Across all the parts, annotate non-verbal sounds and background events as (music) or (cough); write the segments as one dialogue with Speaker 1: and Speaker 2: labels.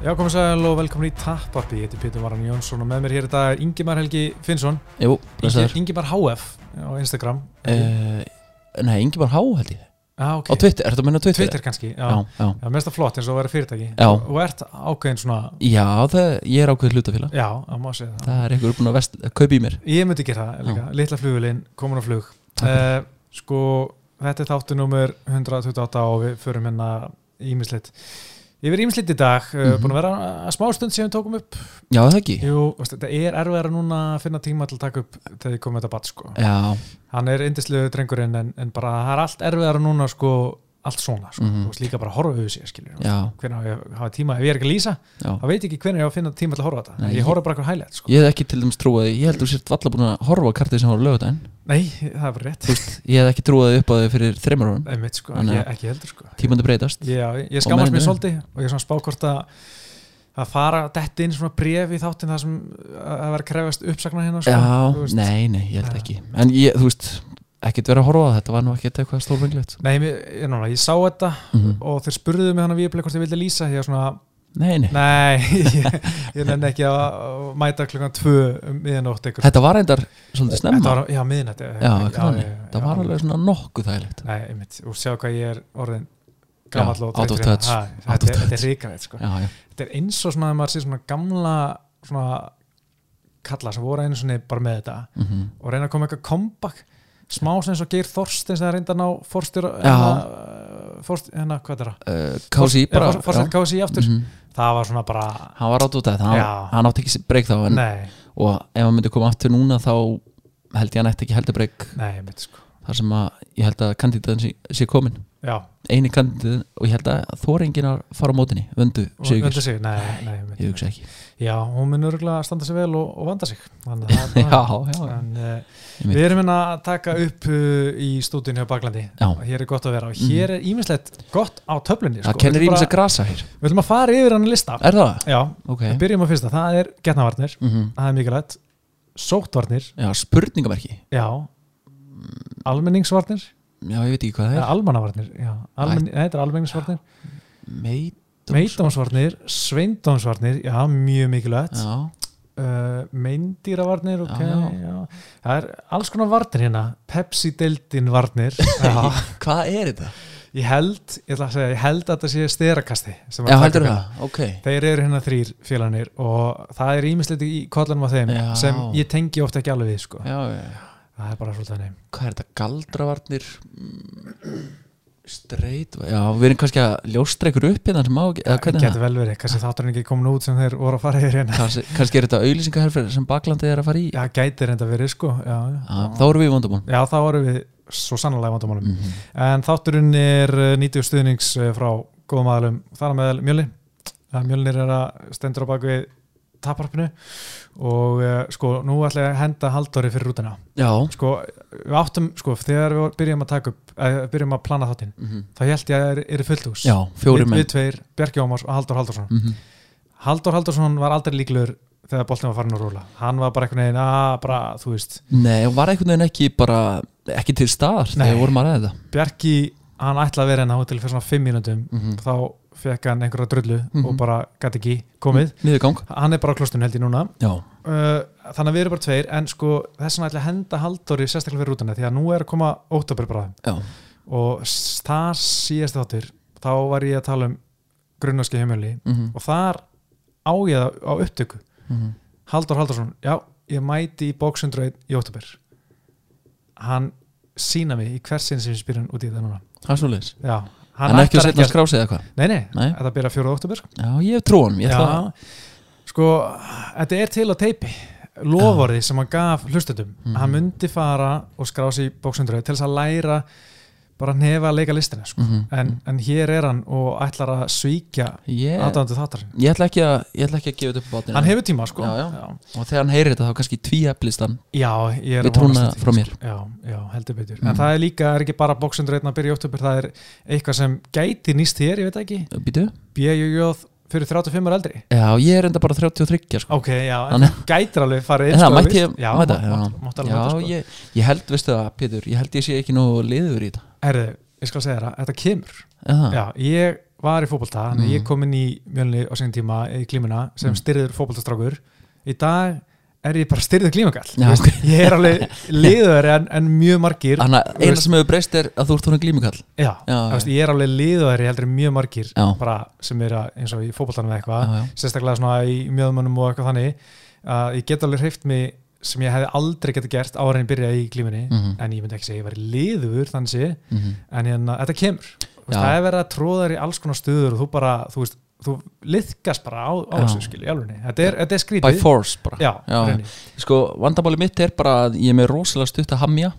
Speaker 1: Já, komið sæl og velkomin í Tapparpi, ég heiti Pétur Varan Jónsson og með mér hér í dag er Ingimar Helgi Finnsson,
Speaker 2: Jú, blessaður
Speaker 1: Ingi, Ingimar HF á Instagram, uh,
Speaker 2: uh, Nei, Ingimar Há held ég
Speaker 1: ah, ok,
Speaker 2: Á Twitter, ertu að minna Twitter?
Speaker 1: Twitter kannski, já,
Speaker 2: Já, já,
Speaker 1: já, mest að flott eins og að vera fyrirtæki,
Speaker 2: Já.
Speaker 1: og ert ákveðin svona,
Speaker 2: já það, ég er ákveð hlutafélag
Speaker 1: já, það má segja það,
Speaker 2: Það er einhver búin að vest, kaupa í mér
Speaker 1: ég myndi gera það líka, litla flugulinn, komin á flug, uh, sko, þetta er þáttunumur 128 og við förum hérna ímislegt, yfir ímislegt í dag, uh,
Speaker 2: Mhm.
Speaker 1: búin að vera að smástund sem við tókum upp,
Speaker 2: Já, það ekki
Speaker 1: jú, veist, þetta er erfiðara núna að finna tíma til að taka upp þegar ég kom með þetta bat, sko.
Speaker 2: Já,
Speaker 1: hann er indislegu drengurinn en, en bara það er allt erfiðara núna sko, allt svona, sko.
Speaker 2: Mhm.
Speaker 1: þú veist líka bara að horfa yfir sér skilur,
Speaker 2: já,
Speaker 1: hvernig á ég að hafa tíma ef ég er ekki að lýsa,
Speaker 2: já
Speaker 1: þá veit ég ekki hvernig ég á að finna tíma til að horfa á þetta,
Speaker 2: Nei,
Speaker 1: ég,
Speaker 2: ég-
Speaker 1: horfa bara eitthvað hælætt sko.
Speaker 2: Ég hef ekki til dæmis trúið Ég held þú sért valla búin að horfa á kartið sem voru lögudaginn
Speaker 1: nei, það er bara rétt
Speaker 2: Ég hef ekki trúið upp á þau fyrir þreymar árum
Speaker 1: Einmitt, sko.
Speaker 2: Þannig
Speaker 1: ég,
Speaker 2: að-
Speaker 1: ekki heldur sko.
Speaker 2: Tímandi breytast
Speaker 1: ég, já, ég skammast mér
Speaker 2: Og menn-
Speaker 1: svolítið og ég er svona spákort að að fara detti inn svona bref í þáttin það sem að að vera að krefast uppsagnar hérna sko,
Speaker 2: Já,
Speaker 1: þú veist. Eh.
Speaker 2: nei, nei, ég held
Speaker 1: Já.
Speaker 2: ekki En ég, þú veist, ekkert verið að horfa á það, Þetta var nú ekkert eitthvað stórfenglegt
Speaker 1: Nei, mér, ég, núna, ég sá þetta
Speaker 2: mm
Speaker 1: og þeir spurðuðu mig hann að hvort ég vildi lýsa ég var svona,
Speaker 2: Nei, nei
Speaker 1: Nei, (laughs) ég, ég nenni ekki að mæta klukkan tvö um miðanótt ykkur.
Speaker 2: Þetta var reyndar svolítið snemma
Speaker 1: Þetta var, já, miðnætti.
Speaker 2: Já, kanni, það var alveg svona nokkuð þægilegt
Speaker 1: Nei, einmitt, og sjá hvað ég er orðin gammal
Speaker 2: Já,
Speaker 1: og
Speaker 2: out of
Speaker 1: þreyttur
Speaker 2: touch,
Speaker 1: hérna. Ha,
Speaker 2: out
Speaker 1: Þetta
Speaker 2: of
Speaker 1: er- þetta er
Speaker 2: touch.
Speaker 1: ríkarætt, sko.
Speaker 2: Já, já,
Speaker 1: Þetta er eins og svona að maður sé svona gamla svona kalla sem voru einu svona bara með þetta
Speaker 2: mm
Speaker 1: og reyna að koma eitthvað comeback smá sem eins og Geir Þorsteins þegar reynda að ná forstjóra
Speaker 2: Já.
Speaker 1: hérna, forst, hérna, hvað er það?
Speaker 2: uh, Kási bara
Speaker 1: Forstjóra KSI aftur
Speaker 2: Mhm.
Speaker 1: það var svona bara,
Speaker 2: Hann var átt út af það,
Speaker 1: Já.
Speaker 2: hann, hann átti ekki breyk þá en,
Speaker 1: nei,
Speaker 2: og ef hann myndi koma aftur núna þá held ég hann eftir ekki heldur breyk
Speaker 1: nei, einmitt sko
Speaker 2: þar sem að ég held að kandidatin sé, sé komin
Speaker 1: Já,
Speaker 2: eini kandidatin og ég held að þóringin að fara á mótinni, vöndu
Speaker 1: og vönda
Speaker 2: Sigurgir,
Speaker 1: sig, nei, nei, nei
Speaker 2: ég hugsa
Speaker 1: (laughs)
Speaker 2: ekki
Speaker 1: Já, hún mun örgulega standa sig vel og, og vanda sig
Speaker 2: (laughs)
Speaker 1: Þannig að
Speaker 2: Já,
Speaker 1: það
Speaker 2: já, já,
Speaker 1: En, uh,
Speaker 2: Einmitt.
Speaker 1: við erum hérna að taka upp uh, í stúdíun hjá Baklandi
Speaker 2: Já. Mhm.
Speaker 1: og hér er gott að vera og hér er ímislegt gott á töflunni sko.
Speaker 2: það kennir
Speaker 1: Við
Speaker 2: ímins
Speaker 1: ætlum
Speaker 2: að grasa hér
Speaker 1: bara- Við ætlum að fara yfir hann lista
Speaker 2: Er það?
Speaker 1: Já,
Speaker 2: Ok
Speaker 1: við byrjum á fyrsta, það er getnavarnir
Speaker 2: mm
Speaker 1: það er mikilvægt, sóttvarnir
Speaker 2: Já, spurningamerki
Speaker 1: já, almenningsvarnir
Speaker 2: Já, ég veit ekki hvað það
Speaker 1: eða
Speaker 2: er
Speaker 1: almannavarnir, já, almen, nei, þetta er almenningsvarnir
Speaker 2: Meitum
Speaker 1: meitdómsvarnir, sveindómsvarnir já, mjög mikilvægt
Speaker 2: Já,
Speaker 1: uh, meindýravarnir ok,
Speaker 2: Já,
Speaker 1: já,
Speaker 2: já.
Speaker 1: það er alls konar varnir hérna Pepsi-deildin
Speaker 2: (laughs)
Speaker 1: varnir já,
Speaker 2: hvað er þetta?
Speaker 1: ég held, ég ætla að segja, ég held að þetta sé styrakasti
Speaker 2: Já, heldur það, ok
Speaker 1: þeir eru hérna þrýr félanir og það er ímislegt í kollanum á þeim
Speaker 2: Já.
Speaker 1: sem ég tengi ofta ekki alveg við sko.
Speaker 2: já, já, já.
Speaker 1: það er bara svolítið þannig
Speaker 2: Hvað er þetta, galdravarnir Streit Já, við erum kannski að ljóstra ykkur upp hérna sem á, eða hvernig er
Speaker 1: getur vel verið, kannski þátturinn ekki komin út sem þeir voru að fara yfir
Speaker 2: það
Speaker 1: hérna
Speaker 2: kannski, kannski er þetta auðlýsingaherferð sem baklandið er að fara í
Speaker 1: já, gætir enda verið sko já,
Speaker 2: Já, Þá erum við í vandamál
Speaker 1: já þá voru við svo sannlega vandamálum
Speaker 2: mm -hmm.
Speaker 1: En þátturinn er eh, 90 stuðnings eh, frá góðum aðalum þar á meðal Mjölni að Mjölnir er að stendur á baku við taparpinu og uh, sko nú ætla ég að henda Halldóri fyrir rútuna
Speaker 2: Já
Speaker 1: sko við áttum sko þegar við byrjum að taka upp eh, byrjum að plana þáttinn
Speaker 2: mm
Speaker 1: þá held ég að er, er fullt hús
Speaker 2: Já, fjóri
Speaker 1: Mhm. við,
Speaker 2: menn
Speaker 1: við tveir, Bjarki Ómars og Halldór Halldórsson
Speaker 2: mm -hmm.
Speaker 1: Halldór Halldórsson var aldrei líklegur þegar boltin var farin að rúla hann var bara einhvern veginn að bara þú veist
Speaker 2: Nei, og var einhvern veginn ekki bara ekki til staðar
Speaker 1: Nei.
Speaker 2: þegar við vorum að ræða þetta
Speaker 1: Bjarki hann ætlaði að vera hérna hótel fyrir svona 5 mínútum
Speaker 2: Mhm.
Speaker 1: þá fekk hann einhverja drullu
Speaker 2: Mhm.
Speaker 1: og bara gæti ekki komið
Speaker 2: Niður gang
Speaker 1: hann er bara á klostun held ég núna
Speaker 2: Já,
Speaker 1: uh, þannig að við erum bara tveir en sko þess vegna ætla að henda Halldóri sérstaklega fyrir rútuna því að nú er að koma óttabur bráðum
Speaker 2: já,
Speaker 1: og s- það síðast þáttur þá var ég að tala um grunnáski heimjöli
Speaker 2: mm
Speaker 1: og þar á ég það á upptöku
Speaker 2: -hmm.
Speaker 1: Halldór Halldórsson, já, ég mæti í bóksundröð í óttabur hann sína mig í hversinn sem ég spyr hann út í það núna
Speaker 2: það er svoleiðis
Speaker 1: Já,
Speaker 2: Hann er ekki að
Speaker 1: ætlar
Speaker 2: setja skrásið eða hvað
Speaker 1: Nei, nei,
Speaker 2: Nei.
Speaker 1: þetta byrja 4. oktober
Speaker 2: Já, ég hef trúan, ég ætla að
Speaker 1: Sko, þetta er til á teipi Loforði sem hann gaf hlustendum
Speaker 2: Mhm.
Speaker 1: Hann myndi fara og skrá sig í bóksundröð til þess að læra bara nefa að leika listina sko.
Speaker 2: Mhm.
Speaker 1: en, en hér er hann og ætlar að svíkja
Speaker 2: Ég,
Speaker 1: aðdæðandi þáttarinn
Speaker 2: ég, ætla ekki að, ég ætla ekki að gefa þetta upp á bátinu
Speaker 1: Hann hefur tíma sko
Speaker 2: Já, já. Og þegar hann heyrir þetta þá kannski tví eflistan
Speaker 1: Já, ég er
Speaker 2: Við
Speaker 1: að vonast
Speaker 2: trúna
Speaker 1: eftir því,
Speaker 2: frá mér.
Speaker 1: sko. Já, já, heldur betur En
Speaker 2: Mhm.
Speaker 1: það er líka, er ekki bara bóksundröðna að byrja í oktober Það er eitthvað sem gæti nýst þér, ég veit það ekki
Speaker 2: Býtu?
Speaker 1: BJJ fyrir 35 ára eldri
Speaker 2: Eh, Já, ég er enda bara 33 sko.
Speaker 1: Ok, já, en
Speaker 2: Þannig-
Speaker 1: þú gætir alveg farið
Speaker 2: En
Speaker 1: inn,
Speaker 2: það
Speaker 1: sko,
Speaker 2: mætti
Speaker 1: veist.
Speaker 2: ég
Speaker 1: já,
Speaker 2: mæta
Speaker 1: mátt- mátt- mátt
Speaker 2: Já,
Speaker 1: alveg mæta, sko.
Speaker 2: ég, ég held, veistu það, Pétur Ég held ég sé ekki nú liður í þetta
Speaker 1: Herðu, ég skal segja þér að þetta kemur
Speaker 2: Eða,
Speaker 1: Já, ég var í fótbolta þannig að
Speaker 2: Mhm.
Speaker 1: ég kom inn í mjölni á segn tíma í klímuna sem
Speaker 2: Mm.
Speaker 1: styrður fótboltastrákur í dag er ég bara styrður klímagall
Speaker 2: (laughs) Já,
Speaker 1: Veist, ég er alveg liðveri en, en mjög margir
Speaker 2: Þannig að
Speaker 1: Þú
Speaker 2: eina
Speaker 1: veist-
Speaker 2: sem hefur breyst er að þú ert hún glímukall
Speaker 1: já,
Speaker 2: Já,
Speaker 1: þú veist,
Speaker 2: já,
Speaker 1: ég er alveg liðveri heldur en mjög margir
Speaker 2: Já.
Speaker 1: bara, sem er að, eins og í fótboltanum eða eitthvað
Speaker 2: já,
Speaker 1: sérstaklega svona í mjöðmönnum og eitthvað þannig að ég get alveg hreift mig sem ég hefði aldrei getið gert ára en byrjaði í klímunni
Speaker 2: Mhm.
Speaker 1: en ég myndi ekki segja ég væri liður þannig sé
Speaker 2: mhm.
Speaker 1: en hérna, þetta kemur Þú veist,
Speaker 2: Já.
Speaker 1: það er verið að tróða þér í alls konar stuður og þú bara, þú veist, þú liðkast bara á, á
Speaker 2: Já.
Speaker 1: þessu skilju, í alveg þetta er, þetta er
Speaker 2: By
Speaker 1: skrítið
Speaker 2: force bara
Speaker 1: já,
Speaker 2: Já. Sko, vandamáli mitt er bara að ég er með rosalega stutt að hamja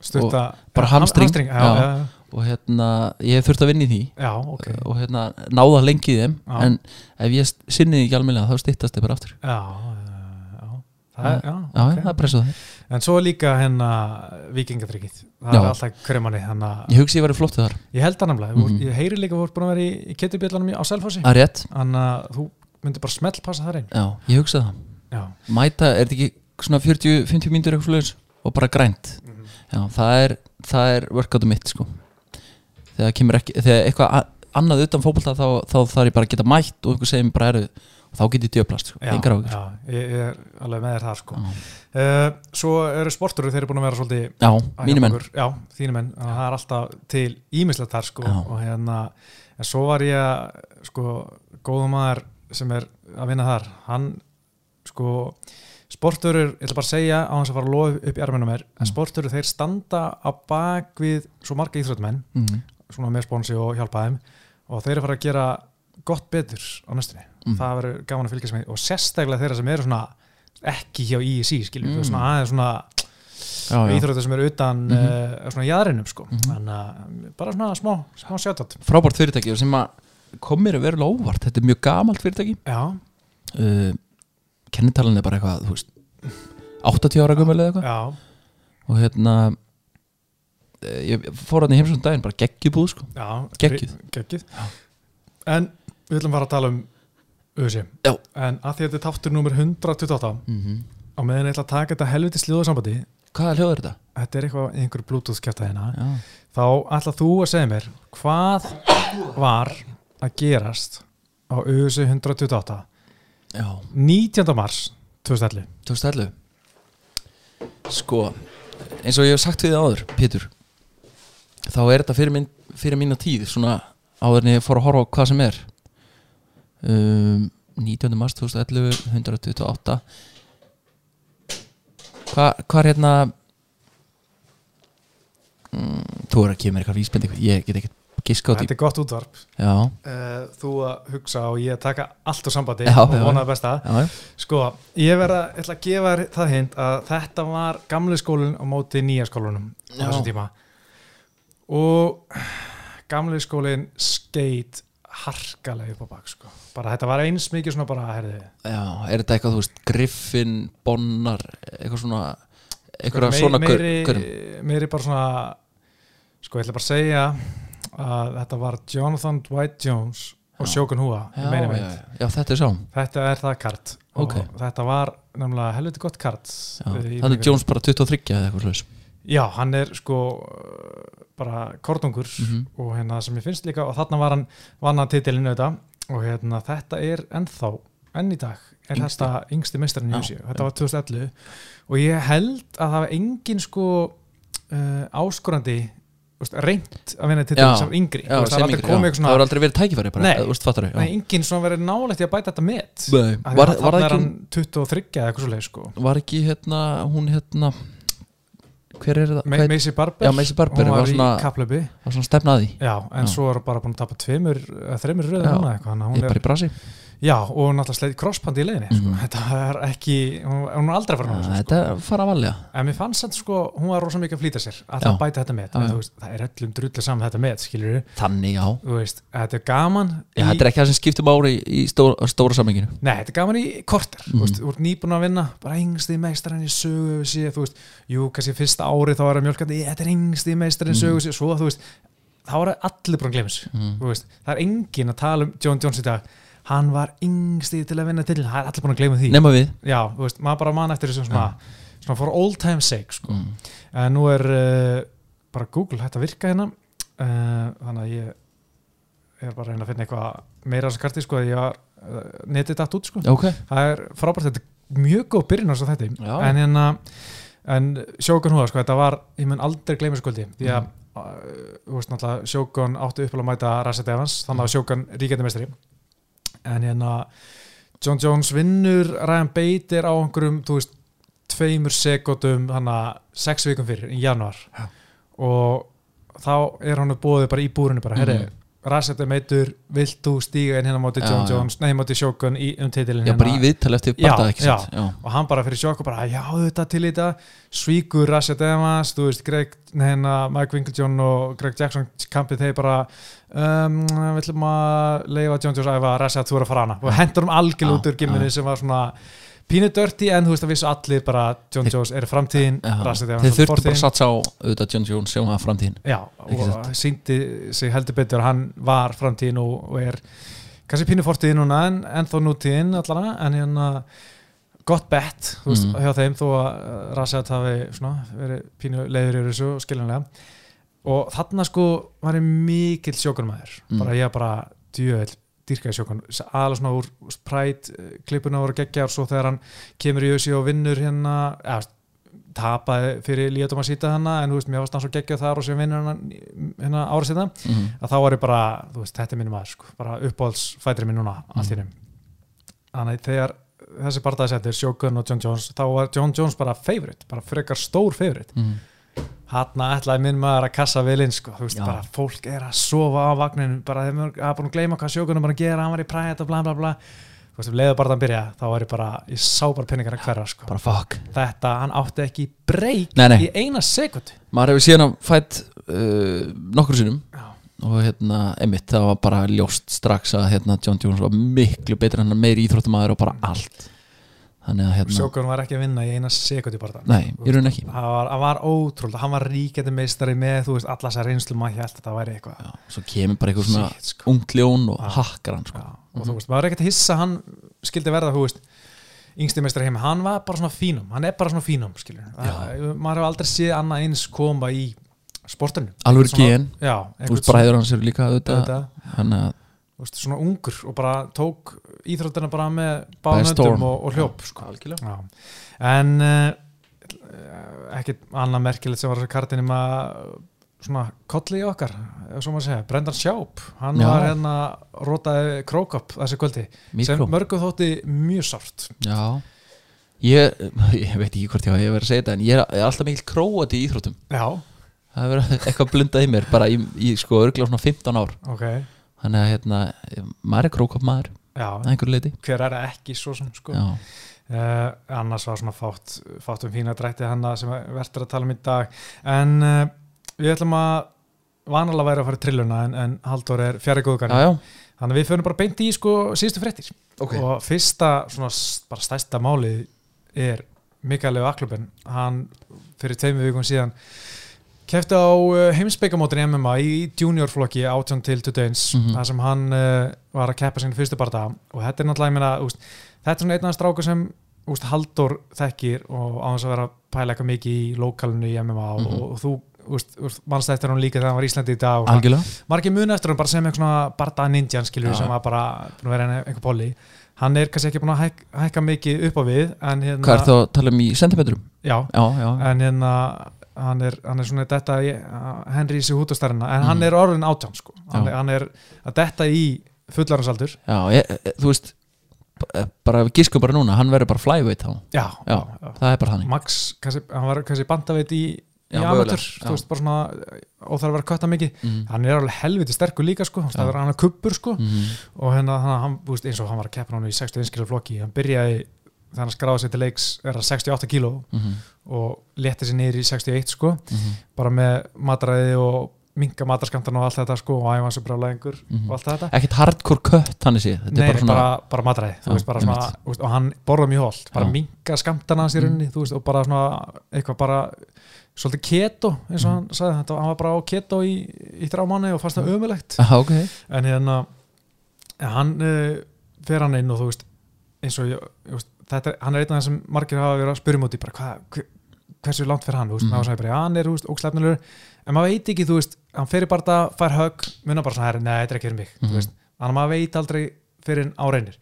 Speaker 1: stutta,
Speaker 2: bara hamstring.
Speaker 1: hamstring já,
Speaker 2: Já.
Speaker 1: já.
Speaker 2: og hérna, ég hef þurft að vinna í því
Speaker 1: já, ok
Speaker 2: og hérna, náða lengi í þeim
Speaker 1: Já.
Speaker 2: en ef ég sinni því ekki almennilega þá styttast þeir bara aftur
Speaker 1: já, já, já. Það, er- já,
Speaker 2: Já,
Speaker 1: ok.
Speaker 2: okay. það er pressu á þeim
Speaker 1: en svo er líka hérna vikingatryggið, það
Speaker 2: Já.
Speaker 1: er alltaf kremanni þannig að
Speaker 2: Ég hugsi ég verið flottu þar,
Speaker 1: ég held það namlega, mm
Speaker 2: Mhm.
Speaker 1: ég heyri líka að þú ert búin að vera í, í kettubjallanum á Selfossi
Speaker 2: að rétt
Speaker 1: þannig að þú myndir bara smellpassa þar einn
Speaker 2: Já, ég hugsa það
Speaker 1: já,
Speaker 2: Mæta, er þetta ekki svona 40-50 mínútur eitthvað slags og bara grænt Já, það er, það er workoutu mitt sko Þegar kemur ekki, þegar eitthvað a- annað utan fótbolta þá, þá þarf ég bara að geta mætt og einhver segir mér bara eru og þá get ég djöplast sko,
Speaker 1: já,
Speaker 2: engar áhugur
Speaker 1: já ég, ég er alveg með þér þar sko
Speaker 2: Já,
Speaker 1: Uh, svo eru sportur þeir eru búin að vera svolítið
Speaker 2: já
Speaker 1: að
Speaker 2: mínum
Speaker 1: hjálpa
Speaker 2: menn
Speaker 1: okkur. Já, þínu menn, þannig að það er alltaf til ímislegt þar sko
Speaker 2: Já.
Speaker 1: og hérna, en svo var ég að, sko, góðum maður sem er að vinna þar, hann sko, sporturur ég ætla bara að segja á hans að fara að lofa upp í armenum er, en
Speaker 2: Mm.
Speaker 1: sporturur þeir standa á bak við svo marga íþróttmenn
Speaker 2: mm.
Speaker 1: svona með sponsi og hjálpa þeim og þeir eru að fara að gera gott betur á næstunni
Speaker 2: Mm.
Speaker 1: það verður gaman að fylgjast með og sérstaklega þeirra sem eru svona ekki hjá ISI skiljum,
Speaker 2: Mm.
Speaker 1: mm. svona aðeins svona
Speaker 2: Já, já.
Speaker 1: íþróttu sem eru utan mm
Speaker 2: Mhm.
Speaker 1: svona jaðrinum sko
Speaker 2: Mhm.
Speaker 1: þannig að bara svona smá, smá sjátt
Speaker 2: Frábært fyrirtæki og sem að kom mér að vera óvart, þetta er mjög gamalt fyrirtæki
Speaker 1: já,
Speaker 2: uh, Kennitalan er bara eitthvað, þú veist 80 ára gömul eða eitthvað
Speaker 1: já,
Speaker 2: og hérna eh, ég fór hann í heimsum daginn, bara geggjubúð sko
Speaker 1: já
Speaker 2: Geggjuð.
Speaker 1: ri- geggjuð
Speaker 2: Já.
Speaker 1: en við ætlum bara að tala um ösi,
Speaker 2: Já.
Speaker 1: en að því að þetta er þáttur nummer 128
Speaker 2: mm
Speaker 1: á meðan ég ætla að taka þetta helviti sljóðasambandi
Speaker 2: Hvaða hljóð er þetta?
Speaker 1: þetta er eitthvað einhver bluetooth kjæfta hérna
Speaker 2: Já.
Speaker 1: þá ætla þú að segja mér hvað var að gerast á ösi 128
Speaker 2: já
Speaker 1: 19. mars 2011
Speaker 2: 2011 Sko, eins og ég hef sagt við þig áður, Pétur Þá er þetta fyrir, minn, fyrir mína tíð Svona áður en ég fór að horfa á hvað sem er um, 19. mars 2011 128 Hva, Hvað er hérna mm, Þú er að gefa mér eitthvað vísbending Ég get ekki giska á því
Speaker 1: þetta er gott útvarp
Speaker 2: Já,
Speaker 1: uh, þú að hugsa og ég að taka allt úr sambandi
Speaker 2: Já,
Speaker 1: og
Speaker 2: já.
Speaker 1: vona það besta
Speaker 2: já, já
Speaker 1: sko, ég verða, ég ætla að gefa þér það hint að þetta var gamli skólinn á móti nýja skólanum á
Speaker 2: Já.
Speaker 1: þessum tíma og gamli skólinn skeit harkalega upp á bak sko. bara þetta var eins mikið svona bara herði,
Speaker 2: Já, er þetta eitthvað, þú veist, Griffin, Bonnar, eitthvað svona eitthvað
Speaker 1: mei-
Speaker 2: svona gaur- gaurum?
Speaker 1: meiri, meiri bara svona sko, ég ætla bara að segja að þetta var Jonathan Dwight Jones og
Speaker 2: Já.
Speaker 1: Sjókun Húa
Speaker 2: já, já, já, já, þetta er sá
Speaker 1: Þetta er það kart og
Speaker 2: Ok.
Speaker 1: þetta var nefnilega helviti gott kart
Speaker 2: Já,
Speaker 1: eh, í
Speaker 2: Þannig
Speaker 1: byggingunni.
Speaker 2: er Jones bara 23 eða eitthvað slags
Speaker 1: Já, hann er sko eh, bara kortungur
Speaker 2: Mhm.
Speaker 1: og hérna sem ég finnst líka og þarna var hann vann hann titilinu þetta og hérna þetta er ennþá enn í dag er
Speaker 2: Yngsti.
Speaker 1: þetta yngsti meistarinn í
Speaker 2: Já,
Speaker 1: Júsíu, þetta var 2011 og ég held að það var engin sko uh, áskorandi þú veist, reynt að vinna titilinu
Speaker 2: Já,
Speaker 1: sem yngri
Speaker 2: Já,
Speaker 1: Þú veist, það
Speaker 2: sem
Speaker 1: er aldrei
Speaker 2: yngri,
Speaker 1: komið
Speaker 2: já.
Speaker 1: eitthvað
Speaker 2: Það
Speaker 1: svona
Speaker 2: var aldrei verið tækifæri bara,
Speaker 1: Nei.
Speaker 2: eða, þú veist, fattar
Speaker 1: nei, enginn svona verið nálægt í að bæta þetta met Af því að
Speaker 2: Var, var,
Speaker 1: þarna
Speaker 2: það
Speaker 1: er hann
Speaker 2: ekki,
Speaker 1: 23 eða eitthvað svo sko
Speaker 2: var ekki hérna, hún hérna Hver er það?
Speaker 1: Ma-
Speaker 2: Hvað-
Speaker 1: Macy Barber
Speaker 2: Já, Macy Barber
Speaker 1: hún var,
Speaker 2: var svona-
Speaker 1: í kaplöpi
Speaker 2: Það var svona stefnaði
Speaker 1: já, en
Speaker 2: Já.
Speaker 1: svo er bara búin að tapa tveimur eða þreimur
Speaker 2: Já.
Speaker 1: röðum núna eitthvað þannig að hún
Speaker 2: Ég er
Speaker 1: er,
Speaker 2: bara í brasi
Speaker 1: já, og náttúrulega sleið crosspandi í leiðinni sko.
Speaker 2: Mhm.
Speaker 1: þetta er ekki, hún, hún er aldrei að fara
Speaker 2: Já,
Speaker 1: náttúrulega sko.
Speaker 2: Þetta fara að valja
Speaker 1: en mér fannst þetta sko, hún var rosa mikið að flýta sér að
Speaker 2: Já.
Speaker 1: það bæta þetta met
Speaker 2: Já,
Speaker 1: en,
Speaker 2: já.
Speaker 1: þú veist, það er öllum drullið saman þetta met skilur
Speaker 2: Þannig, já
Speaker 1: þú veist, þetta er gaman
Speaker 2: Já, þetta er ekki það sem skiptum ári í stóra, stóra samenginu
Speaker 1: Nei, þetta er gaman í korter
Speaker 2: Mhm.
Speaker 1: þú veist, Þú ert nýbúin að vinna, bara yngsti meistarinn í sögu sé, þú veist, jú, kannski fyrsta ári þá er að mjölkandi, þetta er yngsti meistarinn í sögu sé, svo þú veist, þá er allir búin að glemis,
Speaker 2: Mhm.
Speaker 1: þú veist, það er engin að tala um John Jones í dag, hann var yngsti til að vinna til, það er allir búin að glema því
Speaker 2: Nefna við
Speaker 1: Já, þú veist, maður bara man eftir þessum svona, svona for old time sake, sko
Speaker 2: mm.
Speaker 1: en eh, nú er uh, bara Google hægt að virka hérna uh, þannig að ég er bara að reyna að finna eitthvað meira sem karti sko, því ég var eh, netið datt út sko.
Speaker 2: Já, ok,
Speaker 1: það er frábært, þetta er mjög góð byrjun á þessu þetta,
Speaker 2: Já.
Speaker 1: en hérna en sjókun húða, sko, þetta var ég mun aldrei gleyma þessu kvöldi, því að
Speaker 2: Mhm.
Speaker 1: uh, þú veist náttúrulega, sjókun átti upp að mæta Rasset Evans,
Speaker 2: Mhm.
Speaker 1: þannig að sjókun ríkjandi mestri en hérna John Jones vinnur, Ryan Bader á einhverjum, þú veist, tveimur sekundum, hann að sex vikum fyrir í januar
Speaker 2: Já.
Speaker 1: og þá er hann búið bara í búrinu bara, herri,
Speaker 2: Mhm.
Speaker 1: Rasset er meitur, vilt þú stíga inn hérna á móti
Speaker 2: Já,
Speaker 1: John
Speaker 2: já.
Speaker 1: Jones, nei, móti Sjókun í um titilin
Speaker 2: já, bara í viðtali eftir
Speaker 1: Já,
Speaker 2: barndað, ekki
Speaker 1: já.
Speaker 2: satt? Já,
Speaker 1: og hann bara fyrir sjokk og bara já þetta til í þetta svíkur Rasha Demas, þú veist Greg, neina, Mike Winklejohn og Greg Jackson kampið þeir bara um, við ætlum að leifa John Jones æfa Rasha að þú er að fara hana og hendur um algjörl
Speaker 2: Já,
Speaker 1: út úr gimminni sem var svona pínu dirty en þú veist að vissu allir bara John
Speaker 2: Þeir-
Speaker 1: Jones er framtíðin
Speaker 2: já.
Speaker 1: Rasha Demas
Speaker 2: Þeir
Speaker 1: er
Speaker 2: þurftu bara
Speaker 1: fortíðin.
Speaker 2: að satsa á auðvitað John Jones sem að framtíðin
Speaker 1: Já,
Speaker 2: Ekki
Speaker 1: og síndi sig heldur betur að hann var framtíðin og, og er kannski pínu fortíðin núna en, en þó nútíðin allan en hérna gott bett þú veist,
Speaker 2: Mm.
Speaker 1: hjá þeim þó að Rasset hafi svona, verið pínu leiður yfir þessu skiljanlega og þarna sko var ég mikill sjókunumæður
Speaker 2: Mm.
Speaker 1: bara ég bara djöðel dýrkaði sjókun, aðalega svona úr præt klippuna voru geggjar svo þegar hann kemur í ösi og vinnur hérna eða tapaði fyrir Líatum að sýta hana en þú veist, mér varst hann svo geggjað þar og sem vinnur hann hérna ára sýta
Speaker 2: mm.
Speaker 1: að þá var ég bara, þú veist, þetta er minn maður sko, bara uppáhaldsfætri minn núna allt í nefn þannig að þegar þessi barðaðisettir, Sjókun og John Jones þá var John Jones bara favorite, bara frekar stór favorite,
Speaker 2: Mm.
Speaker 1: hann ætlaði minn maður að kassa vel inn sko, þú veist,
Speaker 2: Já.
Speaker 1: bara fólk er að sofa á vagninu, bara þeim er að búin að gleyma hvað Sjókun er bara að gera, hann var í præðið og bla bla bla, þú veist, leiðu barðan byrja þá var ég bara, ég sá bara penningar að hverja sko
Speaker 2: Bara fuck
Speaker 1: þetta, hann átti ekki breyk
Speaker 2: Nei, nei.
Speaker 1: í eina sekund
Speaker 2: Maður hefur síðan að fætt uh, nokkur sinnum og hérna, einmitt, það var bara ljóst strax að hérna John Jones var miklu betur en hann meiri íþróttumæður og bara
Speaker 1: Mhm.
Speaker 2: allt Þannig að hérna
Speaker 1: Sjókun var ekki að vinna í eina sekund í barðan
Speaker 2: Nei, í raun ekki
Speaker 1: það var, það var ótrúlega, hann var ríkjandi meistari með, þú veist, alla þessar reynslu maður held að þetta væri eitthvað
Speaker 2: Já, Svo kemur bara eitthvað svona
Speaker 1: Shit, sko.
Speaker 2: ungt ljón og
Speaker 1: Já.
Speaker 2: hakkar hann
Speaker 1: Já,
Speaker 2: sko.
Speaker 1: og þú veist, maður er ekkert að hissa að hann skildi verða, þú veist yngsti meistari heima, hann var bara svona fínum hann er bara svona fínum, skilur það, maður hefur aldrei séð annað eins koma í sportinu
Speaker 2: Alvöru
Speaker 1: Svona-
Speaker 2: gen.
Speaker 1: já,
Speaker 2: Þú
Speaker 1: einhvern
Speaker 2: veist, bræður hans eru líka auðvitað
Speaker 1: þetta,
Speaker 2: Þannig að
Speaker 1: þú veist, svona ungur og bara tók íþróttina bara með
Speaker 2: By storm.
Speaker 1: bánöndum og, og hljóp sko. Já. en uh, ekkit annað merkilegt sem var þessu kartinum að svona kolli í okkar ef svo maður segja, Brendan Schaub hann
Speaker 2: Já.
Speaker 1: var hérna rótaði krók upp þessu kvöldi
Speaker 2: Mikró.
Speaker 1: sem mörgum þótti mjög sárt
Speaker 2: Já ég, (laughs) ég veit ekki hvort ég hafa verið að segja þetta en ég er, er alltaf mikil króati í íþróttum
Speaker 1: já,
Speaker 2: það hefur verið eitthvað blundað í mér bara í, í sko örgla svona 15 ár
Speaker 1: ok
Speaker 2: þannig að hérna, maður er krókop maður að
Speaker 1: já,
Speaker 2: einhverju leiti
Speaker 1: hver er það ekki svo sem sko
Speaker 2: Já,
Speaker 1: Uh, annars var svona fátt, fátt um fína drætti hana sem verður að tala um í dag en uh, við ætlum að vanalega væri að fara í trilluna en, en Halldór er fjari
Speaker 2: já,
Speaker 1: góðgarni
Speaker 2: já,
Speaker 1: þannig að við förum bara beint í sko síðustu fréttir
Speaker 2: ok
Speaker 1: og fyrsta svona s- bara stærsta málið er Mikael Leo Aklubin hann fyrir tveimur vikum síðan kefti á uh, heimsbyggamótin í MMA í juniorflokki 18 til 21
Speaker 2: Mhm.
Speaker 1: þar sem hann uh, var að keppa sinni fyrstu barða og þetta er náttúrulega, ég meina, úst, þetta er svona einn af stráku sem úst, Halldór þekkir og á þess að vera að pæla eitthvað mikið í lokalinu í MMA
Speaker 2: Mhm.
Speaker 1: og, og þú úst, úst, manst eftir hann líka þegar hann var í Íslandi í dag og svona
Speaker 2: Algjörlega,
Speaker 1: margir muni eftir hann bara sem eitthvað svona barda ninjan skilur
Speaker 2: Já.
Speaker 1: sem var bara búin að vera hérna einhver- einhver polli hann er kannski ekki búin að hæk, hækka mikið upp á við en hérna,
Speaker 2: hvað er það að tala um í sentimetrum?
Speaker 1: já,
Speaker 2: Já, já,
Speaker 1: en hérna hann er, hann er svona detta í uh, Henry í hútastærina en hann
Speaker 2: Mhm.
Speaker 1: er orðin átján sko. hann,
Speaker 2: Já.
Speaker 1: er- hann er að detta í fullarhansaldur
Speaker 2: já ég, eh, þú veist b- eh, bara við gískum bara núna, hann verður bara flyweight þá
Speaker 1: já,
Speaker 2: Já, það er bara þannig
Speaker 1: Max, kannski, hann var kannski bandaveit í, í
Speaker 2: Já,
Speaker 1: amatur,
Speaker 2: mögulega, já.
Speaker 1: þú veist bara svona og það er að vera að kötta mikið
Speaker 2: mm.
Speaker 1: hann er alveg helviti sterkur líka sko,
Speaker 2: Já.
Speaker 1: það er hann að kubbur sko
Speaker 2: Mm.
Speaker 1: og hérna þannig að hann, þú veist, eins og hann var að keppa hann í 61 kilo flokki, hann byrjaði þegar hann skráði sér til leiks, er það 68 kilo
Speaker 2: Mm.
Speaker 1: og leti sér niður í 61 sko,
Speaker 2: Mm.
Speaker 1: bara með matræði og minga matarskandana og allt þetta sko og æfa hans og brjálæðingur
Speaker 2: Mhm.
Speaker 1: og allt þetta
Speaker 2: Ekkert hardcore cut hann sé Þetta
Speaker 1: Nei,
Speaker 2: er bara svona (laughs)
Speaker 1: bara, bara matræði, þú
Speaker 2: Já,
Speaker 1: veist, bara svona
Speaker 2: einmitt.
Speaker 1: þú veist, og hann borða mjög holt, bara
Speaker 2: Já. Mm.
Speaker 1: minga skamtana hans í rauninni, þú veist, og bara svona eitthvað bara, svolítið keto eins
Speaker 2: Mm.
Speaker 1: og hann sagði þetta, hann var bara á keto í, í þrjá mánu og fannst það ömulegt
Speaker 2: Já, Ah, ok
Speaker 1: en hérna en hann uh, fer hann inn og um þú veist eins og ég, ég veist, þetta, er- hann er einn af þeim sem margir hafa verið að spyrja múti bara hvað hver- hversu langt fyrir hann, þú veist,
Speaker 2: Mhm.
Speaker 1: maður sagði bara "Já, hann er, þú veist, ógslefnilegur, en maður veit ekki, þú veist hann fyrir bara það, fær högg, munna bara svona "Herra, nei, þetta er ekki fyrir mig,
Speaker 2: Mhm.
Speaker 1: þú veist þannig að maður veit aldrei fyrir en áreinir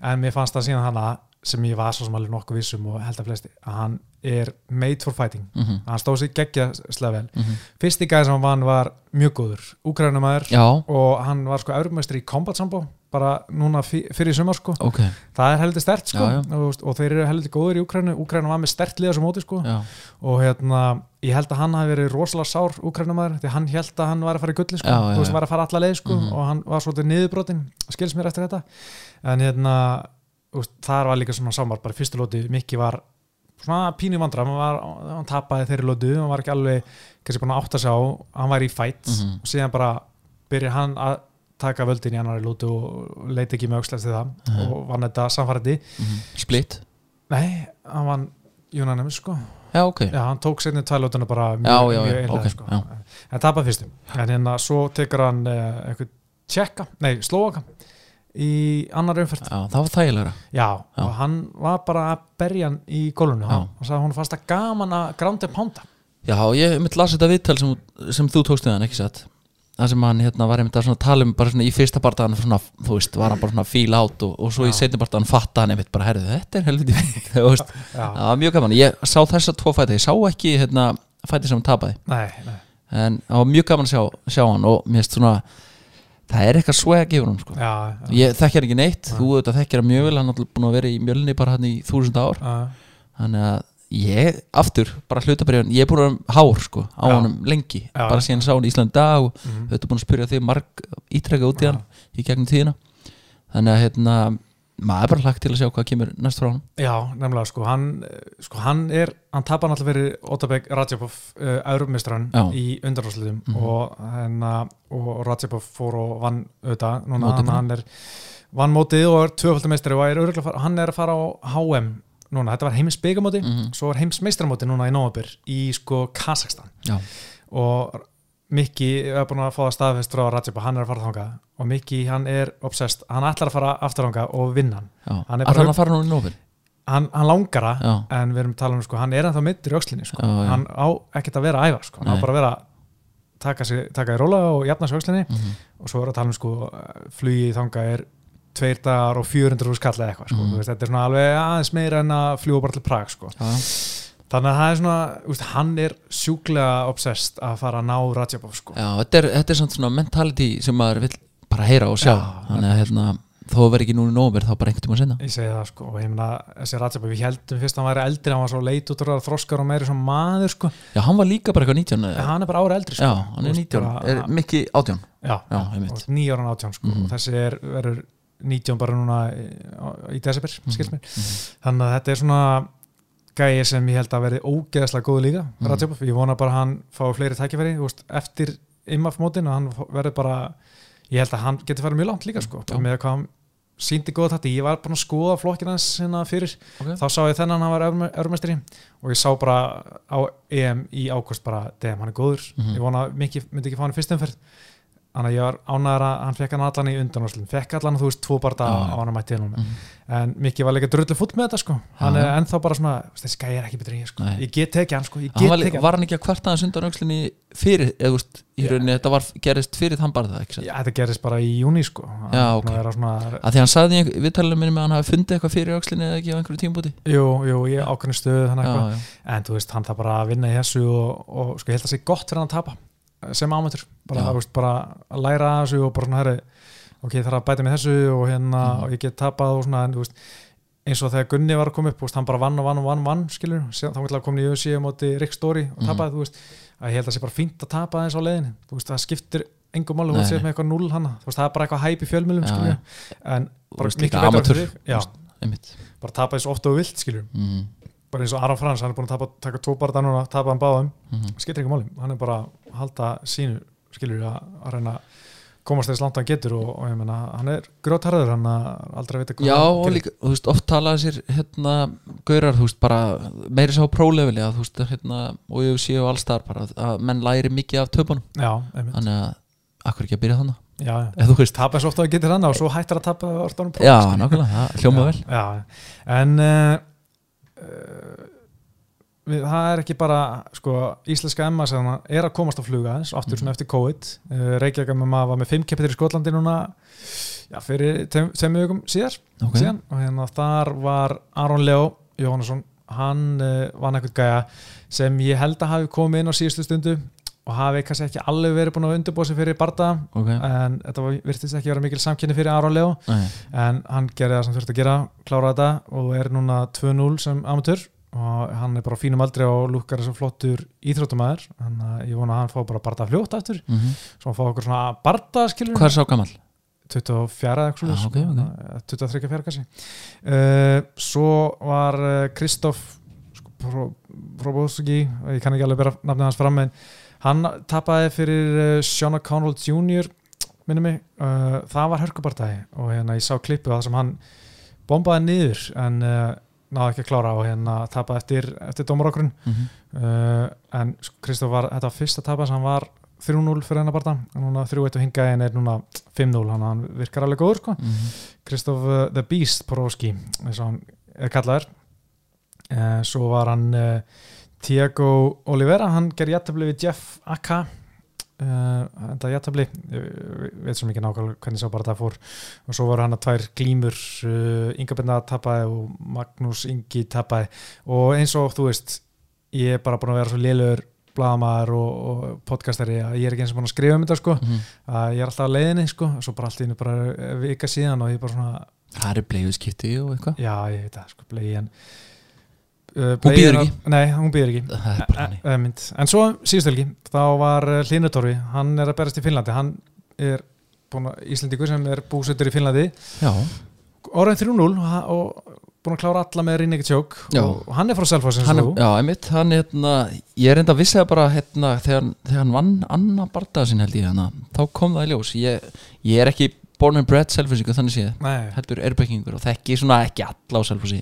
Speaker 1: en mér fannst það síðan hann að sem ég var svo sem alveg nokkuð vissum og held að flesti að hann er made for fighting
Speaker 2: mhm,
Speaker 1: hann stóð sér geggjaslega vel fyrsti gæði sem hann vann var mjög góður úkrænumæður
Speaker 2: Já,
Speaker 1: og hann var sko eurumestri í combat sambo bara núna fí- fyrir sumar sko
Speaker 2: ok
Speaker 1: það er heldur stert sko
Speaker 2: Já, já.
Speaker 1: Og, veist, og þeir eru heldur góður í Úkrænu Úkrænu var með stert liða sem móti sko
Speaker 2: Já,
Speaker 1: og hérna, ég held að hann hafi verið rosalega sár úkrænumæður, því hann held að hann var að fara í gulli sko,
Speaker 2: Já, já,
Speaker 1: þú veist,
Speaker 2: já.
Speaker 1: var að fara alla leið sko
Speaker 2: Mhm.
Speaker 1: og hann var svolítið niðurbrotin, skils mér eftir þetta en hérna, þú veist, þar var líka svona samar, bara í fyrstu lóti, Mikki var svona pínu vandra, hann, var, hann tapaði þeirri lótu, hann var ekki alveg kannski búin að átta sig á, hann var í fætt
Speaker 2: Mhm.
Speaker 1: og síðan bara byrjar hann að taka völdin í annari lótu og leita ekki með aukslæst til það
Speaker 2: Mhm.
Speaker 1: og vann þetta samfærandi
Speaker 2: mhm. Split
Speaker 1: Nei, hann vann Jónanemi sko
Speaker 2: Já, ok
Speaker 1: Já, hann tók setni tvælótuna bara mjög,
Speaker 2: Já, já,
Speaker 1: mjög
Speaker 2: já,
Speaker 1: einlega
Speaker 2: ok,
Speaker 1: sko.
Speaker 2: já.
Speaker 1: en tapar fyrstum en hérna svo tekur hann uh, einhver tjekka, nei slóaka í annar umferð já,
Speaker 2: Já, það var þægilegra Já.
Speaker 1: og hann var bara að berja hann í gólunum
Speaker 2: Já.
Speaker 1: hann og sagði hún fannst það gaman að grándi pánda
Speaker 2: Já, ég mitt las þetta viðtal sem, sem þú tókst við hann, ekki satt Það sem hann hérna, var einmitt að svona tala um bara svona í fyrsta bardaðan svona, þú veist, var hann bara svona fíl átt og, og svo í
Speaker 1: Já.
Speaker 2: setni bardaðan fatta hann einmitt bara, herðu, þetta er helviti (laughs) fínt, þú veist
Speaker 1: já,
Speaker 2: Það var mjög gaman, ég sá þessa tvo fæti, ég sá ekki hérna, fæti sem hann tapaði
Speaker 1: nei, nei,
Speaker 2: en það var mjög gaman að sjá, sjá hann og mér finnst svona, það er eitthvað swag yfir hann sko.
Speaker 1: já, já,
Speaker 2: ég þekkja hann ekki neitt,
Speaker 1: Nei.
Speaker 2: þú auðvitað þekkja hann mjög vel hann er náttúrulega búin að vera í mjölni bara hann í þúsund ár
Speaker 1: já.
Speaker 2: þannig að ég, aftur, bara hlutabrið ég er búin að vera um hár sko, á
Speaker 1: Já.
Speaker 2: honum lengi,
Speaker 1: Já.
Speaker 2: bara síðan sá hann í Íslandi dag og
Speaker 1: Mhm.
Speaker 2: þetta búin að spyrja þig marg ítrekka út í
Speaker 1: Já.
Speaker 2: hann í gegnum tíðina þannig að hérna, maður er bara hlagt til að sjá hvað kemur næst frá hann
Speaker 1: Já, nefnilega sko, hann, eh, sko, hann er, hann tapar náttúrulega fyrir Otabek Rajapov, uh, Európmistran
Speaker 2: Já.
Speaker 1: í undanúrslitum
Speaker 2: Mhm.
Speaker 1: og, hennar, og Rajapov fór og vann auðvitað, núna
Speaker 2: Mótið
Speaker 1: hann,
Speaker 2: bara.
Speaker 1: hann er vann mótið og er tvöfaldameistari og er örugglega að fara- hann er að fara á HM núna, þetta var heimsbyggamóti,
Speaker 2: Mhm.
Speaker 1: svo er heimsmeistaramóti núna í Nóabir í sko Kazakstan
Speaker 2: já,
Speaker 1: og Mikki er búin að fá að staðfest frá Rajapov, hann er að fara þangað og Mikki hann er obsessed, hann ætlar að fara aftur þangað og vinna hann,
Speaker 2: já,
Speaker 1: Hann er
Speaker 2: að
Speaker 1: bara-
Speaker 2: hann að fara nú í nófin
Speaker 1: hann, hann langar að
Speaker 2: já,
Speaker 1: en við erum að tala um sko, hann er ennþá middur í öxlinni sko.
Speaker 2: Já, já.
Speaker 1: hann á ekkert að vera að æfa sko. hann á
Speaker 2: Nei.
Speaker 1: bara að vera að taka, sig, taka í róla og jafna sig í öxlinni
Speaker 2: mhm,
Speaker 1: og svo er að tala um sko, flugi í þanga er tveir dagar og 400 rúst kalla eitthvað sko.
Speaker 2: Mhm.
Speaker 1: mm. veist, þetta er svona alveg aðeins meira en að fljúa bara til Prag sko.
Speaker 2: já, já
Speaker 1: þannig að það er svona, úst, hann er sjúklega obsessed að fara að ná Rajabov sko.
Speaker 2: Já, þetta er, þetta er samt svona mentality sem maður vill bara heyra og sjá
Speaker 1: Já,
Speaker 2: þannig að hérna, þó að vera ekki núna í nómer þá bara einhvern tíma sinna
Speaker 1: Ég segi það sko og ég meina þessi Rajabov, við heldum fyrst að hann væri eldri hann var svo leit út úr að þroskar og meiri svona maður sko,
Speaker 2: Já, hann var líka bara eitthvað 19
Speaker 1: en
Speaker 2: eða-
Speaker 1: hann er bara ára eldri sko.
Speaker 2: Já, hann er
Speaker 1: Þú veist,
Speaker 2: 19,
Speaker 1: bara-
Speaker 2: er mikki 18
Speaker 1: já,
Speaker 2: Já, einmitt.
Speaker 1: og nýjáran átján sko.
Speaker 2: Mhm.
Speaker 1: og þessi er, verður nítján bara núna í, í desember mm
Speaker 2: Mhm,
Speaker 1: mér þannig að þetta er svona gæi sem ég held að verði ógeðslega góð líka
Speaker 2: Mhm.
Speaker 1: mm ég vona bara að hann fái fleiri tækifæri þú veist, eftir IMAF mótin að hann fá- verði bara, ég held að hann geti farið mjög langt líka sko,
Speaker 2: Já.
Speaker 1: bara með hvað hann síndi góða þetta, ég var bara að skoða flokkin hans hérna fyrir,
Speaker 2: okay.
Speaker 1: þá sá ég þennan hann var örmestri og ég sá bara á EM í ákvöst bara, dem, hann er góður
Speaker 2: Mhm.
Speaker 1: ég vona að Mikki myndi ekki fá hann í fyrst umferð þannig að ég var ánæður að hann fekk hann allan í undanvarslun fekk allan þú veist tvo barða
Speaker 2: Já,
Speaker 1: á
Speaker 2: já.
Speaker 1: hann að mætti hennum
Speaker 2: Mhm.
Speaker 1: en Mikki var líka drullu fúll með þetta sko hann
Speaker 2: Já,
Speaker 1: er
Speaker 2: já.
Speaker 1: ennþá bara svona, "Þú veist, þessi gæi er ekki betur en ég sko
Speaker 2: Nei.
Speaker 1: ég get tekið hann sko, ég
Speaker 2: Hann
Speaker 1: get
Speaker 2: var,
Speaker 1: tekið
Speaker 2: líka-
Speaker 1: hann
Speaker 2: var hann ekki að kvarta hans undan aukslinni fyrir, eða þú veist, í
Speaker 1: Já.
Speaker 2: rauninni þetta var, gerist fyrir þann bara það, ekki satt
Speaker 1: Já, þetta gerist bara í júni sko Hann
Speaker 2: Já,
Speaker 1: er búinn
Speaker 2: ok.
Speaker 1: að vera svona,
Speaker 2: að því hann sagði í viðtalinu minni með að hann hafi fundið eitthvað fyrir aukslinni eða ekki á einhverju tímbúti
Speaker 1: jú, jú, ég ákveðin stöðu þannig eitthvað
Speaker 2: já,
Speaker 1: en þú veist, hann það bara að vinna í þessu og, og sko, ég held að segja gott fyrir hann að tapa eh, sem ámyndur, bara,
Speaker 2: Já.
Speaker 1: þú veist, bara að læra af þessu og bara svona herri ok, ég þarf að bæta mig í þessu og hérna
Speaker 2: Mhm.
Speaker 1: og ég get tapað og svona, en þú veist eins og þegar Gunni var að koma upp, þú veist, hann bara vann og vann og vann, og vann skilur, þá ætlaði að koma í UFC móti Rick Story og
Speaker 2: Mhm.
Speaker 1: tapaði, þú veist að ég held að það sé bara fínt að tapa þess á leiðinu þú veist, það skiptir engum máli, þú
Speaker 2: Nei,
Speaker 1: veist,
Speaker 2: nei.
Speaker 1: með eitthvað null hana, þú veist, það er bara eitthvað hæp í fjölmjölum,
Speaker 2: Já,
Speaker 1: skilur, en
Speaker 2: Þú
Speaker 1: bara
Speaker 2: veist,
Speaker 1: miklu
Speaker 2: líka
Speaker 1: betra
Speaker 2: amatör,
Speaker 1: fyrir þig.
Speaker 2: þú
Speaker 1: já,
Speaker 2: veist. einmitt
Speaker 1: bara tapa þess ofta og vilt, skilur
Speaker 2: mm
Speaker 1: bara eins og Aron Frans, hann er búin að tapa, taka tvo barða núna, tapa hann báðum
Speaker 2: -hmm.
Speaker 1: skiptir ekki máli, hann er bara að halda sínu skilur við að, að reyna að komast þess langt hann getur og, og ég meina hann er grótarður, hann er aldrei að vita hvað
Speaker 2: Já,
Speaker 1: hann
Speaker 2: og
Speaker 1: gerir.
Speaker 2: líka, þú veist, oft talaði sér hérna, gaurar, þú veist, bara meiri sá prólefili að, þú veist, hérna og ég sé á allstar bara að menn læri mikið af töpunum,
Speaker 1: Já, einmitt,
Speaker 2: þannig að akkur ekki að byrja þannig,
Speaker 1: já, já.
Speaker 2: eða þú veist
Speaker 1: tapa eins oft og hann getur hann og svo hættir að tapa orðanum
Speaker 2: Já, nákvæmlega, það hljóma vel
Speaker 1: já, já. en uh, uh, eh, við, það er ekki bara sko, íslenska emma sem er að komast á fluga eins, aftur
Speaker 2: Mhm.
Speaker 1: svona eftir COVID uh, Reykjavík MMA var með fimm keppir í Skotlandi núna já, fyrir tveimur vikum síðar,
Speaker 2: Ok.
Speaker 1: síðan og hérna þar var Aron Leo Jóhannesson, hann uh, vann eitthvað gæja sem ég held að hafi komið inn á síðustu stundu og hafi kannski ekki alveg verið búin að undirbúa sig fyrir barða
Speaker 2: ok
Speaker 1: en þetta var, virtist ekki vera mikil samkynni fyrir Aron Leo
Speaker 2: Nei.
Speaker 1: en hann gerði það sem þurfti að gera klára þetta og er núna 2-0 sem amatör og hann er bara á fínum aldri og lukkar þessu flottur íþróttumæður þannig að ég vona að hann fá bara barða fljótt aftur
Speaker 2: Mhm.
Speaker 1: svo hann fá okkur svona barða skilur
Speaker 2: Hvað er sá gammal?
Speaker 1: 24 eða eitthvað
Speaker 2: Ah,
Speaker 1: svoleiðis.
Speaker 2: ok, ok.
Speaker 1: Eh, 23 fjara kannski uh, svo var eh, Kristoff sko, Pro- Probowski ég kann ekki alveg bera nafnið hans fram en hann tapaði fyrir uh, Sean O'Connell Jr. minni mig uh, það var hörkubartæði og hérna ég sá klippu það sem hann bombaði niður en uh, náði ekki að klára og hérna tapaði eftir, eftir dómarokkurinn uh, en Kristof var þetta var fyrsta tapas, hann var 3-0 fyrir hennar barða, en núna 3-1 og hingaði en er núna 5-0, hann, hann virkar alveg góður sko.
Speaker 2: Mhm.
Speaker 1: Kristof uh, the Beast Porowski, eins og hann er kallaður uh, svo var hann uh, Tiago Oliveira, hann gerði jættabli við Jeff Akka uh, enda jættabli uh, veit svo mikið nákvæmlega hvernig sá bara það fór og svo voru hann að tvær glímur uh, Inga Binda tappaði og Magnús Ingi tappaði og eins og þú veist ég er bara búin að vera svo lélögur blagamæður og, og podcastari að ég er ekki eins og búin að skrifa um þetta sko að ég er alltaf að leiðinni sko svo bara allt í hennu bara eh, vika síðan og ég er bara svona
Speaker 2: Það er bleiðuskipti og eitthvað
Speaker 1: já ég veit það sko blei en uh,
Speaker 2: Hún býður ekki.
Speaker 1: nei hún býður ekki
Speaker 2: Það er bara
Speaker 1: Eh, eh, mynd. En svo síðustu helgi, þá var Hlinutorfi, hann er að berast í Finnlandi hann er búin að Íslendingur sem er búsettur í Finnlandi
Speaker 2: Já,
Speaker 1: orðin 3-0 og, ha- og búin að klára alla með Rinnik Tjók
Speaker 2: Já.
Speaker 1: og hann er frá Selfoss eins
Speaker 2: hann,
Speaker 1: og
Speaker 2: er- já einmitt, hann hérna, ég er enda að vissi það bara hérna, þegar, þegar hann vann Anna bardaða sinn held ég hérna, þá kom það í ljós ég, ég er ekki born and bred selfinsíku þannig séð,
Speaker 1: þú Nei,
Speaker 2: heldur erbækingur og þekki svona ekki alla á selfinsi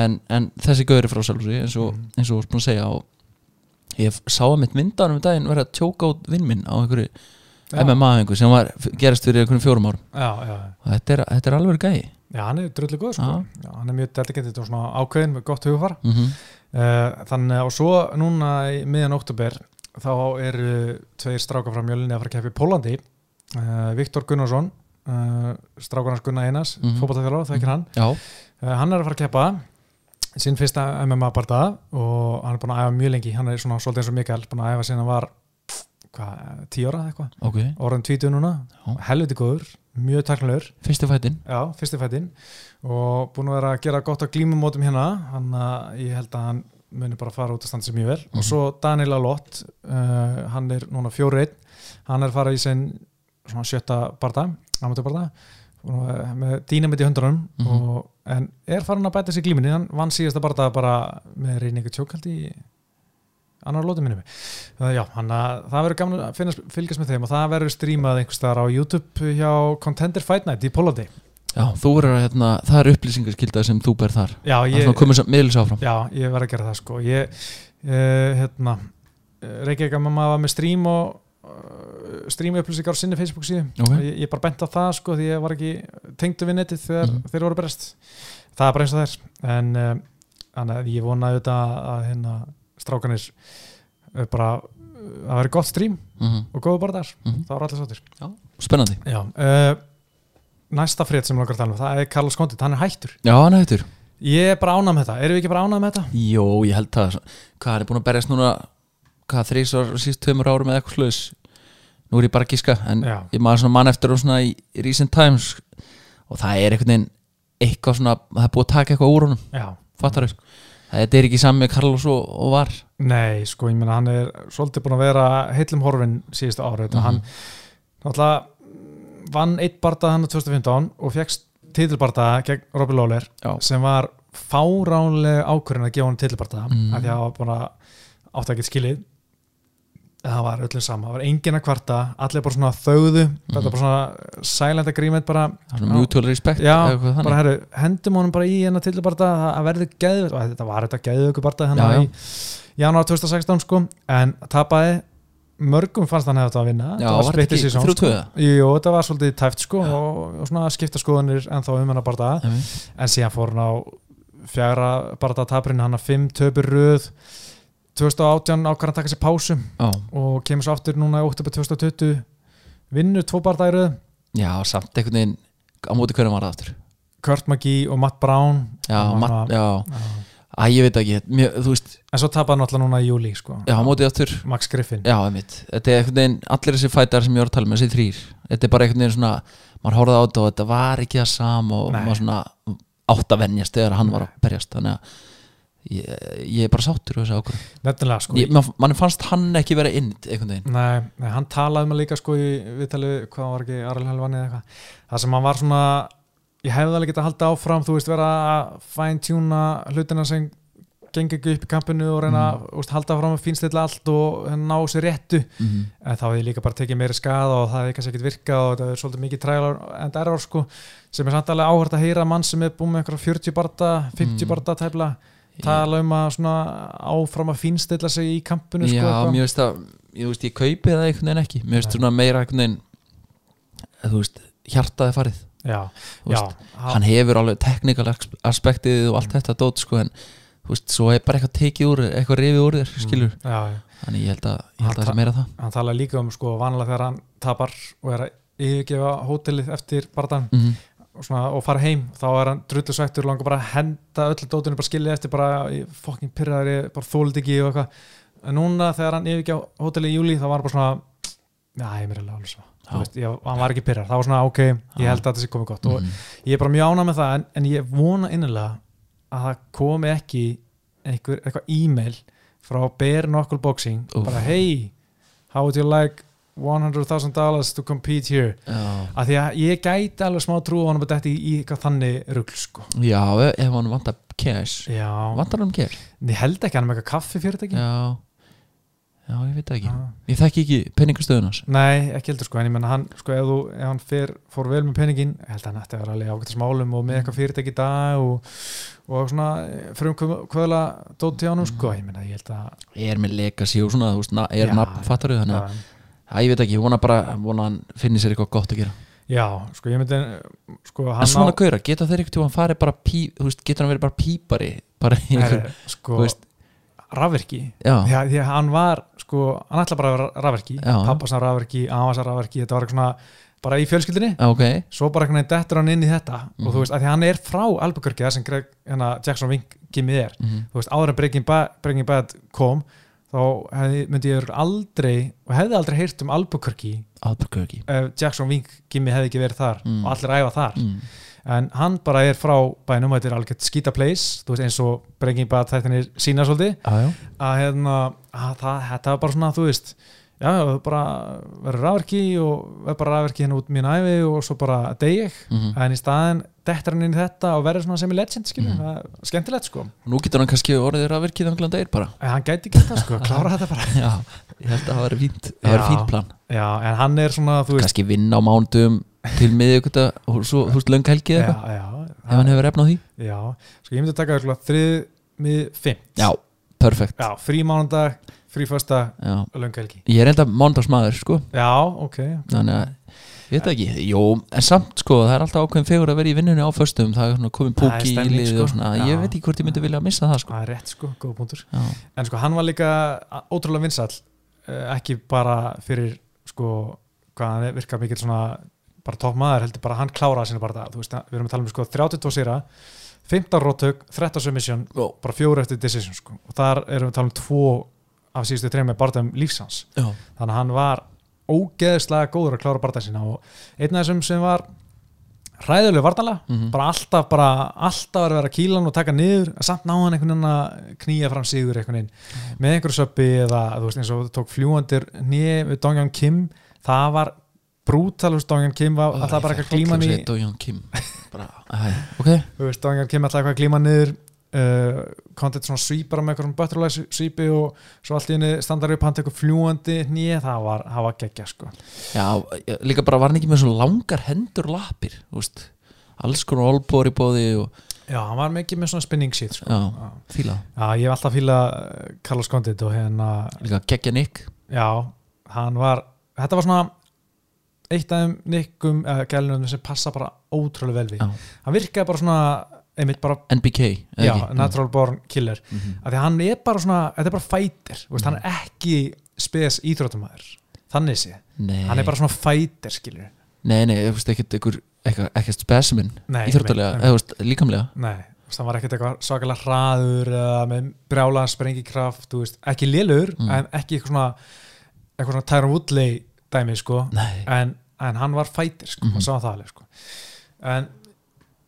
Speaker 2: en, en þessi gauður frá selfinsi eins og,
Speaker 1: Mhm.
Speaker 2: eins og þú varst búin að segja og ég sá að mitt myndan um daginn verið að tjóka út vinn minn á einhverju
Speaker 1: já,
Speaker 2: MMA-hengu sem var gerast fyrir einhverjum fjórum árum
Speaker 1: já, já,
Speaker 2: og þetta er, þetta er alveg gæi
Speaker 1: já, hann er drullu góð sko.
Speaker 2: Já.
Speaker 1: já, hann er mjög dedikendið og svona ákveðin með gott hugfar
Speaker 2: mm -hmm.
Speaker 1: uh, þannig og svo núna í miðjan oktober þá eru tveir strákar frá mjölinni að fara að keppa í Pólandi uh, Viktor Gunnarsson uh, strákar hans Gunnar Einars mm
Speaker 2: Mhm.
Speaker 1: -hmm. fótballtafélag, þekkir hann
Speaker 2: Já,
Speaker 1: Uh, Hann er að fara að keppa sinn fyrsta MMA-barda og hann er búin að æfa mjög lengi, hann er svona svolítið eins og Mikael, búin að æfa síðan hann var hvað, tíu ára eða eitthvað,
Speaker 2: ok,
Speaker 1: orðin tvítu núna
Speaker 2: Já.
Speaker 1: helviti góður, mjög taknulegur
Speaker 2: fyrstu fætin
Speaker 1: já, fyrsti fætinn og búin að vera að gera gott á glímumótum hérna hann að ég held að hann muni bara fara út að standa sér mjög vel og
Speaker 2: Mhm.
Speaker 1: svo Daniel Alott uh, hann er núna fjórið hann er að fara í sinn svona sjötta barda, amatörbarda og, uh, með dýnamitt í höndunum
Speaker 2: Mhm.
Speaker 1: og, en er farin að bæta sér glíminni hann vann síðasta barda bara með reyningu tjókaldi í annar lótum minnum það, já, hann að, það verður gaman að finnast, fylgjast með þeim og það verður strímað einhverstaðar á YouTube hjá Contender Fight Night í Pólandi
Speaker 2: Já, þú verður að hérna, það er upplýsingaskilda sem þú ber þar
Speaker 1: Já,
Speaker 2: Það er svona
Speaker 1: ég,
Speaker 2: komið sem miðlis áfram
Speaker 1: já, ég verð að gera það sko ég, uh, hérna Reykjavík að mamma var með stream og uh, stream upplýsingar á sinni Facebook síðu
Speaker 2: Ok.
Speaker 1: og ég, ég bara bent á það sko því ég var ekki tengdu við netið þegar
Speaker 2: Mhm.
Speaker 1: þeir voru berest það er bara eins og þær en eh, þannig að ég vonaði þetta að hérna strákanir eh, bara eh, að vera gott stream
Speaker 2: mm
Speaker 1: og góðu bara þar
Speaker 2: Mhm.
Speaker 1: það var allir sáttir
Speaker 2: Spennandi
Speaker 1: já, uh, næsta frétt sem langar að tala um það er Carlos Condit, hann er hættur
Speaker 2: Já, hann hættur
Speaker 1: ég er bara ánað með þetta, erum við ekki bara ánað með þetta?
Speaker 2: Jó, ég held það Hvað hann er búin að berjast núna Hvað þrísar síst tveimur árum eða eitthvað slags Nú er ég bara að gíska En
Speaker 1: Já.
Speaker 2: ég maður svona mann eftir og svona í í recent times Og það er einhvern veginn Eitthvað svona, það er búið að taka eitthvað úr honum
Speaker 1: já
Speaker 2: Fattar þau Þetta er ekki sami Carlos og, og var
Speaker 1: Nei, sko, ég meina hann er svolítið búin að vera heillum horfin síðustu árið mm
Speaker 2: Mhm.
Speaker 1: hann náttúrulega vann eitt barða hann á 2015 og fegst titilbarða gegn Robby Lawler
Speaker 2: Já.
Speaker 1: sem var fáránlega ákvörðin að gefa hann titilbarða
Speaker 2: Mhm.
Speaker 1: af því að hann var búin að átt að geta skilið en það var öllum sama, það var engin að kvarta allir bara svona þögðu
Speaker 2: Mhm.
Speaker 1: þetta var bara svona silent agreement bara
Speaker 2: Það er svona
Speaker 1: Já.
Speaker 2: mutual respect
Speaker 1: Já,
Speaker 2: eða eitthvað þannig.
Speaker 1: bara hérna, herru, hendum honum bara í hennar tilbarta að verði geðvöld og þetta var þetta geðvökubarta
Speaker 2: Já, já.
Speaker 1: hennar í janúar 2016 sko en tapaði, mörgum fannst hann hefði þetta að vinna
Speaker 2: Já,
Speaker 1: þetta
Speaker 2: var þetta
Speaker 1: splitted
Speaker 2: ekki
Speaker 1: season,
Speaker 2: þrjú
Speaker 1: sko.
Speaker 2: tvö?
Speaker 1: Jú, þetta var svolítið tæft sko og, og svona skipta skoðanir ennþá um hennar barta
Speaker 2: Nei,
Speaker 1: en síðan fór hann á fjara bara þetta tapurinn hann að fimm töpur röð 2018 ákvarðan taka sér pásu
Speaker 2: Já,
Speaker 1: og kemur svo aftur núna í óttubur 2020 vinnur tvo barða í röð
Speaker 2: já samt einhvern veginn á móti hvernig var það aftur
Speaker 1: Kurt McGee og Matt Brown
Speaker 2: Já,
Speaker 1: Hann var
Speaker 2: mat,
Speaker 1: að-
Speaker 2: já,
Speaker 1: Já.
Speaker 2: Æ, ég veit ekki mér, Þú veist,
Speaker 1: en svo tapar hann alltaf núna í júli sko.
Speaker 2: já, á móti aftur
Speaker 1: Max Griffin
Speaker 2: Já, einmitt, þetta er einhvern veginn allir þessi fætar sem ég var að tala með, þessi þrýr þetta er bara einhvern veginn svona, maður horfði á þetta og þetta var ekki það sam og
Speaker 1: Nei.
Speaker 2: maður svona átt að venjast þegar hann var að berjast þannig að ég, ég er bara sáttur á þessu ákvörðun.
Speaker 1: nefnilega sko
Speaker 2: Ég- man- manni fannst hann ekki vera inn einhvern veginn,
Speaker 1: Nei, nei, hann talaði um það líka sko í viðtali, við- hvað var ekki, Aril Helvani eða eitthvað það sem hann var svona ég hefði alveg getað að halda áfram, þú veist, vera að fine-tuna hlutina sem gengur ekki upp í kampinu og reyna mm. úst, halda áfram að fínstilla allt og ná sér réttu,
Speaker 2: mm.
Speaker 1: en þá hefði ég líka bara tekið meiri skada og það hefði kannski ekkit virkað og það er svolítið mikið trælar en erfar sko sem er samt alveg áhört að heyra mann sem er búið með einhverja 40 barda 50
Speaker 2: Mm.
Speaker 1: barda tæfla, tala um að svona áfram að fínstilla sig í kampinu
Speaker 2: Já,
Speaker 1: sko, eitthvað.
Speaker 2: mér veist að ég, veist, ég kaupi það einhvern veginn ekki, mér veist
Speaker 1: Nei.
Speaker 2: svona meira einhvern veginn eh, þú veist, hjartaði farið
Speaker 1: já,
Speaker 2: Þú
Speaker 1: já, hann-
Speaker 2: hann hefur alveg teknikal aspektið og allt
Speaker 1: Mm.
Speaker 2: þetta dót sko en þú veist, svo er bara eitthvað tekið úr þér, eitthvað rifið úr þér, skilur
Speaker 1: Mm, já, já.
Speaker 2: þannig ég held að, ég held
Speaker 1: Hann
Speaker 2: að það sé meira það
Speaker 1: hann talaði líka um sko vanlega þegar hann tapar og er að yfirgefa hótelið eftir barðan
Speaker 2: mm -hmm.
Speaker 1: og, svona, og fara heim þá er hann drullu svættur langar bara að henda öllu dótinu bara skilja eftir bara fokkin pyrraður, ég bara þólið ekki og eitthvað en núna þegar hann yfirgefa hótelið í júli þá var hann bara svona já, ég er mér alveg alveg svo
Speaker 2: Já.
Speaker 1: Þú veist, ég, hann var ekki pyrrar, það var svona ok ég
Speaker 2: Já.
Speaker 1: held að þetta sé komið gott
Speaker 2: mm
Speaker 1: og ég er bara mjög ánað með það en, en ég vona innilega að það komi ekki einhver, eitthvað e-mail frá Bear Knuckle Boxing
Speaker 2: Úff.
Speaker 1: bara hey, how would you like $100,000 to compete here
Speaker 2: já,
Speaker 1: af því að ég gæti alveg smá trú á hann að þetta í í eitthvað þannig rugl sko.
Speaker 2: já, ef- ef hann vantar cash
Speaker 1: já,
Speaker 2: vantar hann cash?
Speaker 1: en ég held ekki hann er með eitthvað Ah. kaffi fyrir þetta
Speaker 2: Já. já, ég veit það ekki
Speaker 1: ekki
Speaker 2: ég þekki ekki penningastöðun hans
Speaker 1: Nei, ekki heldur sko, en ég menna hann sko, ef, þú, ef hann fer, fór vel með peningin ég held að hann ætti að vera alveg ágættis málum og með
Speaker 2: Mm.
Speaker 1: eitthvað fyrirtæki í dag og, og svona frum kvöðla dóti á hann
Speaker 2: Mm.
Speaker 1: sko, ég menna, ég held að
Speaker 2: er með legacy og svona, þú veist, na, er
Speaker 1: Já,
Speaker 2: nafn fattar þau þannig að,
Speaker 1: já,
Speaker 2: að ég veit ekki, ég vona bara vona hann finnir sér eitthvað gott að gera
Speaker 1: já, sko, ég myndi sko,
Speaker 2: en
Speaker 1: hann
Speaker 2: svona á... gauðra, geta þeir eitthvað hann farið bara pí, þú veist, getur hann verið bara pípari bara í einhver,
Speaker 1: er,
Speaker 2: þú
Speaker 1: sko,
Speaker 2: veist,
Speaker 1: rafverki
Speaker 2: já,
Speaker 1: Já, því að hann var, sko, hann ætlaði bara að vera rafverki,
Speaker 2: Já.
Speaker 1: pappasna rafverki, amasna rafverki, þetta var eitthvað svona bara í fjölskyldinni,
Speaker 2: já, ok
Speaker 1: svo bara einhvern veginn dettur hann inn í þetta og
Speaker 2: Mhm.
Speaker 1: þú veist, að því að hann er frá Albuquerque þar sem Greg, hérna, Jackson Wink gimmið er,
Speaker 2: mm
Speaker 1: þú veist, áður en Breaking Bad, Breaking Bad kom, þá hefði, myndi ég örugglega aldrei, og hefði aldrei heyrt um Albuquerque
Speaker 2: Albuquerque
Speaker 1: ef Jackson Wink gimmi hefði ekki verið þar
Speaker 2: Mm.
Speaker 1: og allir æfa þar,
Speaker 2: mm.
Speaker 1: en hann bara er frá bænum, þetta er algjört skýta place þú veist, eins og Breaking Bad þættinir sína svolítið,
Speaker 2: já, já,
Speaker 1: að hérna að það, þetta var bara svona, þú veist já, það bara verður rafverki og verður bara rafverki hérna út mín æfi og svo bara deg ég,
Speaker 2: Mhm.
Speaker 1: en í staðin dettur hann inn í þetta og verður svona sem í legend skilur,
Speaker 2: Mhm.
Speaker 1: það er skemmtilegt sko
Speaker 2: nú getur hann kannski orðið rafvirkið anglan dagir bara
Speaker 1: en hann gæti ekki það sko, klára þetta bara
Speaker 2: (laughs) já, ég held að það var fínt það var
Speaker 1: Já.
Speaker 2: fínt plan,
Speaker 1: já, en hann er svona, þú veist
Speaker 2: kannski vinna á mándum til miðjökuta og svo, þú veist, löng
Speaker 1: já,
Speaker 2: helgið eitthvað,
Speaker 1: já,
Speaker 2: ef hann hefur efna á því
Speaker 1: já, sko ég myndi að taka eitthvað þrið, mið, fimm
Speaker 2: já, perfekt
Speaker 1: já, frí mánundag, frí fösta
Speaker 2: já.
Speaker 1: löngelgi,
Speaker 2: ég er enda mándagsmaður, sko
Speaker 1: já, ok
Speaker 2: þannig að, ég veit það ekki jú, en samt, sko, það er alltaf ákveðin fegur að vera í vinnunni á föstum, það er svona komin
Speaker 1: Það er
Speaker 2: púki í
Speaker 1: stemning,
Speaker 2: liðið
Speaker 1: sko.
Speaker 2: og svona,
Speaker 1: Já.
Speaker 2: ég veit ekki hvort ég myndi vilja að missa það, sko
Speaker 1: það er rétt sko, góð punktur
Speaker 2: já,
Speaker 1: en sko hann var líka ótrúlega vinsall ekki bara fyrir sko hvað hann er- virkar mikill svona bara topp maður heldur bara hann kláraði sína bara það þú veist við erum að tala um sko 32 sýra 15 róttök, 13 submission
Speaker 2: já,
Speaker 1: bara fjóru eftir decision sko og þar erum við að tala um tvo af síðustu treymi með barndum lífsans
Speaker 2: já,
Speaker 1: þannig að hann var ógeðslega góður að klára barndum sína og einn af þessum sem var hræðilega vartanlega
Speaker 2: mhm.
Speaker 1: bara alltaf, bara alltaf að vera að kýla hann og taka niður, en samt ná hann einhvern veginn að knýja fram sigur einhvern
Speaker 2: Mm.
Speaker 1: veginn með einhverju söppi eða þú veist eins og þú tók fljúandir nýja við Dongjan Kim það var brútal, þú veist Dongjan Kim var
Speaker 2: Ó,
Speaker 1: alltaf bara
Speaker 2: ég
Speaker 1: eitthvað
Speaker 2: fer
Speaker 1: glíman í
Speaker 2: til að segja Dojong Kim
Speaker 1: (laughs)
Speaker 2: bara, æ, ok,
Speaker 1: þú veist Dongjan Kim alltaf eitthvað glíman niður uh, kontið svona svípar með einhverjum butterfly svípi og svo allt í henni standar upp hann tekur fljúandi nýja, það var, það var geggja sko
Speaker 2: já, ég- líka bara var hann ekki með svo langar hendur og lappir, þú veist alls konar olbor í bóði og
Speaker 1: já, hann var mikið með svona spinning shit sko.
Speaker 2: já,
Speaker 1: Já.
Speaker 2: fíla það.
Speaker 1: já, ég hef alltaf fílað eh, Carlos Condit og hérna
Speaker 2: líka geggja Nick
Speaker 1: Já, hann var þetta var svona eitt af þeim nikkum eða gælunum sem eh, passa bara ótrúlega vel við
Speaker 2: Já.
Speaker 1: hann virkaði bara svona einmitt bara,
Speaker 2: NBK eða
Speaker 1: já,
Speaker 2: ekki?
Speaker 1: natural born killer
Speaker 2: mm -hmm.
Speaker 1: af því að hann er bara svona, þetta er bara fighter mm
Speaker 2: Mhm.
Speaker 1: hann er ekki spes íþróttumæður þannig sé,
Speaker 2: Nei,
Speaker 1: hann er bara svona fighter skilur
Speaker 2: nei, nei, þú veist ekkert einhver eitthvað- ekkert spesimen
Speaker 1: Nei,
Speaker 2: íþróttulega,
Speaker 1: einmitt,
Speaker 2: eða þú veist, líkamlega
Speaker 1: Nei, þú veist, hann var ekkert eitthvað svakalega hraður eða með brjála sprengikraft, þú veist, ekki lélur
Speaker 2: Mm.
Speaker 1: en ekki eitthvað svona eitthvað svona Tyron Woodley dæmi, sko
Speaker 2: Nei,
Speaker 1: en, en hann var fætir, sko,
Speaker 2: Mhm.
Speaker 1: maður sá það alveg, sko en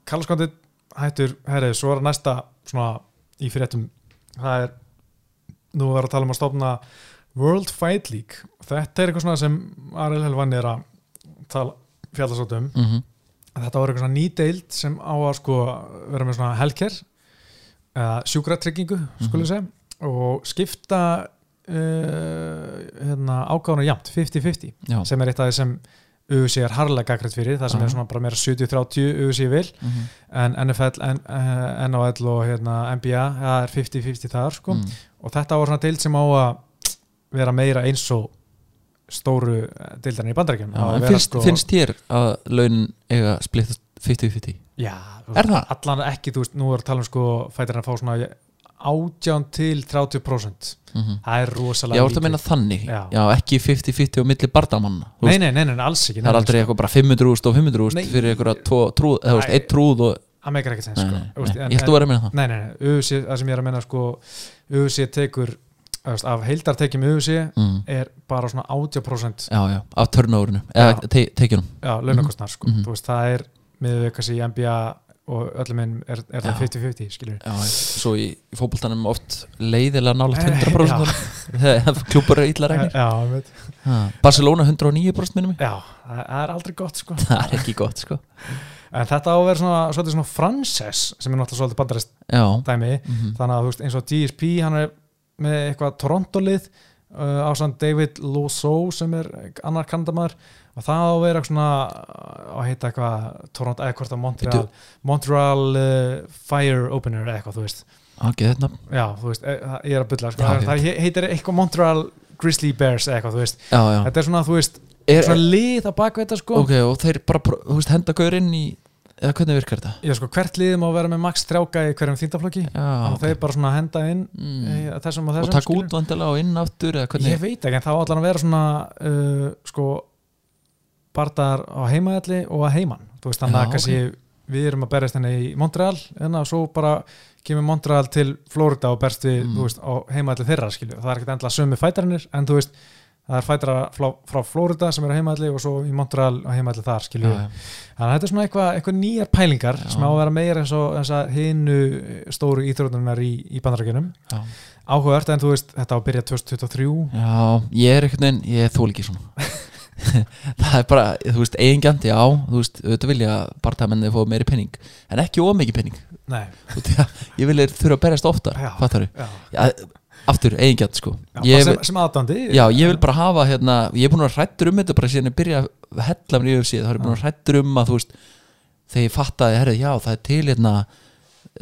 Speaker 1: Carlos Condit hættur, herrið, svo er næsta svona í fréttum það er, nú er að tala um að stofna World Fight League þetta er eitthvað svona sem Ariel Helvan er að tala fjallasótt um
Speaker 2: mm
Speaker 1: að þetta var eitthvað svona ný deild sem á að sko vera með svona helker eða sjúkratryggingu
Speaker 2: Mhm.
Speaker 1: skulum segja og skipta uh, hérna, ágáðuna jafnt 50-50
Speaker 2: já Mhm.
Speaker 1: sem er eitt af því sem UFC er harlega gaggrætt fyrir það sem
Speaker 2: Aha.
Speaker 1: er svona bara meira 70-30 UFC vil
Speaker 2: mm -hmm.
Speaker 1: en NFL, N, uh, NHL og hérna, NBA það er 50-50 þar sko
Speaker 2: mm.
Speaker 1: og þetta var svona deild sem á að vera meira eins og stóru eh, deildarinn í bandaríkjum
Speaker 2: já, en finnst,
Speaker 1: sko,
Speaker 2: finnst þér að launin eiga að splittast 50-50
Speaker 1: Já,
Speaker 2: Er það?
Speaker 1: Allan ekki, þú veist, nú er að tala um sko fætirinn að fá svona átján til 30%
Speaker 2: mm -hmm.
Speaker 1: Það er rosalega
Speaker 2: Já, þú ert að meina þannig
Speaker 1: Já.
Speaker 2: Já, ekki 50-50 og milli bardamanna Þú
Speaker 1: Nei,
Speaker 2: veist,
Speaker 1: nei, nei, nei, alls ekki
Speaker 2: Það er aldrei eitthvað bara 500 úrst og 500
Speaker 1: Nei.
Speaker 2: úrst fyrir eitthvað tvo, trúð, eða þú veist,
Speaker 1: Æ.
Speaker 2: eitt trúð og
Speaker 1: Það meikar ekkert sens
Speaker 2: Nei,
Speaker 1: sko
Speaker 2: nei,
Speaker 1: Þú veist,
Speaker 2: nei,
Speaker 1: en-
Speaker 2: ég held að vera að meina það
Speaker 1: Nei, nei, nei, UFC, það sem ég er að meina sko UFC tekur, þú veist, af heildartekjum UFC
Speaker 2: mm.
Speaker 1: er bara svona 80%
Speaker 2: Já, já, af törnóðurinu, eða
Speaker 1: Já.
Speaker 2: te teikjunum
Speaker 1: já, launakostnar sko
Speaker 2: Mhm.
Speaker 1: Þú veist, það er miðveg kannski í NBA og öllum minn er, er það
Speaker 2: Já.
Speaker 1: 50-50 skilur
Speaker 2: Já, já. svo í, í fótboltanum oft leiðilega nálega
Speaker 1: Eh, Já.
Speaker 2: 100% (laughs) þegar klúpar eru illa regnir
Speaker 1: Eh, Já, ég veit.
Speaker 2: Barcelona 109% minnum
Speaker 1: já, það það er aldrei gott sko
Speaker 2: Það er ekki gott, sko
Speaker 1: En þetta á að vera svona, svolítið svona franses sem er náttúrulega svolítið bandarist
Speaker 2: Já,
Speaker 1: dæmi
Speaker 2: Mhm.
Speaker 1: þannig að þú veist eins og DSP hann er með eitthvað Toronto-lið uh, ásand David Lousseau sem er annar kandamæður og það á að vera eitthvað svona uh, að heita eitthvað Toronto eða hvort að Montreal Montreal uh, Fire Opener eða eitthvað þú veist
Speaker 2: ok, þetta
Speaker 1: já þú veist e, það- ég er að bylla sko.
Speaker 2: Já,
Speaker 1: það,
Speaker 2: ég
Speaker 1: það he- heitir eitthvað Montreal Grizzly Bears eða eitthvað þú veist
Speaker 2: Já, já
Speaker 1: þetta er svona þú veist
Speaker 2: er,
Speaker 1: svona lið að baka þetta sko
Speaker 2: Ok, og þeir bara, pró- þú veist, henda gaur inn í eða hvernig virkar þetta?
Speaker 1: já sko hvert lið má vera með max trjáka í hverjum þýndaflokki
Speaker 2: Já,
Speaker 1: og þeir bara svona henda inn
Speaker 2: Ah, mm.
Speaker 1: mm. þessum og þessum
Speaker 2: og taka
Speaker 1: skilur.
Speaker 2: út vandilega og inn aftur eða hvernig
Speaker 1: Ég veit ekki, en þá allan að vera svona uh, sko bardaðar á heimaðalli og að heiman þú veist, þannig
Speaker 2: Já,
Speaker 1: að kannski við erum að berjast henni í Montreal, en að svo bara kemur Montreal til Florida og berst við,
Speaker 2: Mm.
Speaker 1: þú veist, á heimaðalli þeirra skilju, það er ekkert endla sömu fætarinnir, en þú veist það er fætara frá, frá Florida sem er á heimaðalli og svo í Montreal á heimaðalli þar
Speaker 2: já,
Speaker 1: skilju,
Speaker 2: já.
Speaker 1: þannig að þetta er svona eitthvað eitthvað nýjar pælingar
Speaker 2: Já.
Speaker 1: sem á að vera meira eins og þess að hinu stóru íþrótunar í, í bandarækjunum
Speaker 2: Já.
Speaker 1: áhugavert, en þú veist, þetta á að byrja 2023
Speaker 2: já, ég er einhvern veginn, ég þól
Speaker 1: (laughs)
Speaker 2: ekki svona það er bara, þú veist, eigingjandi já, þú veist, auðvitað vilja barndamenni fóða meiri penning, en ekki of mikið penning
Speaker 1: Nei,
Speaker 2: þú veist, ég vil þeir þurfa að berjast oftar
Speaker 1: Já.
Speaker 2: fattar
Speaker 1: já
Speaker 2: þau, aftur, eigingjandi sko
Speaker 1: Já,
Speaker 2: ég,
Speaker 1: bara sem,
Speaker 2: vil-
Speaker 1: sem aðdandi
Speaker 2: já, ég vil bara hafa hérna, ég er búin að hrættur um þetta bara síðan ég byrja að hella mér í UFC þá er ég búin að hrættur um að, þú veist þegar ég fattaði, herrið, já, það er til hérna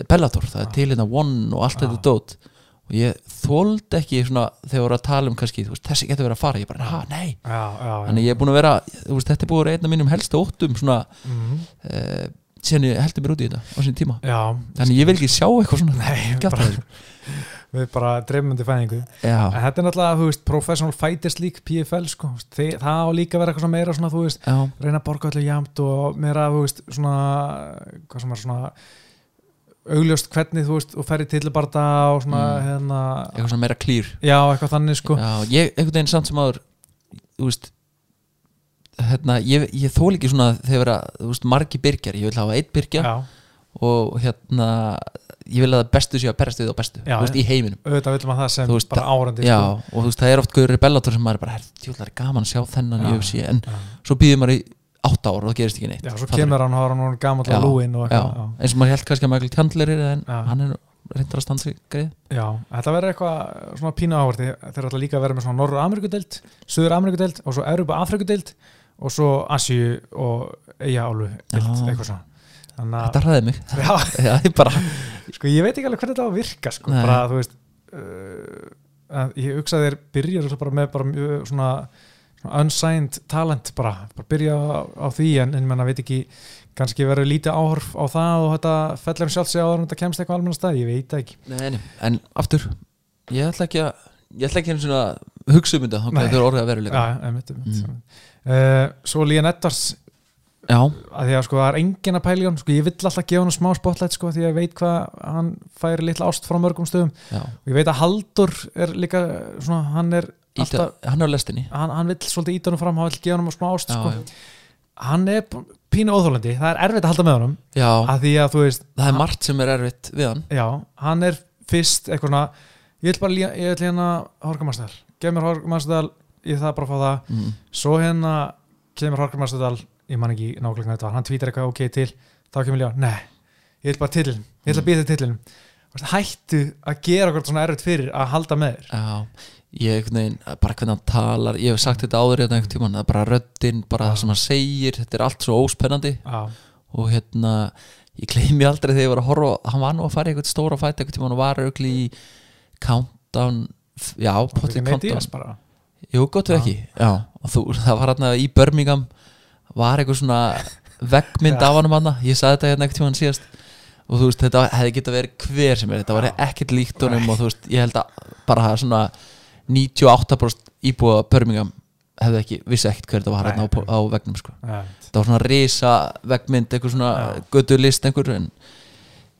Speaker 2: Bellator, það er
Speaker 1: Já.
Speaker 2: til hérna One og allt
Speaker 1: Já.
Speaker 2: þetta dót og ég þóld ekki svona þegar voru að tala um kannski, þú veist, þessi getur verið að fara, ég bara, ha, nei
Speaker 1: já, já, já.
Speaker 2: þannig ég er búin að vera, þú veist, þetta er búin að vera einn af mínum helstu óttum svona,
Speaker 1: Mhm.
Speaker 2: uh, síðan ég heldur mér út í þetta á sín tíma,
Speaker 1: já
Speaker 2: þannig ég vil ekki sjá eitthvað svona,
Speaker 1: Nei,
Speaker 2: Gjátt
Speaker 1: bara,
Speaker 2: að þessu.
Speaker 1: (laughs) við bara dreifum undir fæðingu en
Speaker 2: já,
Speaker 1: þetta er náttúrulega, þú veist, Professional Fighters League PFL, sko, Þi, það á líka að vera eitthvað svona meira svona, þú veist,
Speaker 2: já,
Speaker 1: reyna að borga allir jamt og meira, þú veist, svona hvað sem er svona augljóst hvernig, þú veist, og ferði tillabarta og svona,
Speaker 2: Mm.
Speaker 1: hérna
Speaker 2: eitthvað svona meira klýr
Speaker 1: já, eitthvað þannig, sko
Speaker 2: Já, ég, einhvern veginn samt sem áður þú veist hérna, ég, ég þól ekki svona þegar vera, þú veist, margi byrgjar, ég vil hafa einn byrgja
Speaker 1: já,
Speaker 2: og hérna ég vil að það bestu séu að berast við á bestu
Speaker 1: Já,
Speaker 2: þú veist, í heiminum,
Speaker 1: auðvitað vill maður það sem
Speaker 2: Þú veist,
Speaker 1: bara árendi,
Speaker 2: já,
Speaker 1: sko
Speaker 2: og þú veist, það er oft gauður bellator sem maður er bara, herr, tjóðlega er gaman að sjá
Speaker 1: Já.
Speaker 2: þennan í UFC, en
Speaker 1: já,
Speaker 2: svo býðum maður í átta ára og það gerist ekki neitt
Speaker 1: já, svo
Speaker 2: Fattar
Speaker 1: kemur hann og hann hún gamall
Speaker 2: Já,
Speaker 1: að lúin og
Speaker 2: já,
Speaker 1: eitthvað, já.
Speaker 2: eins og maður held kannski að Michael Chandler er en
Speaker 1: Já.
Speaker 2: hann er reyndar að standa sig greið
Speaker 1: Já, þetta verður eitthvað svona pínu áhverti þeir ætla líka að vera með svona Norður Amerikudeld Suður Amerikudeld og svo Európa Afrikudeld og svo Asíu og Eyja Álu
Speaker 2: Já.
Speaker 1: eitthvað svona Þannig
Speaker 2: þetta hræði mig,
Speaker 1: að já,
Speaker 2: (laughs) já, ég bara
Speaker 1: sko, ég veit ekki alveg hvernig þetta á að virka sko,
Speaker 2: Nei.
Speaker 1: bara þú veist uh, að ég hugsa að þeir byrjar bara með bara mjög svona, unsigned talent bara, bara byrja á, á því en, en manna veit ekki, kannski verður lítið áhorf á það og þetta fellur um sjálfsig áður en þetta kemst eitthvað almenna stað, ég veit það ekki
Speaker 2: Nei, nei, en aftur ég ætla ekki að ég ætla ekki einu svona að hugsa um þetta þá
Speaker 1: Nei.
Speaker 2: hvað þau eru orðið að veruleika
Speaker 1: Já, einmitt, einmitt mm. Svo Lían Eddars
Speaker 2: Já,
Speaker 1: að því að sko það er engin að pæla í hann sko ég vill alltaf gefa hann smá spotlight sko því að ég veit hvað hann fær litla ást frá mörgum stöðum
Speaker 2: já,
Speaker 1: og ég veit að Haldur er líka svona, hann er
Speaker 2: Íta,
Speaker 1: alltaf
Speaker 2: hann er á lestinni
Speaker 1: hann, hann vill svolítið íta hann fram, hann vill gefa hann smá ást
Speaker 2: Já,
Speaker 1: sko.
Speaker 2: já.
Speaker 1: hann er bú- pínu óþólandi, það er erfitt að halda með honum
Speaker 2: já,
Speaker 1: að því að þú veist,
Speaker 2: það er margt sem er erfitt við hann
Speaker 1: já, hann er fyrst eitthvað svona, ég vil bara lía, ég vil hérna Horgamastadal, gef mér Horgamastadal ég þarf bara að fá það
Speaker 2: mm.
Speaker 1: svo hérna kemur Horkum Arstadal ég man ekki nákvæmlega hvað þetta var, hann tvítar eitthvað ok til, þá kemur Ljá, nei ég vil bara titlin, ég vil að býta titlin hættu að gera okkur svona erfitt fyrir að halda með þér
Speaker 2: Já, ég einhvern veginn, bara hvernig hann talar ég hef sagt þetta áður hérna einhvern tímann það er bara röddin, bara það sem hann segir þetta er allt svo óspennandi
Speaker 1: Já,
Speaker 2: og hérna, ég gleymi aldrei þegar ég var að horfa, á- hann var nú að fara í einhvern stóra fæt einhvern tímann og var auðvitað í countdown, já,
Speaker 1: það er
Speaker 2: potið
Speaker 1: með
Speaker 2: countdown
Speaker 1: Díaz bara
Speaker 2: Jú, gott við ekki Já, og þú, það var hérna í Birmingham var eitthvað svona veggmynd af hann um hann ég sagði þetta hérna eitthvað tímann síðast og þú veist, þetta hefði geta verið hver sem er þetta var ekkert líkt honum og þú veist, ég held að bara það svona 98% íbúa Birmingham hefði ekki, vissi ekkert hver þetta var hérna á,
Speaker 1: Nei.
Speaker 2: á veggnum sko.
Speaker 1: Já,
Speaker 2: þetta var svona risa veggmynd eitthvað svona
Speaker 1: Já.
Speaker 2: götu list einhver en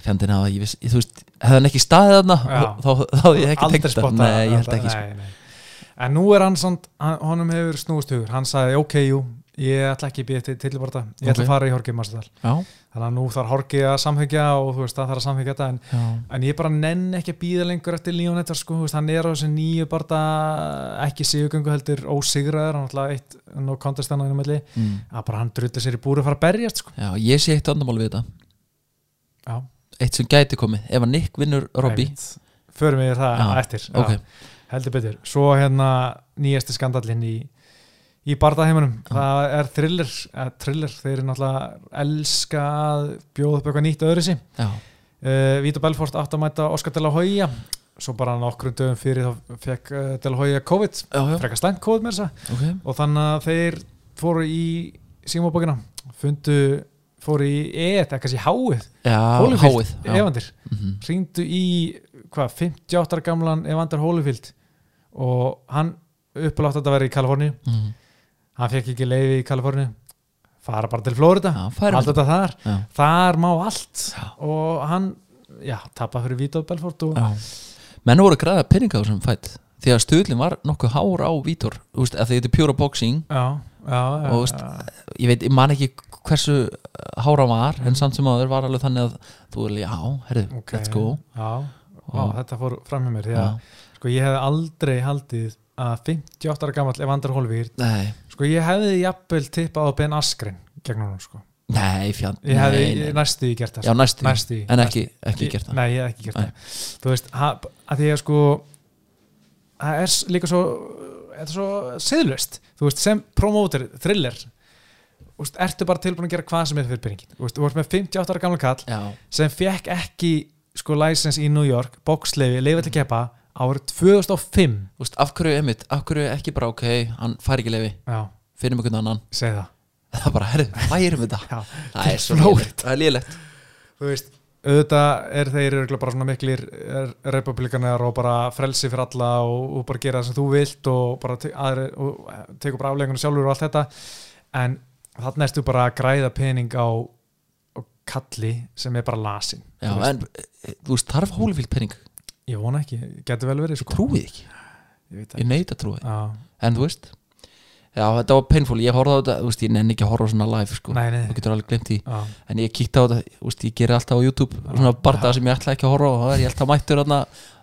Speaker 2: fjandinn að ég vissi, ég, þú veist hefði hann ekki staðið þarna
Speaker 1: Já.
Speaker 2: þá, þá, þá hefði ég ekki
Speaker 1: aldrei
Speaker 2: tengt það,
Speaker 1: spotta
Speaker 2: nei, ég held ekki sko.
Speaker 1: nei, nei. en nú er hann samt, hann- honum hefur snúist hugur hann sagði ok, jú, ég ætla ekki að býta til tilbarta, ég ætla
Speaker 2: Ok.
Speaker 1: að fara í Horkum Arstadal
Speaker 2: Já,
Speaker 1: þannig að nú þarf Horki að samhengja og þú veist, það þarf að samhengja þetta en
Speaker 2: já
Speaker 1: En ég bara nenn ekki að býða lengur eftir Leon Edwards sko, þú veist, hann er á þessu nýju barða ekki sigugöngu heldur ósigraður, hann alltaf eitt no contest hann á einu milli,
Speaker 2: mm.
Speaker 1: að bara hann drullir sér í búri að fara að berjast sko.
Speaker 2: Já, ég sé eitt andamál við þetta
Speaker 1: Já,
Speaker 2: Eitt sem gæti komið, ef að Nick vinnur Robbie
Speaker 1: einmitt. Förum við það
Speaker 2: Já,
Speaker 1: eftir,
Speaker 2: ok.
Speaker 1: já, heldur betur. Svo hérna nýjasti skandallinn í, í barðaheimunum, það er thriller, eh, thriller, þeir eru náttúrulega elska að bjóða upp eitthvað nýtt öðru sín.
Speaker 2: Já,
Speaker 1: Uh, Víta Belfort átt að mæta Oscar De La Hoya svo bara nokkrum dögum fyrir þá fekk uh, De La Hoya COVID
Speaker 2: já, já,
Speaker 1: frekar slæmt kóð með þessa
Speaker 2: ok
Speaker 1: og þannig að þeir fóru í símabókina, fundu fóru í EET, eða kannski háið
Speaker 2: Já,
Speaker 1: Holyfield,
Speaker 2: háið já.
Speaker 1: Evandir,
Speaker 2: Mhm.
Speaker 1: hringdu í hvað, 58 ára gamlan Evandir Holyfield og hann upplátt að þetta verið í Kaliforni
Speaker 2: Mhm.
Speaker 1: hann fekk ekki leiði í Kaliforni fara bara til Florida,
Speaker 2: Já,
Speaker 1: Ah, allt
Speaker 2: færum
Speaker 1: þetta þar
Speaker 2: Já,
Speaker 1: þar má allt
Speaker 2: Já.
Speaker 1: og hann, já, tappa fyrir Vító Belfort og
Speaker 2: já Menn voru að græða penninga á þessum fætt Því að stöðlinn var nokkuð hár á Vítor Þú veist, að því þetta er pure boxing
Speaker 1: já, já, já,
Speaker 2: Og veist-
Speaker 1: já.
Speaker 2: Ég veit, ég man ekki hversu hára var En samt sem áður var alveg þannig að Þú er alveg, já, herðu,
Speaker 1: Ok.
Speaker 2: let's go
Speaker 1: Já, Vá,
Speaker 2: Og-
Speaker 1: þetta fór fram með mér því
Speaker 2: Já,
Speaker 1: að sko, ég hef aldrei haldið að 58 ára gamall Evander Holvír
Speaker 2: nei,
Speaker 1: sko ég hefði jafnvel tippað á Ben Askren gegn honum sko
Speaker 2: nei, fjand
Speaker 1: ég hefði
Speaker 2: nei,
Speaker 1: ég
Speaker 2: nei.
Speaker 1: næstu í gert það
Speaker 2: Já,
Speaker 1: sko.
Speaker 2: næstu,
Speaker 1: næstu í
Speaker 2: en ekki, ekki gert það
Speaker 1: Nei, ég hef ekki gert
Speaker 2: Nei.
Speaker 1: það þú veist, ha- að því að sko það er s- líka svo þetta er svo siðlust þú veist, sem promoter, thriller þú veist, ertu bara tilbúin að gera hvað sem er fyrir peningin þú veist, þú veist með 58 ára gamla kall
Speaker 2: Já,
Speaker 1: sem fekk ekki sko license í New York, boxleifi, leifa til að keppa árið 2005
Speaker 2: Þú veist, af hverju emitt, af hverju ekki bara ok, hann fær ekki leifi,
Speaker 1: já,
Speaker 2: finnum einhvern annan (laughs)
Speaker 1: segi það
Speaker 2: það er bara, herru, færum þetta
Speaker 1: já.
Speaker 2: það er svo
Speaker 1: Flóið.
Speaker 2: lélegt, það er lélegt
Speaker 1: þú veist, auðvitað er þeir eru bara svona miklir er- republikanar og bara frelsi fyrir alla og, og bara gera það sem þú vilt og bara te aðri, og eh, tekur bara aflegunum sjálfur og allt þetta en þarna erstu bara að græða pening á, á kalli sem er bara lasin
Speaker 2: já,
Speaker 1: Þú veist,
Speaker 2: en eh, þú veist, þarf Holyfield penning
Speaker 1: ég vona ekki, getur vel verið sko.
Speaker 2: trúið ekki,
Speaker 1: ég veit
Speaker 2: ég neyta trúið
Speaker 1: já,
Speaker 2: en þú veist, já, þetta var painful ég horfði á þetta, þú veist, ég nenni ekki að horfa á svona live sko.
Speaker 1: nei, nei
Speaker 2: þú getur alveg glemt því
Speaker 1: já,
Speaker 2: en ég kíkti á þetta, þú veist, ég gerir alltaf á YouTube svona barða sem ég ætla ekki að horfa á og það er ég alltaf mættur þarna,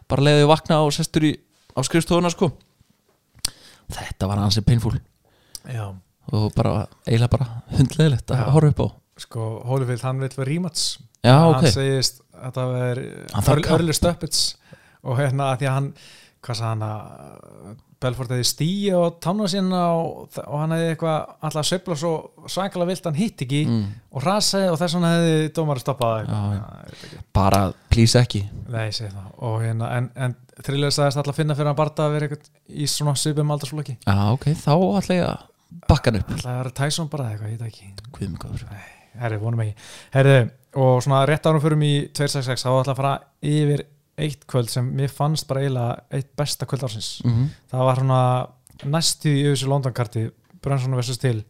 Speaker 2: bara leiðið vakna og sestur í, á skrifstofuna sko. þetta var ansið painful
Speaker 1: já.
Speaker 2: og bara, eiginlega bara hundleðilegt að
Speaker 1: Já.
Speaker 2: horfa upp á
Speaker 1: sko, Holyfield hann vil vera rímats
Speaker 2: já,
Speaker 1: hann
Speaker 2: Ah, ok,
Speaker 1: segist að það er
Speaker 2: Hann þarf
Speaker 1: Earl-
Speaker 2: kamp.
Speaker 1: Early Stuppets og hérna að því að hann hvað sagði hann að Belfort hefði stíi og tánu sína og, og hann hefði eitthvað alltaf að sveifla svo svakalega vilt hann hitt ekki
Speaker 2: mm.
Speaker 1: og rasaði og þess vegna hefði dómar að stoppa það
Speaker 2: Já, já.
Speaker 1: Já, ég veit ekki.
Speaker 2: bara plís ekki
Speaker 1: Nei, ég segi það og hérna, en, en þrýlega sagðist alltaf að finna fyrir hann barða að vera eitthvað í svona svipum aldarsflokki
Speaker 2: já ok, þá ætla ég að bakka hann upp
Speaker 1: Alltaf að vera Tyson bara eða eitthvað, ég veit það ekki
Speaker 2: hvað mig góður
Speaker 1: Herri, vonum ekki. Herri, og svona rétt árum fyrir mig í 266 þá ætla að fara yfir eitt kvöld sem mér fannst bara eiginlega eitt besta kvöld ársins.
Speaker 2: mm.
Speaker 1: Það var svona næstu í þessu London-karti, Brunson vs. Til.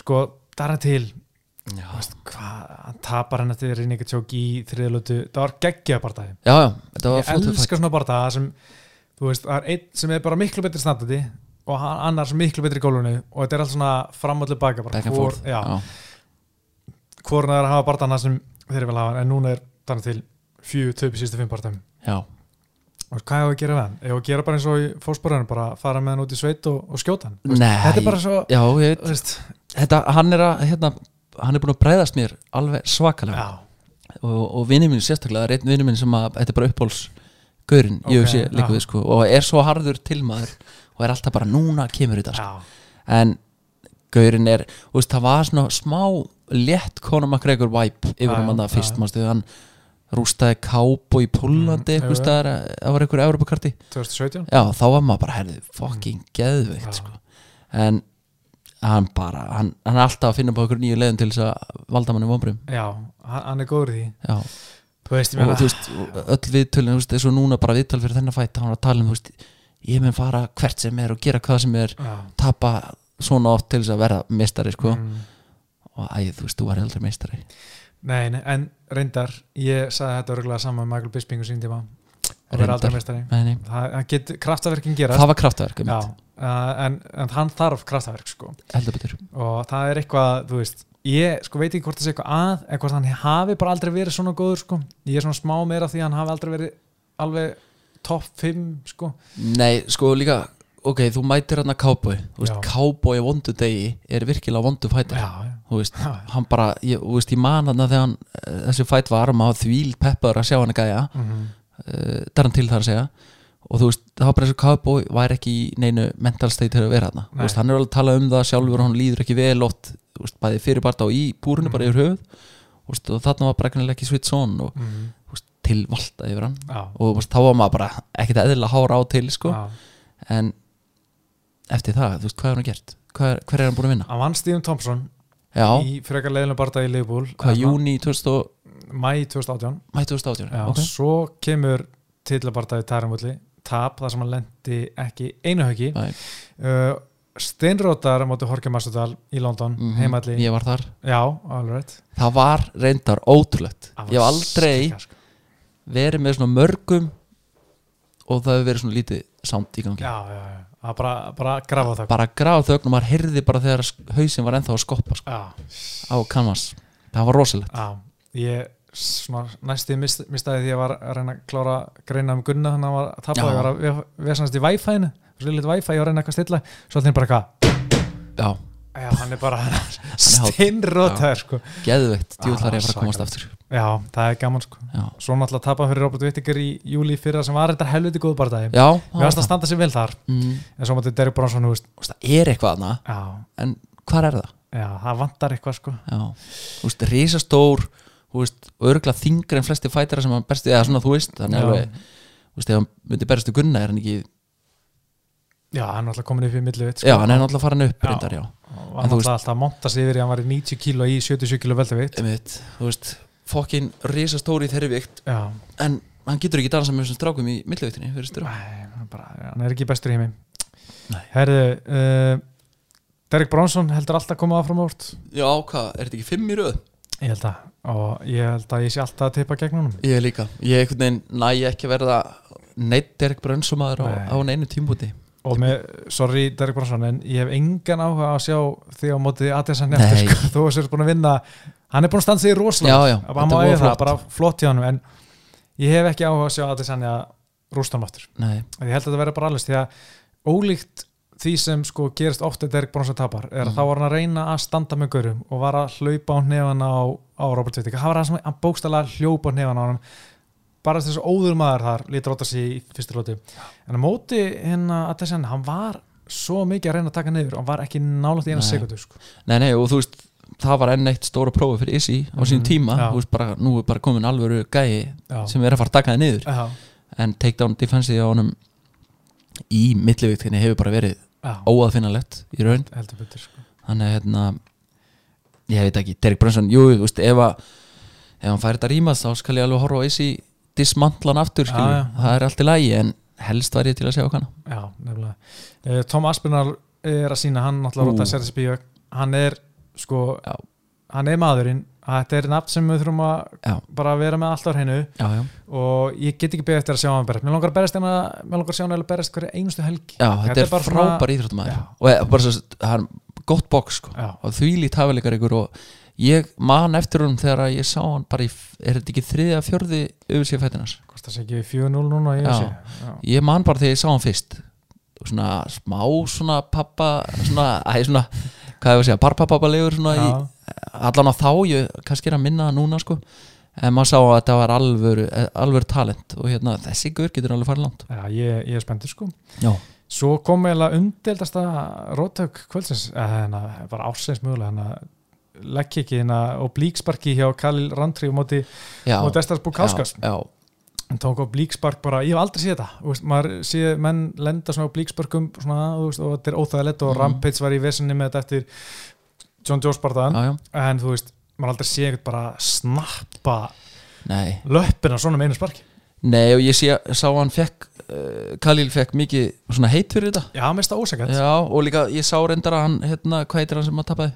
Speaker 1: Sko, Darren Til,
Speaker 2: já.
Speaker 1: þú veist, hvað, hann tapar henni til Rinnika Tjók í þriðlötu. Það var geggja barndagi.
Speaker 2: já, já, þetta var
Speaker 1: Ég
Speaker 2: flottur
Speaker 1: elska
Speaker 2: fætt
Speaker 1: svona barndaga sem, þú veist, það er einn sem er bara miklu betri standandi og hann annars miklu betri í gólunni og þetta er allt svona framöldu baka bara.
Speaker 2: back and
Speaker 1: hvor-
Speaker 2: forth
Speaker 1: Já, hvorna er að hafa barndana sem þeir vilja hafa en núna er þannig til fjú töpi sístu fimm barndum
Speaker 2: já,
Speaker 1: og hvað hefur að gera við hann? Hefur að gera bara eins og í fósborðinu bara fara með hann út í sveit og, og skjóta hann Þú veist,
Speaker 2: Nei.
Speaker 1: þetta er bara svo
Speaker 2: já ég veit
Speaker 1: þú veist,
Speaker 2: þetta, hann er að hérna, hann er búin að breyðast mér alveg svakalega
Speaker 1: já,
Speaker 2: og, og vinnir minn sérstaklega, það er einn vinnir minn sem að þetta er bara uppbóls gaurinn
Speaker 1: Ok,
Speaker 2: okay, sé,
Speaker 1: já.
Speaker 2: við, sko, og er svo harður tilmaður og er alltaf bara núna kemur þetta sko.
Speaker 1: já,
Speaker 2: en gaurinn er, þú veist, það var svona smá létt Conor McGregor vibe yfir
Speaker 1: Já,
Speaker 2: um hann
Speaker 1: já,
Speaker 2: það fyrst,
Speaker 1: já.
Speaker 2: mannstu, hann rústaði kápu í Pólandi
Speaker 1: Mm,
Speaker 2: mm,
Speaker 1: já, já.
Speaker 2: eitthvað, það var einhver Europakarti
Speaker 1: 2017
Speaker 2: já, þá var maður bara, herði, fucking
Speaker 1: Mhm.
Speaker 2: geðveikt,
Speaker 1: Já.
Speaker 2: sko, en hann bara, hann, hann er alltaf að finna på einhverju nýju leiðum til þess að valda manni vonbrum
Speaker 1: já, hann, hann er góður í því
Speaker 2: já,
Speaker 1: þú veist, ég
Speaker 2: og
Speaker 1: meina
Speaker 2: þú veist, og öll viðtölin, þú veist, eins og núna bara viðtöl fyrir þennan fætt, hann var að tala um, þú veist ég mun fara hvert sem er og gera hvað sem er
Speaker 1: já,
Speaker 2: tapa svona oft til þess að verða meistari, sko
Speaker 1: mm,
Speaker 2: og æ, þú veist, þú var aldrei meistari
Speaker 1: nei, nei, en reyndar ég sagði þetta örgulega saman með Michael Bisping og sín tíma og vera
Speaker 2: Reyndar.
Speaker 1: aldrei meistari
Speaker 2: Nei, nei.
Speaker 1: það það getur kraftaverkin gerast
Speaker 2: það var kraftverk
Speaker 1: já, uh, en, en hann þarf kraftaverk sko
Speaker 2: heldur betur
Speaker 1: og það er eitthvað, þú veist ég sko veit ekki hvort það sé eitthvað að eða hvort hann hafi bara aldrei verið svona góður sko. ég er svona smá meira því að hann hafi aldrei verið alveg topp 5 sko.
Speaker 2: nei, sko líka, ok, þú mætir hann að cowboy þú veist,
Speaker 1: Já.
Speaker 2: cowboy á vondu degi er virkilega vondu fætar
Speaker 1: já,
Speaker 2: þú veist,
Speaker 1: já.
Speaker 2: hann bara, ég, þú veist, ég man hann þegar hann, eh, þessi fæt var og maður þvíl peppaður að sjá hann að gæja
Speaker 1: Mm -hmm.
Speaker 2: uh, daran til þar að segja og þú veist, það var bara eins og cowboy væri ekki í neinu mental state til að vera hann
Speaker 1: Nei.
Speaker 2: veist, hann er alveg að tala um það sjálfur og hann líður ekki vel oft, þú veist, bæði fyrir bara og í búrinu bara
Speaker 1: Mhm.
Speaker 2: yfir höfuð þú veist, og þarna var bara greinilega ekki svitt son og
Speaker 1: Mm -hmm.
Speaker 2: þú veist, tilvalta yfir hann
Speaker 1: já,
Speaker 2: og þú veist, þá var maður bara ekkert eðlilega hára á til sko.
Speaker 1: já.
Speaker 2: en eftir það, þú veist, hvað er hann gert hvað er, hver er hann búin að vinna
Speaker 1: hann vann Stephen Thompson
Speaker 2: já,
Speaker 1: í frekar leiðinu barða í Leifbúl
Speaker 2: hvað, júni 2000
Speaker 1: mæ 2018
Speaker 2: mæ 2018
Speaker 1: já,
Speaker 2: ok.
Speaker 1: svo kemur tillabardaði Tarimulli tap þar sem hann lendi ekki einu höggi
Speaker 2: Nei.
Speaker 1: uh, Steinrótar móti Jorge Masudal í London mm
Speaker 2: Mhm.
Speaker 1: heimalli,
Speaker 2: ég var þar,
Speaker 1: já, alveg rétt
Speaker 2: það var reyndar ótrúlegt,
Speaker 1: Það var
Speaker 2: ég hef aldrei
Speaker 1: skikka, sko.
Speaker 2: verið með svona mörgum og það hefur verið svona lítið samt í gangi
Speaker 1: já, já, já, það er bara, bara grafa það
Speaker 2: bara gráð þögn og maður heyrði bara þegar hausin var ennþá að skoppa sko,
Speaker 1: já,
Speaker 2: á kanvas, það var rosalegt
Speaker 1: já, ég svona næstu mist, mistaði því að ég var að reyna að klára greina um Gunna þannig að hann var að tapa
Speaker 2: Já.
Speaker 1: og ég var að ve- vesast í Wi-Fi-inu svo lítið Wi-Fi, ég var að reyna eitthvað að stilla svo þannig bara eitthvað,
Speaker 2: já,
Speaker 1: já, hann
Speaker 2: (laughs)
Speaker 1: er bara steinrótaður, sko
Speaker 2: geðveikt, djúvill var
Speaker 1: Ah,
Speaker 2: ég að fara að komast aftur
Speaker 1: já, það er gaman, sko
Speaker 2: já,
Speaker 1: svo náttúrulega tapa hann fyrir Robert Whittaker í júli fyrra sem var þetta helviti góð bardagi
Speaker 2: já
Speaker 1: mér varst að standa sér vel þar,
Speaker 2: mm,
Speaker 1: en svo mátti Derek Bronson, þú veist,
Speaker 2: þú veist, það er eitthvað aðna
Speaker 1: já,
Speaker 2: en hvað er það?
Speaker 1: já, það vantar eitthvað, sko
Speaker 2: já, þú veist, risastór þú veist, örgla þingri en flesti fætara sem hann berst, eða svona þú veist þannig
Speaker 1: Já.
Speaker 2: alveg, þú veist, ef hann myndi berstu gunna er hann ekki,
Speaker 1: já, hann er náttúrulega komin upp í millivit, sko
Speaker 2: já, hann er náttúrulega farin upp
Speaker 1: Já.
Speaker 2: reyndar, já,
Speaker 1: og
Speaker 2: En
Speaker 1: hann
Speaker 2: þú
Speaker 1: alltaf alltaf að monta sig yfir í að hann var í 90 kíló í 77 kíló veldavikt
Speaker 2: einmitt, þú veist fokkin risastór í þeirri vikt
Speaker 1: já,
Speaker 2: en hann getur ekki dansa með þessum strákum í millivíktinni fyrir
Speaker 1: Æ,
Speaker 2: styrra
Speaker 1: hann, bara, hann er ekki bestur í heimi
Speaker 2: Nei.
Speaker 1: herðu uh, Derek Bronson heldur alltaf að koma áfram árt
Speaker 2: Já, hvað, er þetta ekki fimm í röð?
Speaker 1: ég held að og ég held að ég sé alltaf að tippa gegn honum
Speaker 2: Ég líka, ég einhvern veginn næ ekki að verða neitt Derek Brönsumadur
Speaker 1: Nei.
Speaker 2: á, á neinu tímbúti
Speaker 1: og með, sorry Derek Bronson en ég hef engan áhuga á að sjá þig á móti Adesanya
Speaker 2: Nei.
Speaker 1: eftir sko, þú sérst búin að vinna hann er búin að standa sig í rosalega
Speaker 2: Já, já,
Speaker 1: hann má
Speaker 2: þetta
Speaker 1: eiga
Speaker 2: var
Speaker 1: það,
Speaker 2: flott.
Speaker 1: bara flott hjá hann en ég hef ekki áhuga á að sjá Adesanya rústa hann aftur
Speaker 2: Nei,
Speaker 1: En ég held að þetta verði bara alveg því að ólíkt því sem sko gerist oft að Derek Bronson tapar er að
Speaker 2: Mm.
Speaker 1: þá var hann að reyna að standa með gaurum og var að hlaupa á hnefana á, á Robert Vittig hann var að hann bókstala hljópa á hnefana á hann bara þess að óður maður þar lítur átt að sé í fyrstu lóti en á móti hérna að þess hann var svo mikið að reyna að taka niður hann var ekki nálægt í eina
Speaker 2: Nei.
Speaker 1: sekundu sko.
Speaker 2: Nei, nei, og þú veist, það var enn eitt stóra prófa fyrir Issy á sín
Speaker 1: Mhm,
Speaker 2: tíma
Speaker 1: já.
Speaker 2: þú veist, bara, nú er bara komin alvöru gæi
Speaker 1: Já.
Speaker 2: sem er að fara að taka það niður
Speaker 1: Já,
Speaker 2: en takedown defensive á honum í millivíktinni hefur bara verið
Speaker 1: já,
Speaker 2: óaðfinnalegt í raun
Speaker 1: heldur betur sko.
Speaker 2: þannig að hérna ég veit ekki, Derek Brunson, jú, þú veist ef, að, ef hann fær þetta rýmast þá skal ég alveg horfa á Issy dismantlan aftur,
Speaker 1: Já,
Speaker 2: skilur,
Speaker 1: já.
Speaker 2: það er allt í lagi en helst var ég til að segja okkana
Speaker 1: Já, nefnilega Eh, Tom Aspinall er að sína hann náttúrulega
Speaker 2: Ú.
Speaker 1: Róta Serðsbíök hann er sko
Speaker 2: Já.
Speaker 1: hann er maðurinn þetta er nafn sem við þurfum að
Speaker 2: Já.
Speaker 1: bara vera með alltaf hennu
Speaker 2: já, já.
Speaker 1: og ég get ekki beðið eftir að sjá hann berist mér langar að berist hérna mér langar að sjá hann eiginlega berist hverja einustu helgi
Speaker 2: já, þetta,
Speaker 1: Þetta er
Speaker 2: er
Speaker 1: bara svona-
Speaker 2: frábær íþróttumæður
Speaker 1: Já.
Speaker 2: og er bara svo, hann, gott box sko.
Speaker 1: Já.
Speaker 2: og þvílít hafileikar ykkur og ég man eftir honum þegar að ég sá hann bara í, er þetta ekki þriðja fjörði yfir sér fættinans
Speaker 1: hvort það sé ekki 4-0 núna ég
Speaker 2: Já.
Speaker 1: sé Já.
Speaker 2: ég man bara þegar ég sá hann fyrst og svona smá svona pappa svona, æ, svona hvað hefur að segja, barpapappalegur svona í,
Speaker 1: Já.
Speaker 2: allan á þá, ég kannski er að minna það núna sko, en maður sá að þetta var alvöru, eh, alvöru talent og hérna þessi gur getur alveg farið langt
Speaker 1: Já, ég, ég er spenntur sko
Speaker 2: já,
Speaker 1: svo kom eiginlega umdeldasta rótök kvöldsins þannig að bara ársins mögulega hérna, þannig að leggkikið hérna og blíksparki hjá Khalil Randri og móti
Speaker 2: já,
Speaker 1: og Destas Bukáskas
Speaker 2: já,
Speaker 1: hann tók á blíkspark bara, ég hef aldrei séð þetta þú veist, maður séð menn lenda svona á blíksparkum svona, þú veist, og þetta er óþægilegt og
Speaker 2: Mhm.
Speaker 1: Rampage var í vesinni með þetta eftir John Joe Spartan
Speaker 2: já, já,
Speaker 1: en þú veist, maður aldrei sé eitthvað bara snappa
Speaker 2: nei
Speaker 1: löppina svona með einu sparki
Speaker 2: Nei og ég sé, sá hann fekk uh, Khalil fekk mikið svona heit fyrir þetta
Speaker 1: já, mest það ósækjant yeah.
Speaker 2: Já og líka ég sá reyndar að hann hérna, hvað heitir hann sem að tapaði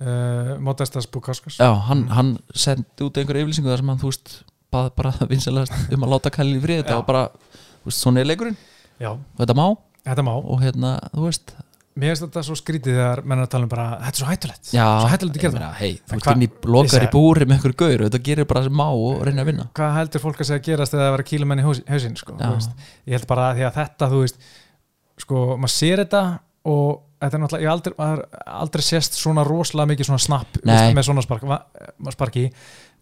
Speaker 1: uh, Modestas Bukaskas
Speaker 2: Já hann, hann sendi út einhver yfirlýsingu þar sem hann þú veist bað bara (laughs) vinsalast um að láta Khalil í frið
Speaker 1: Já.
Speaker 2: þetta og bara þú veist svona er leikurinn
Speaker 1: já,
Speaker 2: og þetta má
Speaker 1: þetta má
Speaker 2: og hérna þú veist
Speaker 1: mér finnst þetta svo skrítið þegar menn er að tala um bara þetta er svo hættulegt
Speaker 2: Já
Speaker 1: svo hættulegt að
Speaker 2: ég
Speaker 1: gera
Speaker 2: meina, Hei þú
Speaker 1: En
Speaker 2: veist
Speaker 1: hva-
Speaker 2: inn í
Speaker 1: Ég
Speaker 2: lokar
Speaker 1: segi-
Speaker 2: í búri með einhver gaur og þetta gerir bara sem má og reynir að vinna
Speaker 1: það hvað heldur fólk að segja að gerast eða það vera kílumenn í haus- hausinn sko,
Speaker 2: Já.
Speaker 1: þú veist. ég held bara að því að þetta þú veist, sko, maður sér þetta og þetta er náttúrulega, ég hef aldrei, maður, aldrei sést svona rosalega mikið svona snapp þú
Speaker 2: Nei.
Speaker 1: veist, með svona spark, va, sparki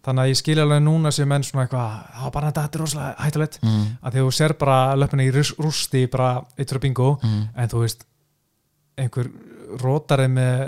Speaker 1: þannig að ég skilja alveg núna sem menn svona eitthvað, það var bara þetta, þetta er rosalega hættulegt
Speaker 2: mm,
Speaker 1: að því að þú sér bara löpunni í rus- rústi bara eittur bingo,
Speaker 2: mm,
Speaker 1: en þú veist einhver rótari með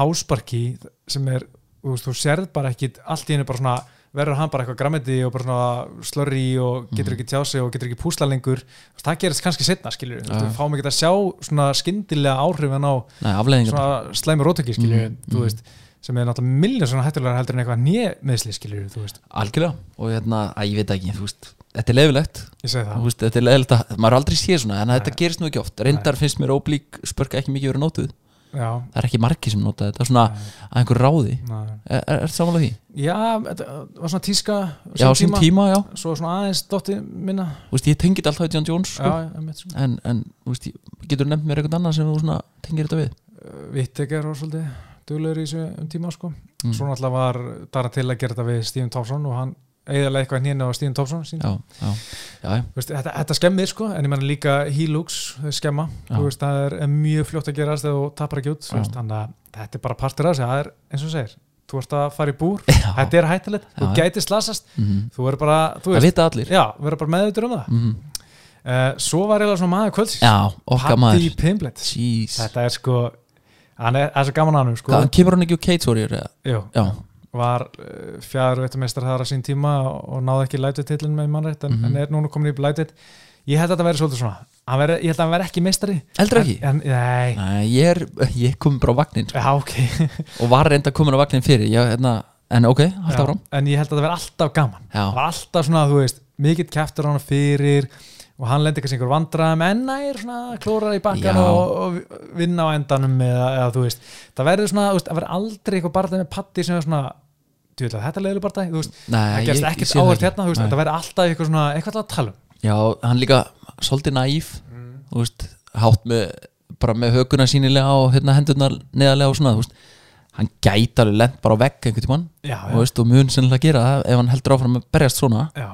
Speaker 1: hásparki sem er, þú veist, þú sérð bara ekki allt í henni bara svona, verður hann bara eitthvað grammiti og bara svona slurri og
Speaker 2: Mhm.
Speaker 1: getur ekki tjá sig og getur ekki púsla lengur Þú veist, það gerist kannski setna, skilur við,
Speaker 2: Já.
Speaker 1: við fáum ekki að sjá svona skyndilega áhrifin á
Speaker 2: Nei afleiðingar
Speaker 1: svona slæmi rótöki, skilur við,
Speaker 2: Mm,
Speaker 1: þú
Speaker 2: mm.
Speaker 1: veist sem er náttúrulega milljón svona hættulega heldur en eitthvað nýmeðsli, skilur við, þú veist
Speaker 2: Algjörlega og hérna að ég veit ekki þú veist þetta er leifilegt
Speaker 1: ég segi
Speaker 2: Þú
Speaker 1: það,
Speaker 2: veist, þetta er leðilegt að maður er aldrei séð svona en þetta
Speaker 1: Nei.
Speaker 2: gerist nú ekki oft reyndar finnst mér óblík spörka ekki mikið verið notuð
Speaker 1: já
Speaker 2: það er ekki margi sem nota þetta svona að einhver ráði
Speaker 1: Nei.
Speaker 2: er, er, er samanlega því?
Speaker 1: já, þetta var svona tíska á
Speaker 2: já,
Speaker 1: sínum
Speaker 2: á sín tíma, já
Speaker 1: svo svona aðeins dotti minna
Speaker 2: Þú veist, ég tengið alltaf John Jones sko.
Speaker 1: já, ég mitt sko
Speaker 2: en, en þú veist, ég- getur nefnt mér eitthvað annað sem þú svona tengir þetta við
Speaker 1: Vittekar Eh, var svolítið duglegur í þessu um tíma sko.
Speaker 2: Mm.
Speaker 1: Svo náttúrulega var Dara til að gera þetta við Stíðum Tófsson og hann eiginlega eitthvað hnýna á Stíðum Tófsson sín.
Speaker 2: já, já, já, já,
Speaker 1: Veist, þetta, þetta skemmir sko, en ég menna líka Hilux skemma,
Speaker 2: Já.
Speaker 1: Þú veist, það er er mjög fljótt að gerast þegar þú tapar ekki út
Speaker 2: Já.
Speaker 1: þú veist, þannig að þetta er bara partur af þessu, það er eins og þú segir, þú ert að fara í búr
Speaker 2: já.
Speaker 1: þetta er hættilegt, þú
Speaker 2: Já.
Speaker 1: gæti slasast
Speaker 2: Mhm.
Speaker 1: þú verður bara, þú
Speaker 2: það
Speaker 1: veist,
Speaker 2: vita allir
Speaker 1: já, verður bara meðutur um það
Speaker 2: Mhm.
Speaker 1: uh, svo var eiginlega svona maður kvölds
Speaker 2: já, okkar
Speaker 1: Patti
Speaker 2: maður
Speaker 1: Pimblett,
Speaker 2: Jeez.
Speaker 1: þetta er sko hann er, það er svo gaman að hann sko,
Speaker 2: Hvað, kemur hann ekki úr Kate's Warrior eða?
Speaker 1: Jú,
Speaker 2: já,
Speaker 1: var uh, fjár vettumestrar þar á sín tíma og, og náði ekki lightweight titlin með mannrætt en,
Speaker 2: Mhm.
Speaker 1: en er núna komin í lightweight ég held að þetta verði svolítið svona Hann veri, ég held að hann verði ekki mestari
Speaker 2: heldur ekki
Speaker 1: en, en, nei,
Speaker 2: Nei, ég, er, (laughs) ég kom bara á vagnin
Speaker 1: já ok
Speaker 2: og var reynda komin á vagnin fyrir ég, hérna, en ok, halda áfram
Speaker 1: Já, en ég held að þetta verði alltaf gaman
Speaker 2: Já.
Speaker 1: það var alltaf svona, þú veist, mikill kæftur hann fyrir og hann lendi kannski einhver vandræðum en nær svona klórar í bakkan
Speaker 2: Já.
Speaker 1: og, og vinna á endanum eða, eða þú veist, það verður svona, þú veist, það verður aldrei eitthvað barðið með patti sem er svona djúlega þetta leiðilega barðið, þú veist,
Speaker 2: Nei,
Speaker 1: það
Speaker 2: ég-
Speaker 1: gerst
Speaker 2: ég
Speaker 1: ekkert
Speaker 2: sé það
Speaker 1: áhört
Speaker 2: ekki.
Speaker 1: hérna, þú veist,
Speaker 2: Nei.
Speaker 1: þetta verður alltaf eitthvað svona, eitthvað til að tala um
Speaker 2: Já, hann líka svolítið naíf þú veist, hátt með bara með höguna sínilega og hérna, hendurnar neðarlega og svona, þú veist hann gæti alveg lent bara á vegg einhvern tímann
Speaker 1: Já,
Speaker 2: og, veist, og mun sennilega gera það ef hann heldur áfram að berjast svona
Speaker 1: já,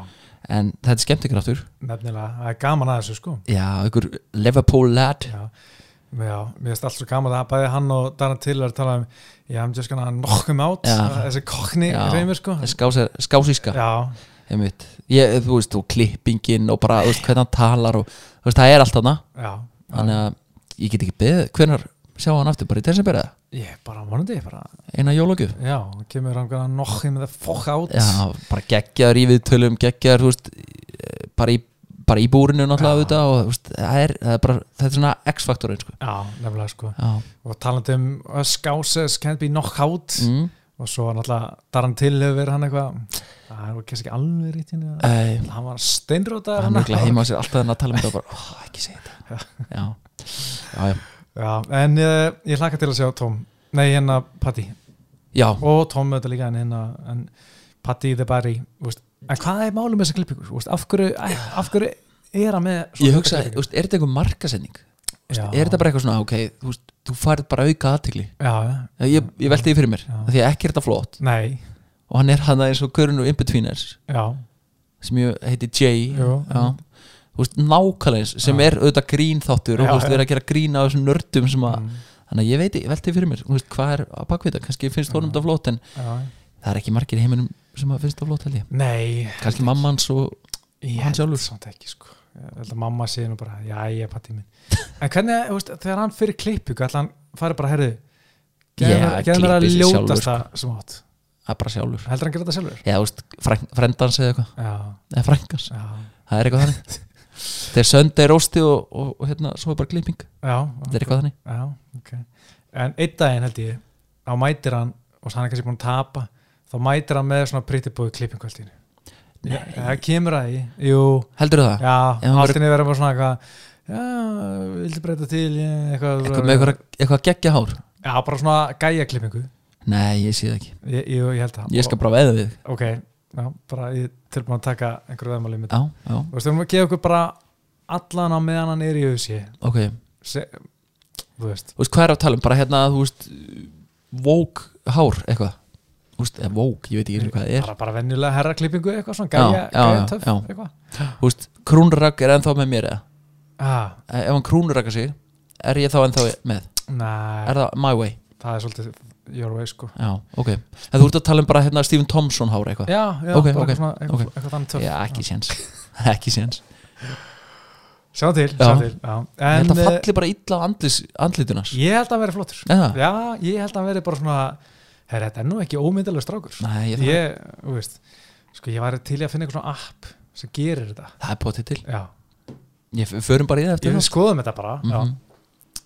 Speaker 2: en þetta er skemmtikraftur
Speaker 1: nefnilega, það er gaman að þessu sko
Speaker 2: Já, einhver Liverpool lad
Speaker 1: Já, já mér finnst allt svo gaman að bæði hann og Darren Tiller tala um Já, I'm just gonna knock him out
Speaker 2: Já.
Speaker 1: þessi kokni
Speaker 2: Já.
Speaker 1: reymir sko
Speaker 2: skásíska
Speaker 1: Já,
Speaker 2: einmitt ég, þú veist, og klippingin og bara, þú veist, hvernig hann talar og þú veist, það er allt þarna
Speaker 1: já,
Speaker 2: þannig að ég get ekki beðið, hvernig sjá hann aftur bara í desember eða,
Speaker 1: ég bara vonandi ég bara,
Speaker 2: eina jólagjöf
Speaker 1: já, hann kemur hann gana nokkið með það fokk átt
Speaker 2: já, bara geggjaður í viðtölum geggjaður, þú veist eh, bara í, bara í búrinu náttúrulega
Speaker 1: Já.
Speaker 2: auðvitað og þú veist, það er, það er bara, þetta er svona X-faktorinn, sko
Speaker 1: já, nefnilega sko
Speaker 2: já,
Speaker 1: og talandi um uh, skáses can't be knockout
Speaker 2: mm.
Speaker 1: og svo náttúrulega Darantil hefur verið hann eitthvað það er kannski ekki alveg rétt hérna
Speaker 2: Æ,
Speaker 1: hann var steinrótaður
Speaker 2: hann er ekki
Speaker 1: já,
Speaker 2: heima á sér alltaf en að tala um þetta og bara, oh, ekki segja þetta já, já, já,
Speaker 1: en uh, ég hlakka til að sjá Tom nei hérna Patti
Speaker 2: já.
Speaker 1: og Tom auðvitað líka en hérna en Patti the Barry þú veist. en hvað er málum með þessa klippingu þú veist, af hverju, æ, af hverju er hann með
Speaker 2: ég hugsa, þú veist, er þetta einhver markasending er þetta bara eitthvað svona, ok, þú veist þú færð bara auka aðtegli
Speaker 1: já,
Speaker 2: ég, ég velti því fyrir mér,
Speaker 1: Já.
Speaker 2: af því að ekki er þetta flott
Speaker 1: nei,
Speaker 2: og hann er hann eins og Görun og Inbetweeners
Speaker 1: já,
Speaker 2: sem ég heiti Jay
Speaker 1: Jú.
Speaker 2: já. þú veist, nákvæmlega eins sem
Speaker 1: Já.
Speaker 2: er auðvitað grín þáttur
Speaker 1: Já,
Speaker 2: og þú veist,
Speaker 1: já.
Speaker 2: við erum að gera grín af þessum nördum sem að,
Speaker 1: mm,
Speaker 2: þannig að ég veit, ég velti því fyrir mér þú veist, hvað er að bakvita, kannski finnst honum
Speaker 1: Já.
Speaker 2: þetta flott en
Speaker 1: já.
Speaker 2: það er ekki margir í heiminum sem að finnst þetta flott held ég,
Speaker 1: nei
Speaker 2: kannski mamma hans og
Speaker 1: ég
Speaker 2: Hann
Speaker 1: held
Speaker 2: sjálfur.
Speaker 1: samt ekki sko ég held að mamma sé nú bara, já ég er patti minn en hvernig, þú veist, þegar hann fyrir klippingu ætla hann fari bara, herðu
Speaker 2: Já,
Speaker 1: geðum mér að
Speaker 2: klippir sig sjálfur, sko.
Speaker 1: ljótasta sem átt
Speaker 2: að bara sjálfur,
Speaker 1: heldur hann gera þetta sjálfur?
Speaker 2: eða þú veist, fræn- frendans eða eitthvað,
Speaker 1: já,
Speaker 2: eða frængans
Speaker 1: já,
Speaker 2: það er eitthvað þannig
Speaker 1: (laughs)
Speaker 2: þetta er söndi, rósti og, og, og hérna, svo er bara klipping
Speaker 1: já,
Speaker 2: þetta er eitthvað þannig
Speaker 1: já ok en einn daginn held ég, þá mætir hann og hann er kannski búin að tapa þá mætir hann með svona pretty boy klippingu allt í henni það kemur að því jú,
Speaker 2: heldur það?
Speaker 1: já,
Speaker 2: Ef hann
Speaker 1: allt í henni verður bara svona eitthvað já, vildi breyta til ég, eitthvað,
Speaker 2: eitthvað með eitthvað, eitthvað geggja hár?
Speaker 1: já, bara svona gæja klippingu
Speaker 2: nei, ég sé það ekki,
Speaker 1: Ég, jú, ég held það
Speaker 2: ég skal bara veða við þig.
Speaker 1: Ok, já, bara ég er tilbúin að taka einhverju veðmáli með þetta
Speaker 2: já, já,
Speaker 1: Þú veist, við erum að gefa okkur bara allan á meðan hann er í auðsí
Speaker 2: ok
Speaker 1: Þú veist,
Speaker 2: þú veist, hvað er að tala um, bara hérna, þú veist vók hár, eitthvað þú veist, eða vók, ég veit ekki einu hvað það er
Speaker 1: bara, bara venjulega herraklippingu eitthvað svona,
Speaker 2: Já,
Speaker 1: gæja,
Speaker 2: já,
Speaker 1: gæja
Speaker 2: já,
Speaker 1: töff
Speaker 2: já.
Speaker 1: eitthvað
Speaker 2: þú veist, krúnurag er ennþá með mér eða
Speaker 1: ah,
Speaker 2: E- ef hann krúnuraga sig, er ég þá ennþá með
Speaker 1: Nei,
Speaker 2: er það my way,
Speaker 1: það er svolítið your way sko
Speaker 2: já, ok en þú ert að tala um bara hérna Stephen Thompson hár eitthvað,
Speaker 1: Já, já,
Speaker 2: Ok,
Speaker 1: bara
Speaker 2: ok,
Speaker 1: eitthvað svona, eitthvað,
Speaker 2: ok.
Speaker 1: eitthvað þannig töff
Speaker 2: já, ekki séns (laughs) ekki séns,
Speaker 1: Sjá til,
Speaker 2: Já.
Speaker 1: sjá til já.
Speaker 2: ég
Speaker 1: En
Speaker 2: held að
Speaker 1: eh,
Speaker 2: falli bara illa á andlis, andlitunars,
Speaker 1: ég held að hann veri flottur
Speaker 2: eða
Speaker 1: Já, ég held að hann veri bara svona Herra, þetta er nú ekki ómyndalega strákur
Speaker 2: nei, ég, það,
Speaker 1: Ég, þú veist Sko, ég væri til í að finna eitthvað svona app sem gerir þetta
Speaker 2: það er potið til
Speaker 1: Já,
Speaker 2: ég f- förum bara í það eftir
Speaker 1: ég
Speaker 2: það
Speaker 1: við skoðum þetta bara mm
Speaker 2: Mhm.
Speaker 1: -hmm.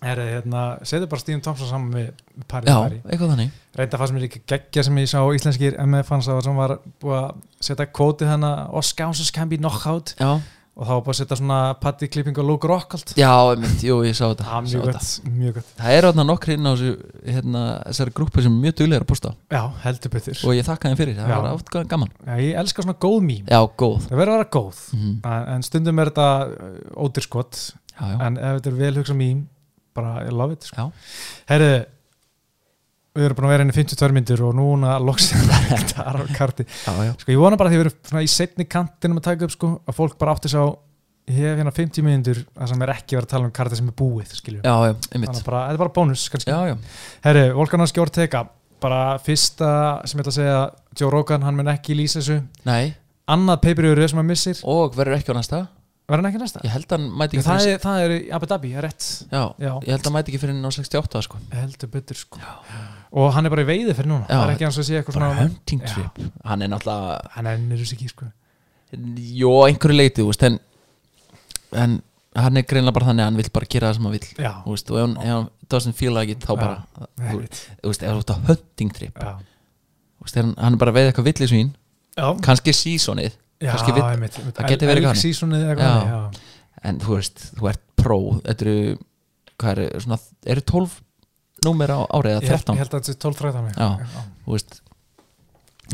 Speaker 1: er, hérna, Setu bara Stíðum Thompson saman með Paris
Speaker 2: já,
Speaker 1: Barry
Speaker 2: eitthvað þannig
Speaker 1: Reynda fannst mér ekki geggja sem ég sá á íslenskir MF fannst að sem var búið að setja kótið hana Oscounsers can be knockout
Speaker 2: já,
Speaker 1: og þá var búið að setja svona Patti klipping og Luke Rockhold
Speaker 2: já, einmitt, jú, ég sá þetta
Speaker 1: ah,
Speaker 2: sá
Speaker 1: Mjög
Speaker 2: þetta.
Speaker 1: gott, mjög gott
Speaker 2: það er þarna nokkri inn á þessu, hérna, þessari grúpu sem er mjög duglegar að posta
Speaker 1: Já, heldur betur
Speaker 2: og ég þakka þeim fyrir, það
Speaker 1: Já.
Speaker 2: var oft gaman
Speaker 1: Já, Ég elska svona góð mím
Speaker 2: já, góð
Speaker 1: Það verður að vera góð
Speaker 2: Mhm.
Speaker 1: En- En stundum er þetta ódyrskott
Speaker 2: já, já,
Speaker 1: En ef þetta er vel hugsa mím bara ég love it sko.
Speaker 2: já,
Speaker 1: Herðu við erum búin að vera henni 52 myndir og núna loksum
Speaker 2: (laughs)
Speaker 1: þetta er á karti
Speaker 2: já, já,
Speaker 1: sko ég vona bara að því við erum svona í setni kantinum að taka upp sko að fólk bara átti sá ég hef hérna 50 myndir að sem er ekki verið að tala um karti sem er búið skiljum
Speaker 2: já, já, einmitt
Speaker 1: þannig að bara, þetta er bara bónus kannski
Speaker 2: já, já,
Speaker 1: herru, Volkanovski Ortega bara fyrsta sem ég ætla að segja Joe Rogan, hann mun ekki lýsa þessu
Speaker 2: nei
Speaker 1: annað peipirjöru sem hann missir
Speaker 2: og verður ekki á næsta,
Speaker 1: verður hann ekki næsta?
Speaker 2: ég held að hann mæti
Speaker 1: Já,
Speaker 2: ekki
Speaker 1: það,
Speaker 2: fyrir,
Speaker 1: er, það er í Abu Dhabi, það er rétt
Speaker 2: já,
Speaker 1: já,
Speaker 2: ég held að hann mæti ekki fyrir á 68 sko,
Speaker 1: heldur betur sko og hann er bara í veiði fyrir núna
Speaker 2: Já,
Speaker 1: það er ekki hans að sé eitthvað
Speaker 2: bara
Speaker 1: svona
Speaker 2: hunting trip hann er náttúrulega
Speaker 1: hann ennir þessu ekki sko
Speaker 2: Jó, að einhverju leiti, þú veist en, en hann er greinlega bara þannig að hann vill bara gera það sem hann vill
Speaker 1: já,
Speaker 2: þú veist, og ef hann, ef hann doesn't feel like it þá
Speaker 1: Já.
Speaker 2: bara, þú
Speaker 1: einmitt.
Speaker 2: þú veist, ef þú ert á hunting trip
Speaker 1: já,
Speaker 2: þú veist, er hann, hann er bara að veiða eitthvað villisvín
Speaker 1: já.
Speaker 2: kannski seasonið,
Speaker 1: Já,
Speaker 2: kannski vill-
Speaker 1: einmitt, einmitt.
Speaker 2: það geti verið
Speaker 1: Elk
Speaker 2: eitthvað
Speaker 1: season eða
Speaker 2: Já.
Speaker 1: eitthvað já. Já.
Speaker 2: en þú veist, þú ert pro þetta eru, hvað eru, svona eru 12 númer á árið
Speaker 1: Ég,
Speaker 2: eða
Speaker 1: held- ég
Speaker 2: 13,
Speaker 1: held að þetta sé 12-13
Speaker 2: Já.
Speaker 1: já.
Speaker 2: þú veist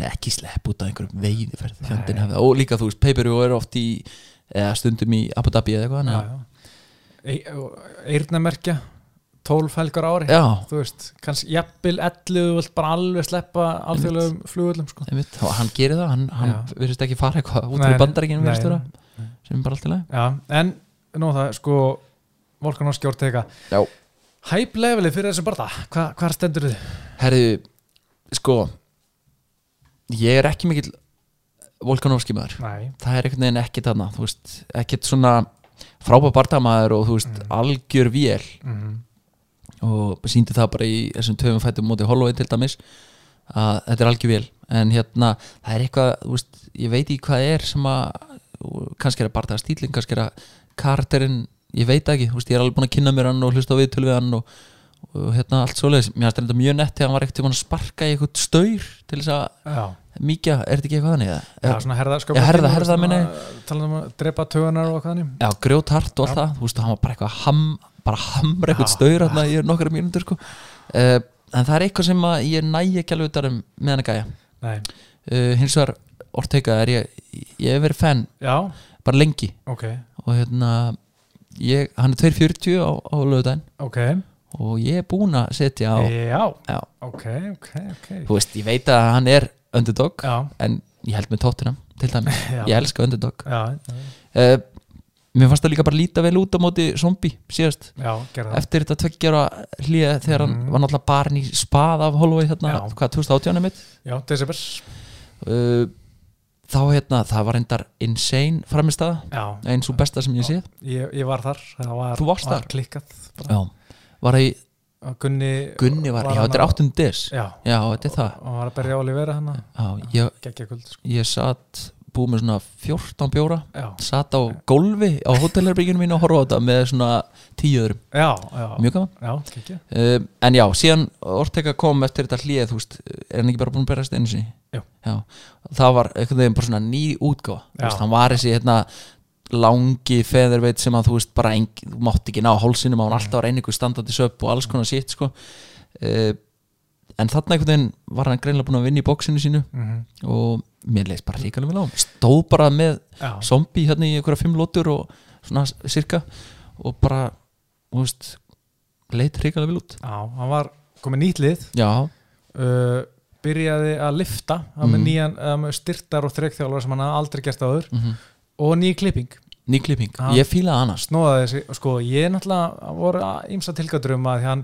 Speaker 2: ekki slepp út af einhverjum veiðiferð
Speaker 1: Nei.
Speaker 2: fjöndin hefði, og líka þú veist, Peiperu er oft í eða stundum í Abu Dhabi eða eitthvað
Speaker 1: Já,
Speaker 2: þannig að-
Speaker 1: já. Ei- Eyrnamerkja 12 helgar á ári
Speaker 2: já,
Speaker 1: þú veist, kannski jafnvel 11 þú vilt bara alveg sleppa alþjóðlegum flugvöllum sko.
Speaker 2: einmitt, og hann gerir það hann, hann
Speaker 1: Já.
Speaker 2: virðist ekki fara eitthvað út
Speaker 1: Nei,
Speaker 2: fyrir
Speaker 1: nei,
Speaker 2: bandaríkinn
Speaker 1: nei,
Speaker 2: virðist vera,
Speaker 1: nei.
Speaker 2: sem er bara allt í lagi
Speaker 1: Já, en nú það sko Volkanovski ortega
Speaker 2: Já.
Speaker 1: Hæp levelið fyrir þessum barða Hva, Hvar stendur þið?
Speaker 2: herðu, sko ég er ekki mikill Volkanovski maður
Speaker 1: Nei,
Speaker 2: það er einhvern veginn ekkert þarna þú veist, ekkert svona frábær barndamaður og þú veist,
Speaker 1: Mm.
Speaker 2: algjör vél
Speaker 1: mhm,
Speaker 2: og síndi það bara í þessum töfum fættum móti Holloway til dæmis að þetta er algjör vel en hérna, það er eitthvað, þú veist, ég veit í hvað er sem að, og kannski er að barða stílinn, kannski er að karakterinn ég veit það ekki, þú veist, ég er alveg búin að kynna mér hann og hlusta á viðtölu við hann og, og hérna allt svoleiðis, mér fannst þetta mjög nett þegar hann var ekkert að sparka í eitthvað staur til þess að
Speaker 1: já
Speaker 2: mikið, er þetta ekki eitthvað þannig? eða?
Speaker 1: Já, svona herða sköpun
Speaker 2: Já, herða- herða, meina ég.
Speaker 1: Talað um að drepa tögunar og hvað þannig
Speaker 2: Já, grjóthart og
Speaker 1: Já.
Speaker 2: allt það, þú veist, hann var bara eitthvað að ham, bara að hamra eitthvað
Speaker 1: Já.
Speaker 2: staur hérna í nokkra mínútur sko. uh, en það er eitthvað sem að ég næ ekki alveg utan um með hann að gæja
Speaker 1: Nei,
Speaker 2: uh, hins vegar Ortega er ég ég hef verið fan
Speaker 1: já,
Speaker 2: bara lengi
Speaker 1: ok
Speaker 2: og hérna ég, hann er 2.40 á, á lögudaginn
Speaker 1: Ok,
Speaker 2: og ég er búinn að setja á
Speaker 1: já,
Speaker 2: já,
Speaker 1: ok, ok, ok
Speaker 2: þú veist, ég veit að hann er underdog
Speaker 1: Já,
Speaker 2: en ég held með tóttina til dæmis,
Speaker 1: já,
Speaker 2: ég elska underdog
Speaker 1: já, já,
Speaker 2: uh, mér fannst það líka bara líta vel út á móti zombie síðast
Speaker 1: já, gerða það
Speaker 2: eftir þetta tveggjara hlýja þegar
Speaker 1: Mhm.
Speaker 2: hann var náttúrulega barn í spað af Holloway hérna,
Speaker 1: Já.
Speaker 2: hvað, 2018 er mitt
Speaker 1: Já, December,
Speaker 2: uh, þá hérna, það var reyndar insane framistæða,
Speaker 1: já,
Speaker 2: eins og besta sem ég séð
Speaker 1: ég, ég var þar Það var,
Speaker 2: Þú varst
Speaker 1: var
Speaker 2: þar?
Speaker 1: klikkað bara.
Speaker 2: já, var það í
Speaker 1: Og Gunni
Speaker 2: Gunni var, já,
Speaker 1: hann
Speaker 2: þetta er
Speaker 1: að-
Speaker 2: 8. des
Speaker 1: Já,
Speaker 2: já, þetta er það
Speaker 1: og hann var að berja Olivera hann
Speaker 2: já, ég,
Speaker 1: Gekkja kvöld, sko
Speaker 2: ég satt búið með svona 14 bjóra
Speaker 1: Já,
Speaker 2: satt á gólfi á hótelherbygginu mínu og horfa á þetta með svona tíuður
Speaker 1: já, já,
Speaker 2: mjög gaman
Speaker 1: já, gekkja
Speaker 2: um, en já, síðan Ortega kom eftir þetta hlýð, þú veist, er hann ekki bara búin að berast einu sinni?
Speaker 1: Jú.
Speaker 2: Já, það var einhvern veginn bara svona ný útgáfa þú
Speaker 1: Já.
Speaker 2: veist, hann var þessi hérna langi feðurveit sem að þú veist bara eng, þú mátt ekki ná hálsinum á hann alltaf var einhver standandi söp og alls konar sitt sko. uh, en þarna einhvern veginn var hann greinlega búin að vinna í bóksinu sínu
Speaker 1: Mhm,
Speaker 2: og mér leist bara ríkalega vel á hann stóð bara með
Speaker 1: Já,
Speaker 2: zombie hérna í einhverja fimm lótur og svona sirka og bara, þú veist leit ríkalega vel út
Speaker 1: já, hann var komið nýtt lið
Speaker 2: Já,
Speaker 1: uh, byrjaði að lifta mm. með
Speaker 2: Mhm.
Speaker 1: nýjan um, styrtar og þreikþjálfar sem hann hafði aldrei gert áður
Speaker 2: mm
Speaker 1: og ný klipping,
Speaker 2: ný klipping,
Speaker 1: Já.
Speaker 2: ég fílaði annars
Speaker 1: snóðaði þessi og sko, ég náttúrulega voru ímsa tilgjöndrum að því hann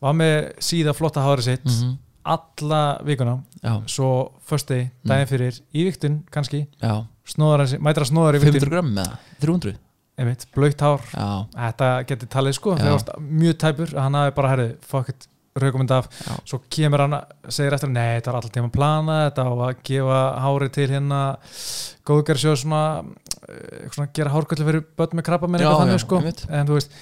Speaker 1: var með síða flotta hárið sitt
Speaker 2: mm -hmm.
Speaker 1: alla vikuna,
Speaker 2: Já,
Speaker 1: svo fösti daginn fyrir, í viktin kannski
Speaker 2: já,
Speaker 1: snóðar þessi, mætra snóðar í
Speaker 2: 500
Speaker 1: viktin
Speaker 2: gram með það 300,
Speaker 1: einmitt, blöytt hár,
Speaker 2: já,
Speaker 1: þetta geti talið sko,
Speaker 2: Já.
Speaker 1: þegar varst mjög tæpur hann hafi bara herðið, fuck it, raukum þetta af
Speaker 2: já,
Speaker 1: svo kemur hann, segir eftir nei, þetta var alltaf tíma að plana, þetta á að gefa hári til hérna góðgerðsjóð svona, eh, eitthvað svona gera hárkvöldu fyrir börn með krabba með
Speaker 2: Já,
Speaker 1: eitthvað
Speaker 2: já,
Speaker 1: þannig sko,
Speaker 2: einmitt.
Speaker 1: en þú veist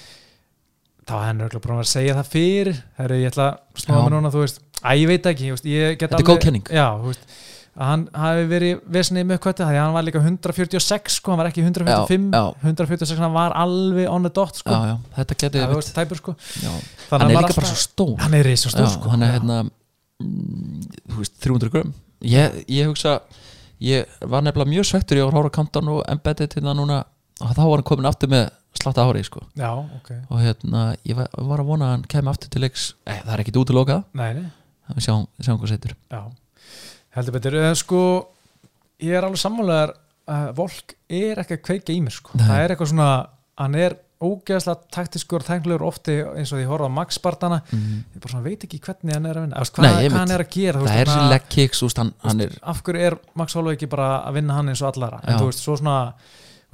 Speaker 1: þá er henni örugglega búin að vera að segja það fyrir herru, ég ætla að snóða
Speaker 2: Já.
Speaker 1: mig núna, þú veist æ, ég veit ekki, ég, veist, ég get
Speaker 2: Þetta er góð kenning.
Speaker 1: já, þú veist, að hann hafi verið vesnið með kvötta, því að hann var líka 146 sko, hann var ekki 145
Speaker 2: Já, já.
Speaker 1: 146, hann var alveg on the dot sko,
Speaker 2: já, já, þetta
Speaker 1: Já,
Speaker 2: getið
Speaker 1: þú veist, tæpur sko
Speaker 2: Hann er
Speaker 1: maður
Speaker 2: líka bara
Speaker 1: alltaf-
Speaker 2: svo stór
Speaker 1: hann er reysa
Speaker 2: Já,
Speaker 1: stór sko
Speaker 2: Hann er
Speaker 1: Já.
Speaker 2: hérna, mm, þú veist, 300 gram Ég, ég hugsa, ég var nefnilega mjög svektur Ég var hóra kantan og embedded hérna núna og þá var hann komin aftur með slatta hári sko.
Speaker 1: já, ok,
Speaker 2: og hérna, ég var, var að vona að hann kemi aftur til leiks, eh, það er ekkit út að loka
Speaker 1: nei, nei
Speaker 2: það við sjáum, sjáum hvað setur
Speaker 1: Já, heldur betur en sko, ég er alveg sammálaðar að Volk er ekki að kveika í mér sko.
Speaker 2: Nei.
Speaker 1: það er eitthvað svona, hann er ógeðslega taktiskur, tæknilegur ofti eins og því ég horfði á Max Bartana ég bara svona veit ekki hvernig hann er að vinna Þú veist, hvað,
Speaker 2: Nei, einmitt.
Speaker 1: hvað hann er að gera þú
Speaker 2: Mhm. Það er
Speaker 1: veist,
Speaker 2: þessi
Speaker 1: hérna,
Speaker 2: leg kicks, þú veist, hann, hann er
Speaker 1: af hverju er Max Holloway ekki bara að vinna hann eins og allara
Speaker 2: Já.
Speaker 1: en þú veist, svo svona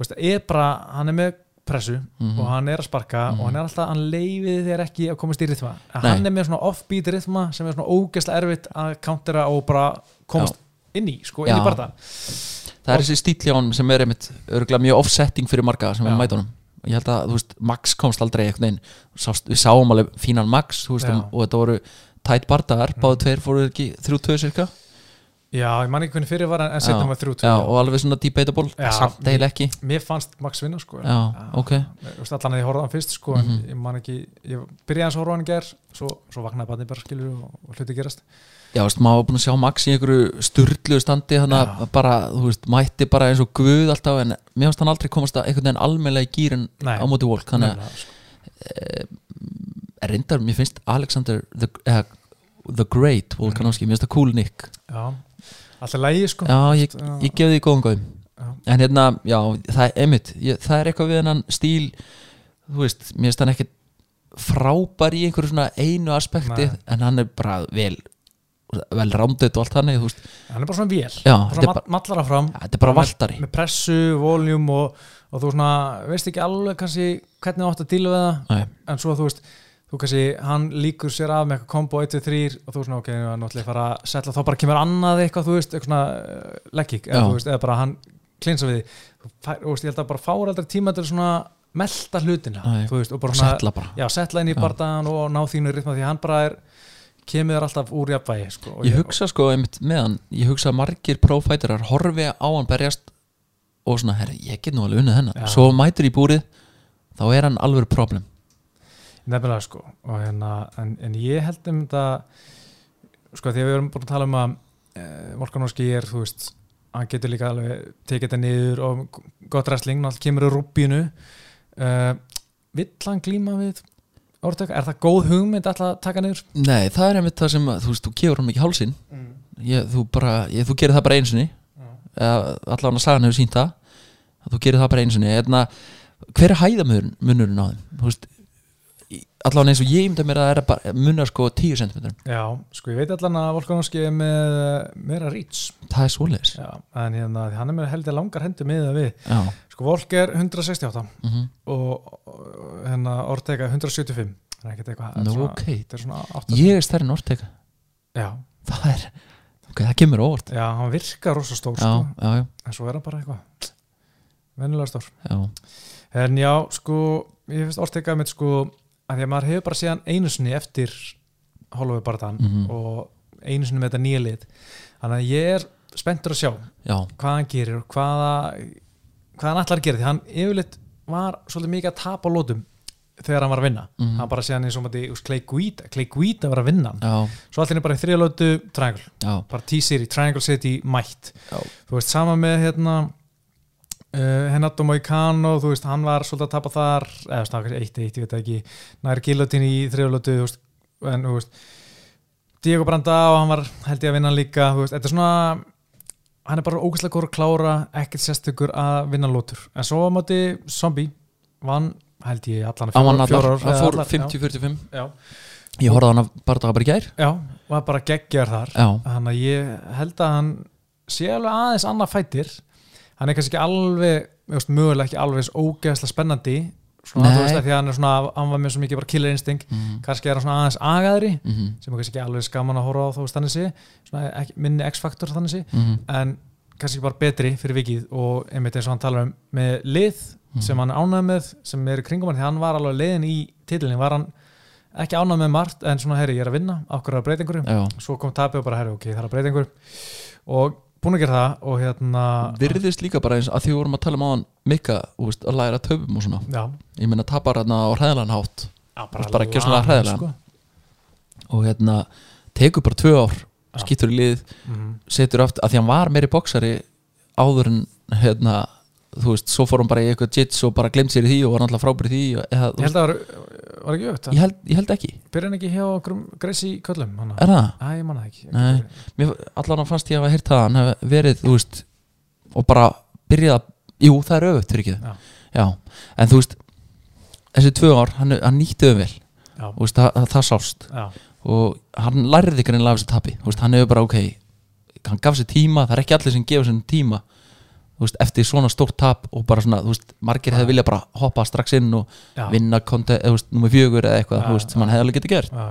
Speaker 1: þú veist, er bara, hann er með pressu
Speaker 2: Mhm.
Speaker 1: og
Speaker 2: Mm.
Speaker 1: hann er að sparka og hann er alltaf hann leifið þér ekki að komast í rithma En
Speaker 2: Nei.
Speaker 1: hann er með svona offbeat rithma sem er svona ógeðslega erfitt að countera og bara komast inn í, sko, inn í
Speaker 2: Já.
Speaker 1: barða
Speaker 2: það er þessi stíl hjá honum sem er einmitt örgulega mjög offsetting fyrir marga sem
Speaker 1: Já.
Speaker 2: er mæta honum ég held að, þú veist, Max komst aldrei einhvern veginn, Sást, við sáum alveg fínan Max, þú veist,
Speaker 1: Já. Mm.
Speaker 2: um, og þetta voru tætt bardaðar, báðu tveir fóru þeir ekki þrjú tveir cirka,
Speaker 1: Já, ég man ekki hvernig fyrir var en- en setna maður þrjú
Speaker 2: já,
Speaker 1: tvö.
Speaker 2: og alveg svona debatable,
Speaker 1: Já.
Speaker 2: samt eiginlega ekki
Speaker 1: Mér fannst Max vinna, sko
Speaker 2: já, ok, Mhm.
Speaker 1: Mér- þú veist, Allan að ég horfði á hann fyrst, sko en ég man ekki, ég byrjaði hans að horfa á hann í ger svo, svo vaknaði barnið bara skilur og, og hluti gerast
Speaker 2: já, þú veist, maður var búin að sjá Max í einhverju sturlu standi, hann að
Speaker 1: Já.
Speaker 2: bara, þú veist, mætti bara eins og guð alltaf, en mér finnst hann aldrei komast að einhvern veginn almennlega í gýrin
Speaker 1: Nei.
Speaker 2: á móti Volk, þannig að
Speaker 1: Nefnilega,
Speaker 2: eh,
Speaker 1: sko.
Speaker 2: reyndar, mér finnst Alexander the, uh, the Great Volkanovski, mér finnst það cool nick
Speaker 1: Já, alltaf lægi, sko
Speaker 2: já, ég,
Speaker 1: Já.
Speaker 2: ég gef því góðan góðum
Speaker 1: Já.
Speaker 2: en hérna, já, það er einmitt ég, það er eitthvað við hennan stíl þú veist, mér finnst hann ekkit frábær í einhverju svona einu aspekti
Speaker 1: Nei.
Speaker 2: en hann er bara vel vel rámdeitt og allt þannig þú veist.
Speaker 1: hann er bara svona vél
Speaker 2: já, þetta
Speaker 1: svona
Speaker 2: er bara,
Speaker 1: mat, mallara fram
Speaker 2: ja, þetta er bara valtari
Speaker 1: með pressu, voljum og, og þú svona, veist ekki alveg kannski hvernig þú átt að díla við það
Speaker 2: Nei,
Speaker 1: en svo þú veist, þú kannski hann líkur sér af með eitthvað kombo 1, 2, 3 og þú svona, ok, nú er náttúrulega að fara að setla þá bara kemur annað eitthvað, þú veist, eitthvað svona uh, leggik, eða
Speaker 2: Já.
Speaker 1: þú veist, eða bara hann klinsa við því, þú, fær, þú veist, ég held að bara fáur aldrei tíma til svona melta hlutina
Speaker 2: Nei.
Speaker 1: þú veist, og bara
Speaker 2: bara
Speaker 1: svona,
Speaker 2: setla bara
Speaker 1: já, setla inn í
Speaker 2: Já.
Speaker 1: bardaðan og ná þínu rytma því að hann bara er kemur þér alltaf úr jafnvægi sko, og
Speaker 2: ég hugsa sko einmitt með hann ég hugsa að margir prófætarar horfi á hann berjast og svona herri, ég get nú alveg unnið hennan
Speaker 1: Já.
Speaker 2: svo mætur í búrið þá er hann alveg problem
Speaker 1: Nefnilega sko og hérna, en, en ég held um þetta sko því að við erum búin að tala um að e, Volkanovski er, þú veist hann getur líka alveg tekið þetta niður og gott wrestling, náttúrulega kemur úr rúbínu e, vill hann glíma við orðtök, er það góð hugmynd alltaf að taka niður?
Speaker 2: nei, það er einmitt það sem að, þú veist, þú gefur hann ekki hálsin
Speaker 1: Mm.
Speaker 2: ég, þú, bara, ég, þú gerir það bara einsinni eða allan að sagan hefur sínt það að þú gerir það bara einsinni Eðna, hver er hæðamunurinn á þeim Þú veist, í- allan eins og ég imda mér að það er að bara munar sko 10 cm
Speaker 1: Já, sko ég veit allan að Volkanovski er með meira reach
Speaker 2: það er svoleiðis
Speaker 1: Já, en hérna, hann er með heldur langar hendur með það við
Speaker 2: já,
Speaker 1: sko Volk er 168
Speaker 2: mm
Speaker 1: og og, hérna Ortega 175 þannig ekkert eitthvað þetta er
Speaker 2: Nú,
Speaker 1: svona-
Speaker 2: ok.
Speaker 1: þetta er svona 8
Speaker 2: ég er stærri en orðteka
Speaker 1: já,
Speaker 2: það er, ok, það kemur á óvart
Speaker 1: já, hann virkar rosa stór
Speaker 2: já,
Speaker 1: sko,
Speaker 2: já, já,
Speaker 1: en svo er hann bara eitthvað vennilega stór
Speaker 2: já,
Speaker 1: en já, sko, ég finnst Ortega mitt sko að því að maður hefur bara séðan einu sinni eftir Holloway barðan
Speaker 2: Mhm.
Speaker 1: og einu sinni með þetta nýja lit þannig að ég er spenntur að sjá
Speaker 2: já,
Speaker 1: hvað hann gerir og hvaða hvað hann ætlar að gera því hann yfirleitt var svolítið mikið að tapa á lótum þegar hann var að vinna
Speaker 2: Mhm.
Speaker 1: hann bara sé hann eins og maður í Clay Guida Clay Guida var að vinna hann
Speaker 2: já,
Speaker 1: svo allir er bara í þriða lótu Triangle
Speaker 2: já,
Speaker 1: bara T-Siri, Triangle City, Mætt
Speaker 2: Já.
Speaker 1: þú veist, sama með hérna Uh, Hennato Moicano, þú veist, hann var svolítið að tapa þar, eða snakast eitt eitt, ég veit það ekki, nær gilotin í þriðulötu, þú veist, en þú veist Diego Branda og hann var held ég að vinna hann líka, þú veist, þetta er svona hann er bara ógæslega góður að klára ekkert sérstökur að vinna lótur en svo á móti Zombie vann held ég allan
Speaker 2: hann vann allar,
Speaker 1: fjórar-
Speaker 2: hann
Speaker 1: eða
Speaker 2: fór
Speaker 1: allar,
Speaker 2: 50-45
Speaker 1: já, já,
Speaker 2: ég horfði á hann bara dagar bara í gær
Speaker 1: já, var bara geggjar þar
Speaker 2: já,
Speaker 1: þannig að ég held að hann sé alveg aðeins annað fætir hann er kannski ekki alveg þú veist, mögulega ekki alveg eins ógeðslega spennandi svona,
Speaker 2: Nei.
Speaker 1: þú veist, af því að hann er svona hann var með svo mikið bara killer instinct
Speaker 2: mhm,
Speaker 1: kannski er hann svona aðeins agaðri
Speaker 2: mhm,
Speaker 1: sem er kannski ekki alveg skaman að horfa á þú veist þannig sé svona ekki, minni x-faktor þannig sé
Speaker 2: mhm
Speaker 1: en kannski bara betri fyrir vikið og einmitt eins og hann talar um með lið
Speaker 2: Mhm.
Speaker 1: sem hann ánæði með sem eru kringum hann því hann var alveg leiðin í titilin var hann ekki ánæði með margt en svona herri ég er að vinna okkur að breyta einhverju
Speaker 2: já,
Speaker 1: svo kom tapið og bara herri ok það er að breyta einhverju og búin að gera það og hérna
Speaker 2: virðist líka bara eins að því við vorum að tala um á hann mikka, þú veist, að læra töfum og svona
Speaker 1: já,
Speaker 2: ég meina tapar hann á hræðalan hátt
Speaker 1: já,
Speaker 2: Bara gjörsamlega
Speaker 1: lagað,
Speaker 2: hræðilegan. og hérna, tekur bara tvö ár
Speaker 1: Já.
Speaker 2: skýtur í lið,
Speaker 1: Mhm.
Speaker 2: setur aftur að því hann var meiri boksari áður en hérna, þú veist, svo fór hann bara í eitthvað jits og bara glemt sér í því og var alltaf frábæri því og, eða,
Speaker 1: ég held
Speaker 2: þú veist,
Speaker 1: að það var, var ekki auðvitað
Speaker 2: ég, held, ég held ekki,
Speaker 1: byrja hann ekki hjá Gracie Köllum hann að
Speaker 2: er það?
Speaker 1: Æ, ég manna ekki, ekki
Speaker 2: Nei.
Speaker 1: fyrir.
Speaker 2: Mér, allan að fannst ég að hafa heyrt það að hann hef verið, þú veist og bara byrjað að, jú, það er öfugt fyrir ekki
Speaker 1: Já.
Speaker 2: já, en þú veist þessi tvö ár, hann, hann nýtti öfum vel
Speaker 1: Já.
Speaker 2: Þú veist, það, það, það sást
Speaker 1: Já,
Speaker 2: og hann lærði greinilega af þessu tapi Þú veist, hann hefur bara, ok, hann gaf sér tíma það er ekki allir sem gefa sér tíma þú veist, eftir svona stórt tap og bara svona, þú veist, margir hefði vilja bara hoppa strax inn og
Speaker 1: já,
Speaker 2: vinna konta, eða, þú veist, nummer fjögur eða eitthvað,
Speaker 1: Já,
Speaker 2: þú veist, sem
Speaker 1: já.
Speaker 2: hann hefði alveg getið gert
Speaker 1: já.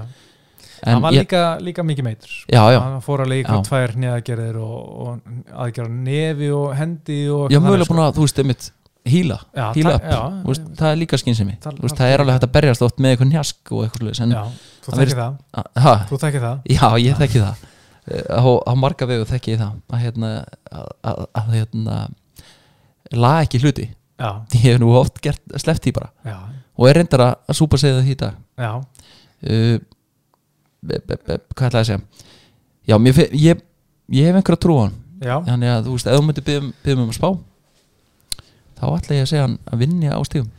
Speaker 1: hann
Speaker 2: en
Speaker 1: var
Speaker 2: ég,
Speaker 1: líka, líka mikið meitur sko.
Speaker 2: já, já,
Speaker 1: hann fór alveg í
Speaker 2: Já.
Speaker 1: eitthvað tvær neðagerðir og, og aðgerða nefi og hendi og
Speaker 2: ég mögulega búin að, þú veist, einmitt híla,
Speaker 1: Já,
Speaker 2: híla
Speaker 1: ta-
Speaker 2: upp,
Speaker 1: sko. já,
Speaker 2: þú veist, það er líka skynsemi
Speaker 1: Þar-
Speaker 2: þú veist,
Speaker 1: þar-
Speaker 2: það er alveg hægt að berjast oft með eitthvað njask og eitthvað slúðis, en
Speaker 1: já, þú
Speaker 2: hann
Speaker 1: þekkir
Speaker 2: virðist-
Speaker 1: það,
Speaker 2: að- ha,
Speaker 1: þú þekkir það
Speaker 2: já, ég þekki það Eh, á, á marga vegu þekki ég það að hérna að, að, að hérna laga ekki hluti (laughs)
Speaker 1: já,
Speaker 2: ég hef nú oft gert sleppt í bara
Speaker 1: já,
Speaker 2: og er reyndar að, að súpa segja það í dag
Speaker 1: já,
Speaker 2: uh, be, be, be, hvað ætlaði að segja já, mér, fe- ég, ég hef einhverja trú á hann
Speaker 1: já,
Speaker 2: þannig að þú veist, ef þú myndir byggja byggja um að spá þá ætla ég að segja hann að vinja á stígum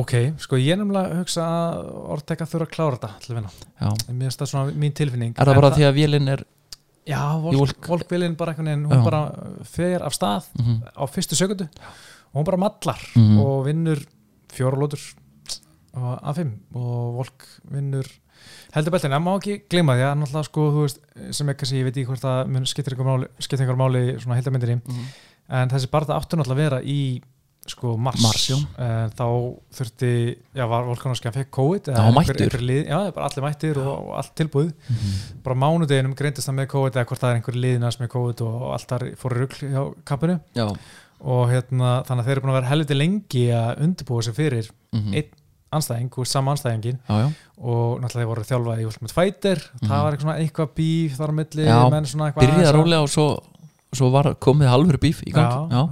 Speaker 1: ok sko ég er nefnilega að hugsa að Ortega þurfa að klára þetta til að vinna
Speaker 2: já.
Speaker 1: En mér finnst það svona mín tilfinning
Speaker 2: er það bara því að vélinn er
Speaker 1: að já,
Speaker 2: Í
Speaker 1: Volk,
Speaker 2: Volk-
Speaker 1: Volk Billin bara einhvern veginn hún
Speaker 2: Já.
Speaker 1: bara fer af stað
Speaker 2: mm -hmm.
Speaker 1: á fyrstu sekundu og hún bara mallar
Speaker 2: Mhm.
Speaker 1: og vinnur fjóralótur af fimm og Volk vinnur heldur beltin, en má ekki gleyma því að náttúrulega sko, þú veist, sem ekki sé, ég veit ekki hvort það mun skiptir einhver máli, skiptir einhver máli í svona heildamindinni,
Speaker 2: Mhm.
Speaker 1: en þessi barða áttu náttúrulega að vera í sko mars,
Speaker 2: Mars, já.
Speaker 1: Eh, þá þurfti, já, var Volkanovski hann fekk COVID,
Speaker 2: Já,
Speaker 1: eða
Speaker 2: mættur.
Speaker 1: lið, já, bara allir mættir og, og allt tilbúið
Speaker 2: Mhm.
Speaker 1: bara á mánudeginum greindist það með COVID eða hvort það er einhver liðina sem er COVID og, og allt þar fór í rugl hjá kappinu
Speaker 2: Já
Speaker 1: og hérna, þannig að þeir eru búin að vera helviti lengi að undirbúa sig fyrir
Speaker 2: mhm.
Speaker 1: Einn- anstæðing og sama anstæðingin
Speaker 2: Já, já
Speaker 1: og náttúrulega þeir voru þjálfaði í Ultimate Fighter það
Speaker 2: Mhm.
Speaker 1: var eitthvað, svona eitthvað bíf þar á milli
Speaker 2: Já,
Speaker 1: menn svona eitthvað
Speaker 2: Byrjaði
Speaker 1: aðeins að-
Speaker 2: rólega og svo, svo var komið alvöru bíf í gangi Já,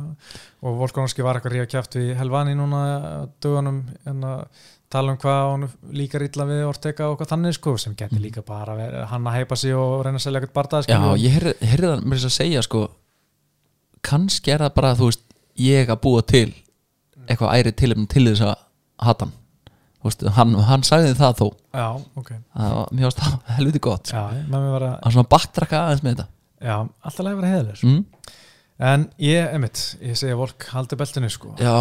Speaker 1: og Volkanovski var eitthvað ríða kjæft við Helvani núna á dögunum en að tala um hvað hún líkar illa við Ortega og hvað þannig sko sem geti
Speaker 2: Mhm.
Speaker 1: líka bara verið, hann að heipa sig og reyna að selja eitthvað barndað
Speaker 2: já, ég heyrði heyrði það mér þess að segja sko kannski er það bara þú veist ég að búa til eitthvað ærið tilefni til þess að hata hann Þú veist, hann, hann sagði það þó
Speaker 1: já, ok
Speaker 2: það (laughs) var mjög ástaf helviti gott sko.
Speaker 1: já, með mér var að,
Speaker 2: hann svona baktrakka aðeins með þetta
Speaker 1: já, alltaf leið að vera heðilegur
Speaker 2: mm?
Speaker 1: en ég, emitt, ég segja Volk haldi beltinu sko
Speaker 2: já,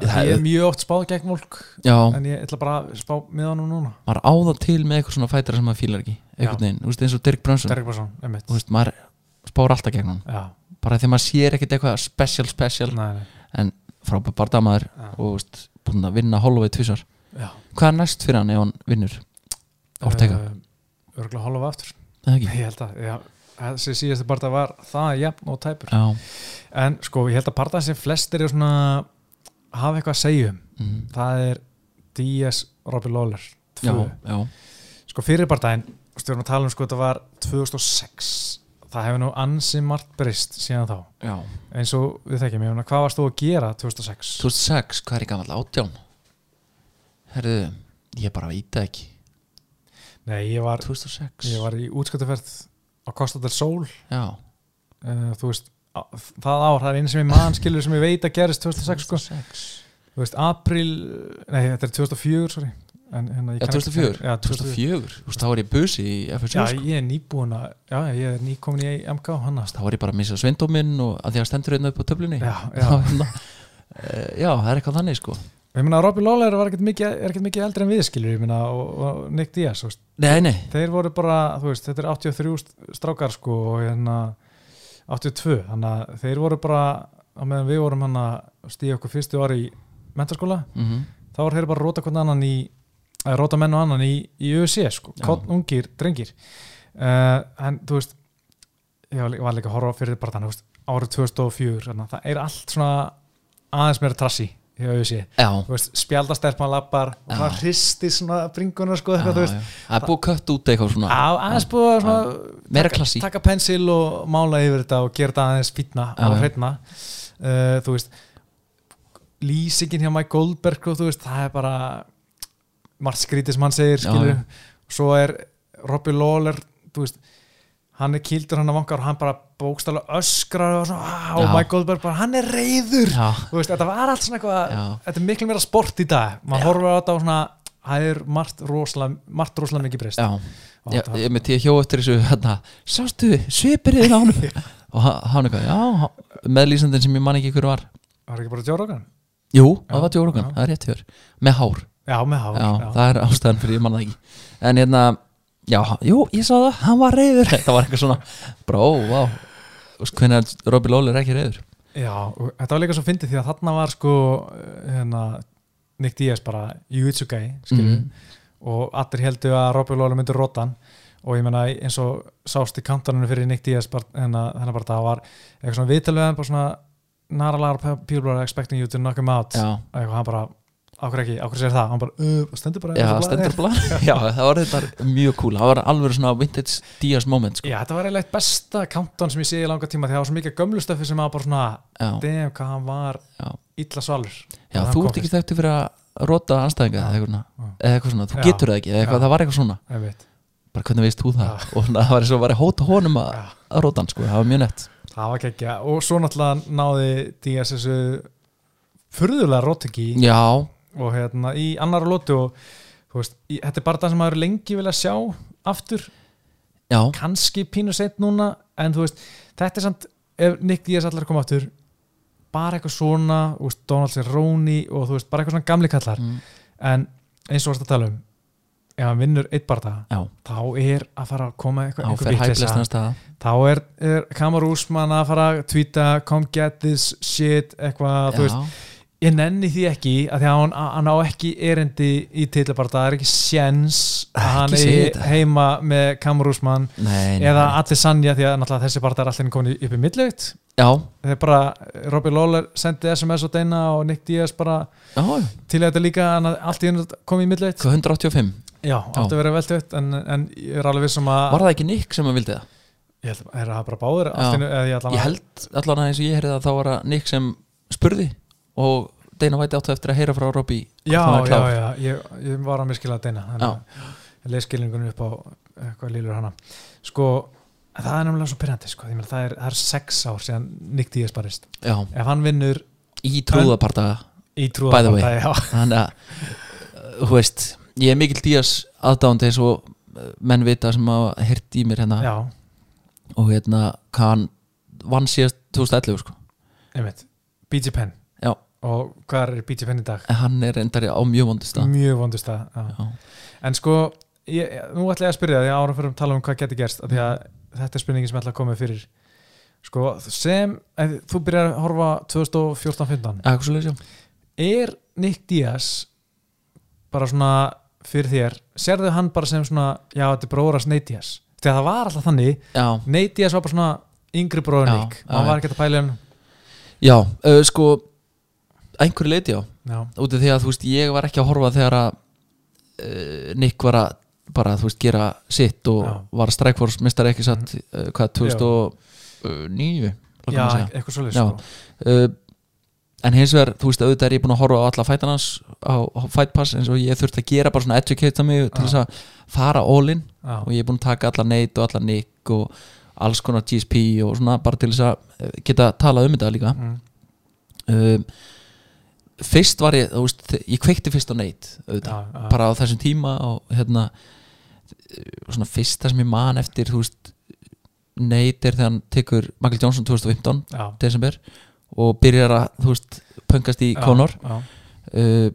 Speaker 1: ég er mjög oft spáð gegn Volk
Speaker 2: já
Speaker 1: en ég ætla bara að spá með honum núna
Speaker 2: maður á það til með eitthvað svona fætara sem maður fílar ekki einhvern veginn, þú veist eins og Dirk Brunson
Speaker 1: Derek Brunson, emitt
Speaker 2: þú veist, maður spáur alltaf gegn hann
Speaker 1: já,
Speaker 2: bara því maður sér ekkert eitthvað special special
Speaker 1: nei, nei,
Speaker 2: frábær bardamaður
Speaker 1: Já.
Speaker 2: og þú veist, búin að vinna Holloway tvisar
Speaker 1: já
Speaker 2: hvað er næst fyrir hann ef hann vinnur Ortega,
Speaker 1: uh, örgulega hálfa aftur
Speaker 2: uh, ekki?
Speaker 1: Eh, ég held að, já, þessi síðasti barða var það jafn og tæpur
Speaker 2: já,
Speaker 1: en sko, ég held að barða sem flestir eru svona hafa eitthvað að segja um
Speaker 2: mm,
Speaker 1: það er Díaz Robbie Lawler
Speaker 2: já,
Speaker 1: tvö.
Speaker 2: já
Speaker 1: sko fyrir barðaðin, við erum að tala um sko þetta var 2006 það hefur nú ansi margt breyst síðan þá
Speaker 2: já,
Speaker 1: eins og við þekkjum, ég meina, hvað varst þú að gera 2006?
Speaker 2: 2006, hvað er ég gamall átján herðu ég bara veit það ekki
Speaker 1: Nei, ég var,
Speaker 2: 2006,
Speaker 1: ég var í útskattuferð á Costa del Sol
Speaker 2: já
Speaker 1: uh, þú veist, á- það ár, það er einu sem ég mann skilur sem ég veit að gerist 2006 sko.
Speaker 2: 2006.
Speaker 1: þú veist, april nei, þetta er 2004, sorry en, hérna, ég
Speaker 2: já,
Speaker 1: kann ekki-
Speaker 2: 2004,
Speaker 1: já, 2004.
Speaker 2: 2004 þú veist, þá var ég busi í FSU
Speaker 1: Já,
Speaker 2: sko.
Speaker 1: ég er nýbúin að, já, ég er nýkomin í MK hann að
Speaker 2: þá var ég bara að missa svindóminn og að því að stendur hérna upp á töflunni
Speaker 1: Já, já.
Speaker 2: Þá, (laughs) hérna, eh, já, það er eitthvað þannig sko
Speaker 1: Ég meina, Robby Lawler var ekkert mikið, er ekkert mikið eldri en við skilur, ég meina, og, og Nick Diaz, þú veist,
Speaker 2: nei, nei,
Speaker 1: þeir voru bara, þú veist, þetta er 83 st- strákar, sko, og hérna 82, þannig að þeir voru bara, á meðan við vorum hann að stíða okkur fyrstu ári í mentaskóla,
Speaker 2: mm
Speaker 1: þá voru þeir bara að róta hvernig annan í að róta menn og annan í, í UFC sko,
Speaker 2: Já.
Speaker 1: kott ungir, drengir uh, en þú veist ég var lí- var líka að horfa fyrir bara þannig árið 2004, þannig, hérna, það er allt svona aðeins meira trassi í UFC,
Speaker 2: já,
Speaker 1: þú veist, spjaldasterpa lappar og
Speaker 2: Já.
Speaker 1: það hristi svona bringuna sko,
Speaker 2: já,
Speaker 1: eitthvað, þú veist,
Speaker 2: já. það er búið kött út eitthvað svona
Speaker 1: á, aðeins búið að svona
Speaker 2: meira
Speaker 1: taka-
Speaker 2: klassík.
Speaker 1: taka pensil og mála yfir þetta og gera þetta aðeins fýtna
Speaker 2: Já,
Speaker 1: og
Speaker 2: já.
Speaker 1: hreitna uh, þú veist lýsingin hjá Mike Goldberg og þú veist, það er bara margt skrítið sem hann segir
Speaker 2: Já,
Speaker 1: skilur,
Speaker 2: já.
Speaker 1: svo er Robbie Lawler þú veist, hann er kildur hann að vankar og hann bara bókstala öskrar og, svona, "Ah", og
Speaker 2: Já.
Speaker 1: Mike Goldberg bara, hann er reyður
Speaker 2: já,
Speaker 1: þú veist, þetta var allt svona eitthvað
Speaker 2: já,
Speaker 1: þetta er miklu meira sport í dag maður horfir á þetta og svona það er margt rosalega, margt rosalega mikið breyst
Speaker 2: já,
Speaker 1: Og
Speaker 2: já
Speaker 1: þetta-
Speaker 2: ég með tíu hjó eftir þessu hérna, sástu, svipirðið á honum og ha- hann eitthvað, já ha- meðlýsandinn sem ég man ekki hver var
Speaker 1: var ekki bara Joe Rogan?
Speaker 2: jú,
Speaker 1: Já,
Speaker 2: það var tjórugan,
Speaker 1: já.
Speaker 2: það er rétt hjör með hár,
Speaker 1: Já, með hár
Speaker 2: já, það er ástæðan fyrir ég man það ekki en hérna, já, ha- jú, ég sá (laughs) það hann var reyður, þetta var eitthvað svona bara, ó, vá hvernig er Robbie Lawler er ekki reyður
Speaker 1: Já, og þetta var líka svo fyndið því að þarna var sko eh, hérna, Nick Diaz bara jiu-jitsu gæi, skilur
Speaker 2: Mhm.
Speaker 1: og allir heldu að Robbie Lawler myndi róta hann og ég meina eins og sást í kantanunum fyrir Nick Diaz bara, hérna, hérna bara það var eitthvað svona vitalveðan bara svona Nara Lara people are expecting you to knock him out
Speaker 2: já,
Speaker 1: og eitthvað, hann bara, ákveð ekki, ákveð sér það hann bara, uh, stendur bara
Speaker 2: já,
Speaker 1: bara-
Speaker 2: stendur blá (laughs) já, það var þetta mjög cool það var alveg svona vintage Diaz moment sko.
Speaker 1: Já, þetta var eiginlega eitt besta kantan sem ég sé í langa tíma því það var svo mikið gömlustöfi sem að bara svona
Speaker 2: já,
Speaker 1: damn hvað hann var
Speaker 2: Já.
Speaker 1: illa svalur
Speaker 2: Já,
Speaker 1: Hann
Speaker 2: þú
Speaker 1: kom
Speaker 2: ert ekki þekktu fyrir að rota anstæðinga eða eitthvað, svona.
Speaker 1: Já.
Speaker 2: eða eitthvað svona, þú
Speaker 1: Já.
Speaker 2: getur það ekki eða eitthvað,
Speaker 1: Já.
Speaker 2: það var eitthvað svona,
Speaker 1: Einmitt.
Speaker 2: bara hvernig veist þú það og svona, það var eins og var að hóta honum að,
Speaker 1: Já.
Speaker 2: að rota hann, sko, það var mjög nett
Speaker 1: Það var gekkja og svo náttúrulega náði Díaz þessu furðulega rótiki
Speaker 2: Já,
Speaker 1: og hérna í annar lótu og þú veist, í, þetta er bara það sem maður lengi vilja sjá aftur,
Speaker 2: já,
Speaker 1: kannski pínu seitt núna en þú veist, þetta er samt ef Nick Díaz allar koma aftur bara eitthvað svona, þú veist, Donald Cerrone og þú veist, bara eitthvað svona gamli kallar
Speaker 2: mm,
Speaker 1: en eins og varst að tala um ef hann vinnur eitt barða
Speaker 2: Já,
Speaker 1: þá er að fara að koma eitthvað
Speaker 2: á
Speaker 1: einhver
Speaker 2: fer
Speaker 1: vitleysa.
Speaker 2: hæflestan stað
Speaker 1: þá er, er kamarúsmann að fara að tvíta come get this shit eitthvað, þú veist, ég nenni því ekki að því að hann, hann á ekki erindi í titlabarta, það er ekki séns að
Speaker 2: Ekki
Speaker 1: hann
Speaker 2: segja
Speaker 1: er
Speaker 2: þetta.
Speaker 1: heima með kamarúsmann
Speaker 2: Nei, nei,
Speaker 1: eða
Speaker 2: nei.
Speaker 1: allir sannja því að náttúrulega þessi barta er allir komin upp í millegt
Speaker 2: Já,
Speaker 1: þegar bara Robbie Lawler sendi SMS á Deina og Nick Diaz bara
Speaker 2: já, já,
Speaker 1: til í þetta líka en að allt í hennu komið í millegt
Speaker 2: hvað 185
Speaker 1: já, átti að vera veltögt en, en ég er alveg vissum að
Speaker 2: Var það ekki Nick sem að vildi það?
Speaker 1: ég held að það bara báður allt í hennu, eða ég
Speaker 2: Ég
Speaker 1: allavega
Speaker 2: held allan að eins og ég heyrði að þá var að Nick sem spurði og Dana White áttu eftir að heyra frá Robbie hvort
Speaker 1: já,
Speaker 2: hann væri
Speaker 1: já,
Speaker 2: klár.
Speaker 1: já, ég, ég var að miskila að Deina
Speaker 2: Já.
Speaker 1: leyskilningunum upp á eitthvað lílur hana sko, það er nefnilega svo pyrrandi sko, ég meina, það, er, það er sex ár síðan Nick Diaz barist,
Speaker 2: já,
Speaker 1: ef hann vinnur
Speaker 2: í trúðaparta
Speaker 1: í
Speaker 2: By the way.
Speaker 1: trúðabarta já,
Speaker 2: þannig að uh, þú veist, ég er mikill Díaz aðdánd eins og uh, menn vita sem hafa hirt í mér hérna
Speaker 1: já,
Speaker 2: og hérna hvað hann vann síðast 2011 sko.
Speaker 1: einmitt BG Penn
Speaker 2: Já.
Speaker 1: og hvað er BG Penn í dag?
Speaker 2: en hann er endari á mjög vondist mm.
Speaker 1: mjög vondust það
Speaker 2: Já.
Speaker 1: en sko, ég, ég- nú ætla ég að spyrja því að ára fyrir að tala um hvað getur gerst af því að
Speaker 2: Mm.
Speaker 1: þetta er spurningin sem ég ætla að koma með fyrir sko, sem ef þú byrjar að horfa 2014-15
Speaker 2: Axelus, já.
Speaker 1: er Nick Diaz bara svona fyrir þér sérðu hann bara sem svona já, þetta er bróðurast Nate Diaz þegar það var alltaf þannig,
Speaker 2: já,
Speaker 1: Nate Diaz var bara svona yngri bróður
Speaker 2: Já,
Speaker 1: Nick,
Speaker 2: já,
Speaker 1: hann
Speaker 2: já.
Speaker 1: var ekki að pæla um
Speaker 2: já uh, sko einhverju leiti já,
Speaker 1: já,
Speaker 2: út af því að þú veist ég var ekki að horfa þegar að uh, Nick var að bara þú veist gera sitt og
Speaker 1: Já. Mhm.
Speaker 2: var að strækvors mistar ekki satt uh, hvað 2009
Speaker 1: já
Speaker 2: langar mig að segja.
Speaker 1: eitthvað svolítið
Speaker 2: Já.
Speaker 1: sko.
Speaker 2: uh, en hins vegar, þú veist, auðvitað er ég búin að horfa á alla fætan hans á á Fight Pass eins og ég þurfti að gera bara svona educate mig til
Speaker 1: Já.
Speaker 2: þess að fara all in
Speaker 1: Já.
Speaker 2: og ég er búin að taka alla Nate og alla Nick og alls konar GSP og svona bara til þess að eh, geta talað um þetta líka
Speaker 1: Mm.
Speaker 2: um, fyrst var ég, þú veist, þe- ég kveikti fyrst á Nate auðvitað,
Speaker 1: Já, já.
Speaker 2: bara á þessum tíma og hérna eh, svona fyrsta sem ég man eftir, þú veist Nate er þegar hann tekur Michael Johnson 2015
Speaker 1: já,
Speaker 2: desember og byrjar að, þú veist, pöngast í
Speaker 1: já,
Speaker 2: Conor
Speaker 1: já,
Speaker 2: uh,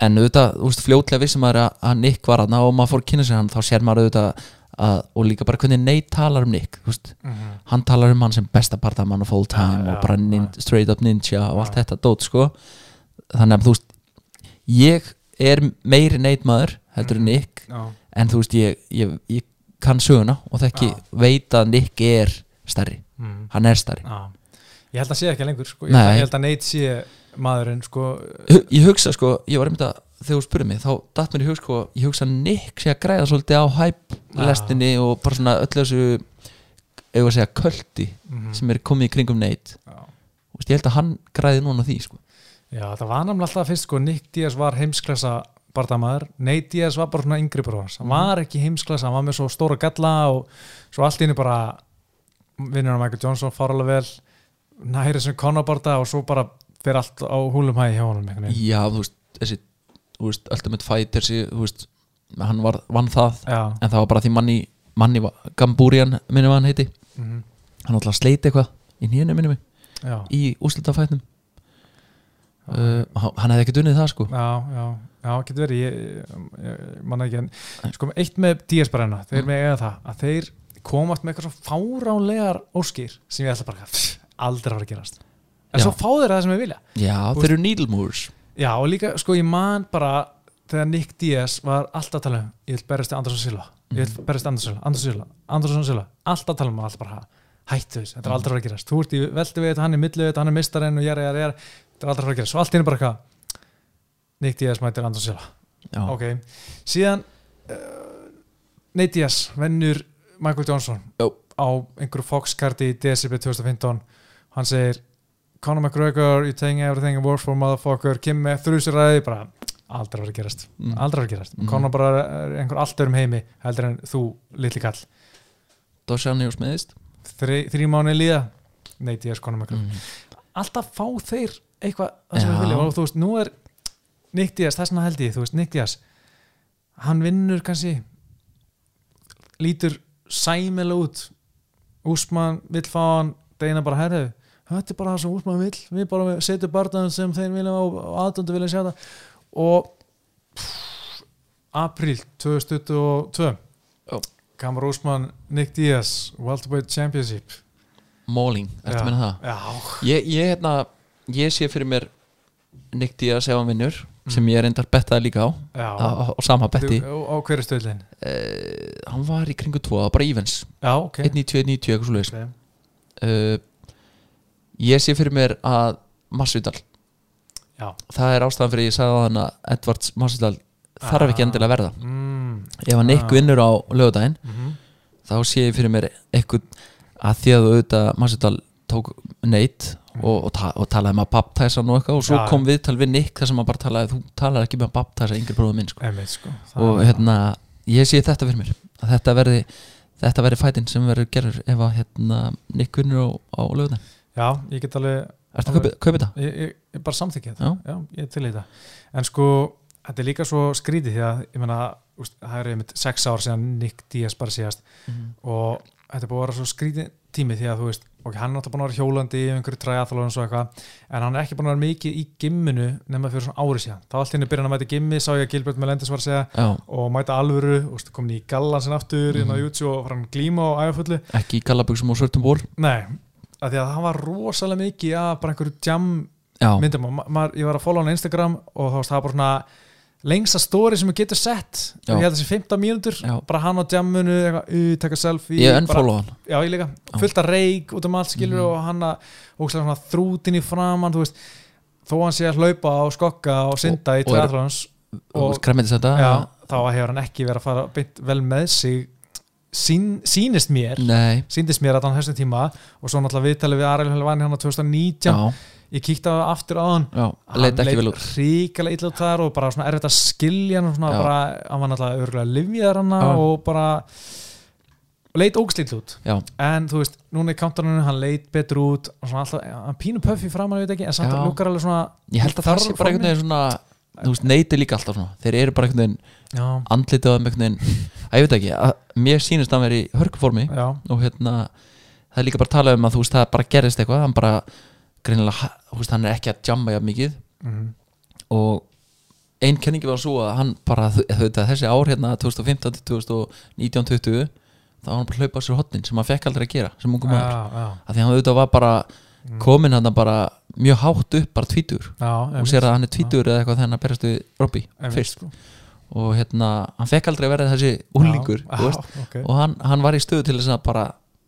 Speaker 2: en auðvitað, þú veist, fljótlega vissum maður að, að Nick var hann og maður fór að kynna sér hann þá sér maður auðvitað að, og líka bara hvernig Nate talar um Nick, þú veist
Speaker 1: mhm,
Speaker 2: hann talar um hann sem besta partamann og full time
Speaker 1: Já, já,
Speaker 2: og bara nin, straight up ninja og allt
Speaker 1: Já.
Speaker 2: þetta dót, sko þannig að, þú veist, ég er meiri Nate maður, heldur
Speaker 1: Mhm.
Speaker 2: en Nick
Speaker 1: já,
Speaker 2: en þú veist, ég, ég, ég kann söguna og þekki,
Speaker 1: Já.
Speaker 2: veit að Nick er stærri,
Speaker 1: mhm,
Speaker 2: hann er stærri
Speaker 1: já. ég held að sé ekki lengur sko. ég, held að,
Speaker 2: Nei.
Speaker 1: ég held að Nate sé maðurinn sko,
Speaker 2: Hu- ég hugsa sko, ég var einmitt að þegar þú spurði mig, þá datt mér í hug sko ég hugsa að Nick sé að græða svolítið á
Speaker 1: Já.
Speaker 2: hype lestinni og bara svona öllu þessu ef að segja köldi
Speaker 1: mhm,
Speaker 2: sem er komið í kringum Nate
Speaker 1: já.
Speaker 2: Þú veist, ég held að hann græði núna á því sko
Speaker 1: já, það var namlega alltaf fyrst sko, Nick Diaz var heimsklassa barndamaður, Nate Diaz var bara svona yngri bróðans, hann var ekki heimsklassa hann var með svo stóra galla og svo allt í einu bara vinnur hann Michael Johnson fara alveg vel næri sem konabarda og svo bara fyrir allt á húlum hæði hjá honum einhvern veginn.
Speaker 2: já, þú veist, þessi þú veist, Ultimate Fighter sí, þú veist, hann var, vann það
Speaker 1: já,
Speaker 2: en það var bara því manni, manni Gambúrian, minnum að hann heiti
Speaker 1: mhm,
Speaker 2: hann alltaf sleiti eitthvað í nýjunum minnum mig,
Speaker 1: já
Speaker 2: í úslitafætnum uh, hann hann hefði ekki dunnið það sko
Speaker 1: Já, já, já, getur verið ég, ég, ég manna ekki en sko eitt með DS-brenna, þeir með eiga það að þeir komast með eitthvað svo fáránlegar óskir sem ég ætla bara að aldrei að fara að gerast en
Speaker 2: Já.
Speaker 1: svo fá þeir það sem ég vilja
Speaker 2: já,
Speaker 1: Þú
Speaker 2: þeir eru needle movers
Speaker 1: Já, og líka, sko, ég man bara þegar Nick DS var alltaf að tala um ég vil berjast til Andersson Silva ég vil berjast til Andersson Silva, Andersson Silva, Andersson Silva alltaf að tala um að alltaf bara hættu þess, þetta er aldrei að fara að gerast þú ert í veldu við þetta, hann er millu við þetta, hann er mistarinn og jæra, jæra, jæra, þetta er aldrei að fara að gerast svo allt í henni bara eitthvað Nick DS mætir Andersson Silva
Speaker 2: já,
Speaker 1: ok, síðan uh, Nate Diaz vennur Michael Johnson
Speaker 2: Jó.
Speaker 1: á einhverju Fox-karti í DSB 2015 hann segir Conor McGregor, you're taking everything and work for motherfucker Kim með þrjusræði bara aldrei að vera að gerast,
Speaker 2: Mm.
Speaker 1: aldrei að vera að gerast
Speaker 2: Mhm.
Speaker 1: Conor bara er einhver allt örum heimi heldur en þú, litli kall
Speaker 2: Dosjani og smiðist
Speaker 1: Þri, þrjú mánu líða, Nate Diaz, Conor McGregor alltaf fá þeir eitthvað það sem
Speaker 2: Já.
Speaker 1: við viljum og þú veist, nú er Nick Diaz, það er svona held ég, þú veist, Nick Diaz hann vinnur kannski lítur sæmil út Úsmann vill fá hann Deina bara herðu, þetta er bara það sem Úsmann vill við bara setjum barnaðum sem þeir vilja og aðdöndu vilja sjá það og pff, apríl 2022
Speaker 2: Já.
Speaker 1: Kamar Úsmann, Nick Diaz Welterweight Championship
Speaker 2: Máling,
Speaker 1: Já.
Speaker 2: ertu að meina það?
Speaker 1: Já,
Speaker 2: Ég, ég, hérna, ég sé fyrir mér Nick Diaz ef hann vinnur
Speaker 1: Mm.
Speaker 2: sem ég reyndar bettaði líka á
Speaker 1: já
Speaker 2: á, á, á sama betti
Speaker 1: Þú- á, á hverju stöðlin?
Speaker 2: uh, hann var í kringu 2, bara evens
Speaker 1: Já, ok
Speaker 2: 1.90, 1.90, eitthvað svo leiðis
Speaker 1: Ok.
Speaker 2: uh, ég sé fyrir mér að Masvidal
Speaker 1: Já.
Speaker 2: það er ástæðan fyrir ég sagði á hann að Edvards Masvidal þarf
Speaker 1: Ah.
Speaker 2: ekki endilega að verða
Speaker 1: mm,
Speaker 2: ef hann
Speaker 1: Ah.
Speaker 2: Nick vinnur á lögadaginn
Speaker 1: mhm,
Speaker 2: þá sé ég fyrir mér eitthvað að því að þú auðvitað Masvidal tók neitt og, og, ta og talaði með Baptæsan og eitthvað og svo
Speaker 1: Mm. Já, já.
Speaker 2: kom viðtal við Nick þar sem hann bara talaði þú talar ekki með Baptæsa yngri bróðu minn sko.
Speaker 1: einmitt sko Það-
Speaker 2: og hérna, ég sé þetta fyrir mér að þetta verði þetta verði fætin sem verður gerður ef að hérna, Nick vinnur á, á lögðan
Speaker 1: Já, ég get alveg
Speaker 2: Ertu að kaupi- kaupi þetta?
Speaker 1: ég, ég, ég bara samþykja þetta
Speaker 2: Já.
Speaker 1: já, ég er til í þetta en sko, þetta er líka svo skrítið því að, ég meina, úst, það eru einmitt sex ár síðan Nick Diaz bara síðast og þetta er búið að vera svo skrítið tími því að þú veist, ok, hann er alltaf búin að vera hjólandi í einhverju triathlon og svo eitthvað en hann er ekki búin að vera mikið í gimminu nema fyrir svona ári síðan, þá allt henni byrjan að mæta í gimmi sá ég að Gilbert Melendez var að segja
Speaker 2: Já,
Speaker 1: og mæta alvöru, úst, komin í gallan sin aftur inn á
Speaker 2: Mhm.
Speaker 1: YouTube og fara hann glíma og ægafullu
Speaker 2: ekki í gallabuxum og svörtum bór
Speaker 1: nei, af því að hann var rosalega mikið að bara einhverju jam
Speaker 2: Já,
Speaker 1: myndum og ma maður- ég var að follow hann á Instagram og þá veist, það var bara svona lengsta story sem þú getur sett
Speaker 2: Já.
Speaker 1: ég held þessi 15 mínútur,
Speaker 2: Já.
Speaker 1: bara hann á jammunu eitthvað, "Ú, taka selfie
Speaker 2: ég
Speaker 1: bara,
Speaker 2: ennfólu hann
Speaker 1: já, ég líka,
Speaker 2: Já.
Speaker 1: fullt að reik út um allt skilur
Speaker 2: Mhm.
Speaker 1: og hann að ógeðslega svona þrútin í framann, þú veist þó hann sé að hlaupa og skokka og synda í
Speaker 2: Og- og er-
Speaker 1: triathlons
Speaker 2: og
Speaker 1: og-
Speaker 2: skremmið þetta
Speaker 1: já, þá hefur hann ekki verið að fara beint vel með sig Sín, sínist mér
Speaker 2: Nei,
Speaker 1: síndist mér að hann þessum tíma og svo náttúrulega viðtalið við Ariel Helvani hérna hann á 2019
Speaker 2: já,
Speaker 1: ég kíkti á það aftur á hann
Speaker 2: já, leit ekki vel út
Speaker 1: ríkala illa út þar og bara svona erfitt að skilja hann og svona
Speaker 2: Já.
Speaker 1: bara, hann var náttúrulega örgulega livjæðar hann
Speaker 2: Já.
Speaker 1: og bara leit ógslill út
Speaker 2: Já,
Speaker 1: en þú veist, núna í kantarninu hann leit betur út og svona alltaf, hann pínu pöffi framan ég veit ekki, en samt
Speaker 2: Já.
Speaker 1: lukkar alveg svona
Speaker 2: ég held að það sé bara einhvern veginn svona þú veist, neyti líka alltaf svona þeir eru bara einhvern veginn
Speaker 1: já,
Speaker 2: andlitið á þeim
Speaker 1: (laughs)
Speaker 2: einhvern veginn að ég veit ekki, að mér sýnist að hann veri í hörkuformi
Speaker 1: já,
Speaker 2: og hérna það er líka bara að tala um að þú veist, það bara gerist eitthvað hann bara, greinilega, ha- þú veist, hann er ekki að jamma jafn mikið
Speaker 1: mhm,
Speaker 2: og einn kenningi var svo að hann bara, þú þú veit að þessi ár hérna 2015 til 2019 20 þá var hann bara að hlaupa á sér hotnin sem hann fekk aldrei að gera, sem ungum
Speaker 1: já,
Speaker 2: maður
Speaker 1: já,
Speaker 2: af því hann auðvitað var bara
Speaker 1: Mm.
Speaker 2: komin hann bara mjög hátt upp, bara tvítur
Speaker 1: já
Speaker 2: og sér að hann er tvítur eða eitthvað þegar hann berist við Robby fyrst og hérna, hann fekk aldrei að vera þessi úlingur þú veist,
Speaker 1: okay.
Speaker 2: og hann, hann var í stöðu til þess að bara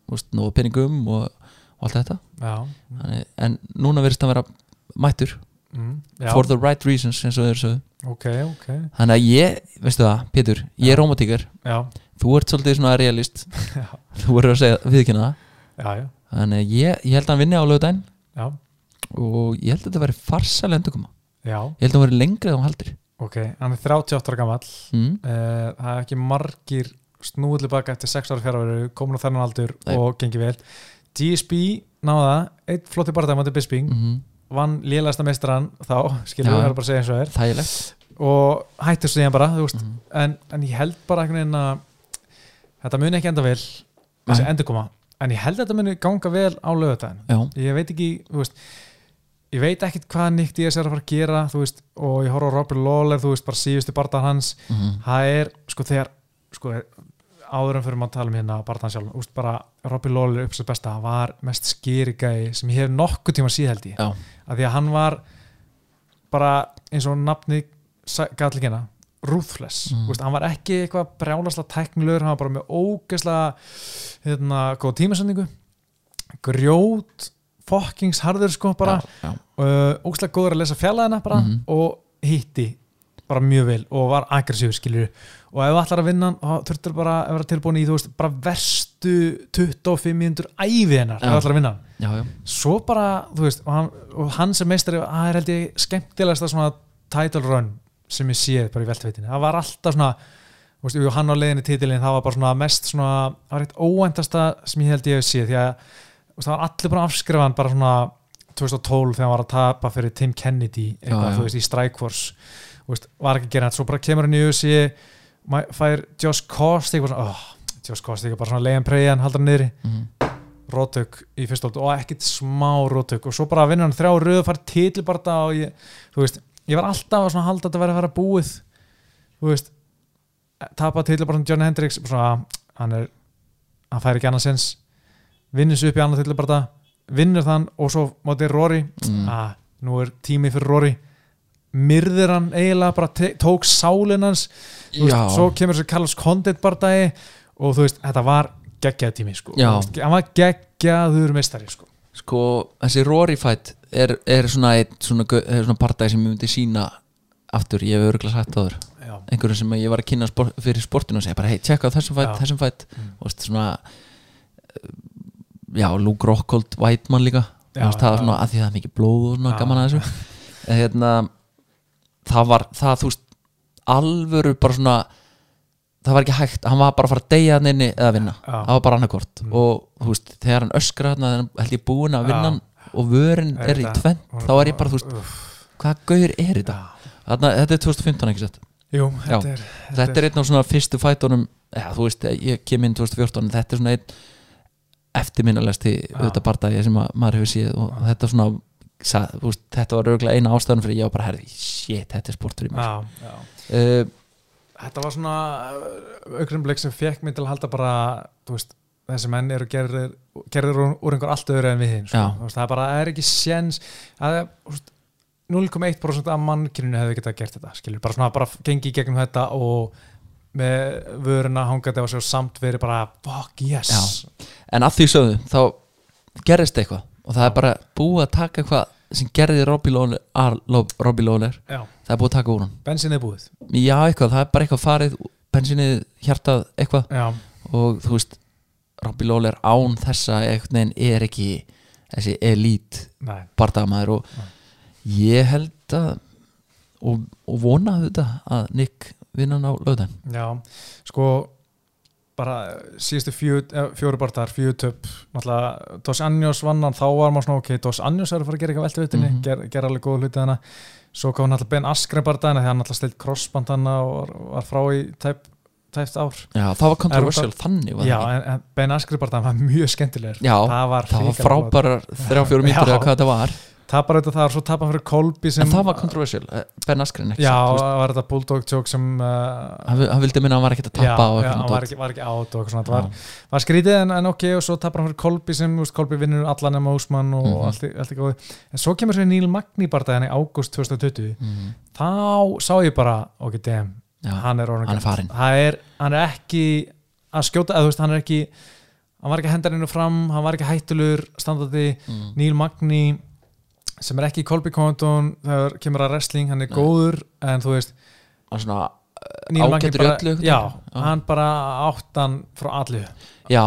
Speaker 2: þú veist, nóg peningum og, og allt þetta
Speaker 1: já,
Speaker 2: Þannig, en núna verðist hann vera mættur
Speaker 1: mm, já,
Speaker 2: for the right reasons eins og þeir sögðu
Speaker 1: ok, ok
Speaker 2: þannig að ég, veistu það, Pétur ég
Speaker 1: Já.
Speaker 2: er romantíkar,
Speaker 1: já,
Speaker 2: þú ert svolítið svona realist
Speaker 1: (laughs) Já.
Speaker 2: þú verður að segja viðkynna það
Speaker 1: já, já,
Speaker 2: þannig að ég, ég held að hann vinni á lögudaginn
Speaker 1: já,
Speaker 2: og ég held að þetta verði farsal endurkoma
Speaker 1: já
Speaker 2: ég held að hann verði lengri þá haldir
Speaker 1: ok, hann er 38 ára gamall
Speaker 2: mm.
Speaker 1: Eh, það er ekki margir snúðli baka eftir 6 ára fjárveru komin á þennan aldur
Speaker 2: Nei.
Speaker 1: og gengi vel GSB náða eitt flotti barða mæti Bisping,
Speaker 2: mm
Speaker 1: vann lélægsta meistaran þá, skilur
Speaker 2: Já.
Speaker 1: við, það er bara að segja eins og
Speaker 2: þægilegt
Speaker 1: er og hættur sig hann bara, þú veist
Speaker 2: Mhm.
Speaker 1: en, en ég held bara einhvern veginn að þetta muni ekki enda vel þessi
Speaker 2: Nei.
Speaker 1: endurkoma, en ég held að þetta muni ganga vel á lögudaginn
Speaker 2: já,
Speaker 1: ég veit ekki, þú veist ég veit ekkit hvað Nick Diaz er að fara að gera þú veist, og ég horf á Robert Lawler þú veist, bara síðustu barða hans
Speaker 2: mm.
Speaker 1: það er sko þegar sko, áður en fyrir maður að tala um hérna bara þann sjálf, úst bara Robbie Lawler upp sem besta, hann var mest skýrigæi sem ég hef nokkuð tíma síðhaldi
Speaker 2: já,
Speaker 1: af því að hann var bara eins og nafni gallingina, ruthless
Speaker 2: Mm.
Speaker 1: mm. hann var ekki eitthvað brjálasla tæknilegur hann var bara með ógesla hérna, góð tímasendingu grjót, fokkings harður sko bara,
Speaker 2: já, já.
Speaker 1: uh, ógslag góður að lesa fjallaðina bara
Speaker 2: Mhm.
Speaker 1: og hitti bara mjög vel og var aggressífur skilur og ef þú ætlar að vinna hann, þá þurftur bara að vera tilbúin í þú veist bara verstu 25 mínútur ævi hennar ef
Speaker 2: Já.
Speaker 1: þú ætlar að vinna hann
Speaker 2: já, já.
Speaker 1: svo bara þú veist og hann, og hann sem meistari það er held ég skemmtilegasta svona title run sem ég séð bara í veltveitinu það var alltaf svona þú veist, jú, hann á leiðinni titilin það var bara svona mest svona það var eitt óvæntasta sem ég held ég hef séð því að þú veist, það var allir bara afskrifan bara svona 2012 þegar hann var að tapa fyrir Tim Kennedy eitthvað,
Speaker 2: Já, já.
Speaker 1: þú veist, í Strike Force þú veist, var ekki að gera þetta, svo bara kemur hann í UFC ma- fær Josh Kost eitthvað svona, oh, Josh Kost eitthvað bara svona leiðan preyjan, haldur hann niðri
Speaker 2: Mm.
Speaker 1: rótök í fyrstóldu og ekkert smá rótök og svo bara vinna hann þrjá röðu fara titilbarta og ég, þú veist ég var alltaf að svona halda að þetta væri að vera búið þú veist, tapa tillabarnum Johnny Hendricks svona, hann, er, hann fær ekki annað sens vinnur svo upp í annað tillabarta vinnur þann og svo móti Rory
Speaker 2: Mm.
Speaker 1: ah, nú er tími fyrir Rory myrðir hann eiginlega bara te- tók sálin hans Þú
Speaker 2: Já,
Speaker 1: veist, svo kemur þessi Carlos Condit bardagi og þú veist, þetta var geggjað tími sko.
Speaker 2: Já.
Speaker 1: Þú veist, hann var geggjaður meistari sko.
Speaker 2: sko, þessi Rory fight er, er svona eitt svona, gau- eh, svona partæk sem ég myndi sína aftur, ég hef örgulega sagt áður
Speaker 1: já,
Speaker 2: einhverjum sem ég var að kynna spor, fyrir sportinu og segja bara, hei, tjekka á þessum fætt,
Speaker 1: Já.
Speaker 2: þessum fætt
Speaker 1: Mm.
Speaker 2: og veist, svona eh, já, Luke Rockhold, Whiteman líka
Speaker 1: Já,
Speaker 2: já, veist,
Speaker 1: já.
Speaker 2: það var svona, að því það er mikið blóð og svona
Speaker 1: Já.
Speaker 2: gaman að þessu en, hérna, það var, það þú veist alvöru bara svona það var ekki hægt, hann var bara að fara að deyja hann inni eða vinna,
Speaker 1: Já.
Speaker 2: það var bara annarkort
Speaker 1: Mm.
Speaker 2: og þú veist, þegar hann öskra hann held ég búin að vinna
Speaker 1: Já.
Speaker 2: hann og vörin
Speaker 1: Er
Speaker 2: er í
Speaker 1: þetta-
Speaker 2: tvent, þá er ég bara, þú veist
Speaker 1: Úff,
Speaker 2: hvað gauður er þetta?
Speaker 1: já.
Speaker 2: Þarna, þetta er 2015 ekki sett
Speaker 1: Jú,
Speaker 2: Já.
Speaker 1: þetta er,
Speaker 2: þetta er einn af svona fyrstu fætunum já, þú veist, ég kem inn 2014 en þetta er svona einn eftirminnilegasti auðvitað bardagi sem að, maður hefur séð og
Speaker 1: Já.
Speaker 2: þetta svona sa, þú veist, þetta var auðvitað eina ástæðan fyrir ég var bara herði, shit, þetta er sport fyrir mig
Speaker 1: já, já.
Speaker 2: uh,
Speaker 1: Þetta var svona aukrumbleik sem fekk mig til að halda bara þú veist, þessi menn eru gerðir, gerðir úr, úr einhver allt öðru en við hinn sko.
Speaker 2: Já.
Speaker 1: Þú veist, það er bara, það er ekki séns að það- þú veist, 0,1% af mannkyninu hefði getað gert þetta skilur, bara svona bara gengi í gegnum þetta og með vöruna hangandi á sig og samt verið bara fuck yes
Speaker 2: en að því sögðu, þá gerist eitthvað og það er bara búið að taka eitthvað sem gerði Robbie Lawler, að Lo- Robbie Lawler
Speaker 1: Já.
Speaker 2: það er búið að taka úr hann,
Speaker 1: bensin er búið
Speaker 2: já eitthvað, það er bara eitthvað farið bensinnið, hjartað, eitthvað
Speaker 1: Já,
Speaker 2: og þú veist Robbie Lawler án þessa einhvern veginn er ekki þessi elít
Speaker 1: nei,
Speaker 2: bardamæður og ég held að og, og vona þetta að Nick vinnan á löðan
Speaker 1: já sko bara eh, síðustu fjö, eh, fjóru barndar, fjögur töp náttúrulega Dos Anjos vann hann þá var maður svona ok, Dos Anjos er að fara að gera eitthvað veltuvitinni mm -hmm.
Speaker 2: Mhm.
Speaker 1: ger, gera alveg góð hluti hana svo kom hann alltaf Ben Askren barndagina þegar hann alltaf stilt crossband hana og var, var frá í tæp, tæpt ár
Speaker 2: Já, það var kontroversial þannig var
Speaker 1: já,
Speaker 2: það ekki?
Speaker 1: en, en Ben Askren barndagina var mjög skemmtilegur
Speaker 2: Já,
Speaker 1: það var,
Speaker 2: það var
Speaker 1: hrikalega flott.
Speaker 2: frábærar þrjá fjóru
Speaker 1: Já.
Speaker 2: mínútur eða hvað þetta var
Speaker 1: tapar auðvitað þar, svo tapar hann fyrir Kolbi sem
Speaker 2: en það var kontroversial, eh, Ben Askren ekki
Speaker 1: já,
Speaker 2: satt, þú veist,
Speaker 1: var þetta bulldog joke sem uh,
Speaker 2: hann, vi- hann vildi minna að hann var ekkert að
Speaker 1: já,
Speaker 2: tappa á
Speaker 1: já,
Speaker 2: eitthvað
Speaker 1: hann var
Speaker 2: dót.
Speaker 1: ekki, var ekki át og eitthvað svona, þetta var
Speaker 2: Já.
Speaker 1: var skrítið en, en ok og svo tapar hann fyrir Kolbi sem, þú veist, Kolbi vinnur allan nema Úsmann og
Speaker 2: Mhm.
Speaker 1: allt, í- allt í góðu en svo kemur svo Níl Magni barndaginn í ágúst 2020
Speaker 2: Mhm.
Speaker 1: þá sá ég bara, ok damn
Speaker 2: Já,
Speaker 1: Mm. hann er orðin
Speaker 2: hann er farinn.
Speaker 1: hann er, hann er ekki að skjóta, eða þú veist, hann er ekki hann var ekki að henda hennu fram, hann var ekki hættulur standandi,
Speaker 2: mm.
Speaker 1: Níl Magni sem er ekki í Kolbi Kondon þegar kemur að wrestling, hann er
Speaker 2: Nei.
Speaker 1: góður en þú veist,
Speaker 2: Hann svona, eh,
Speaker 1: Neil Magny
Speaker 2: Ágætur í
Speaker 1: bara,
Speaker 2: öllu einhvern
Speaker 1: já,
Speaker 2: veginn. Já.
Speaker 1: hann bara áttan frá allu
Speaker 2: já,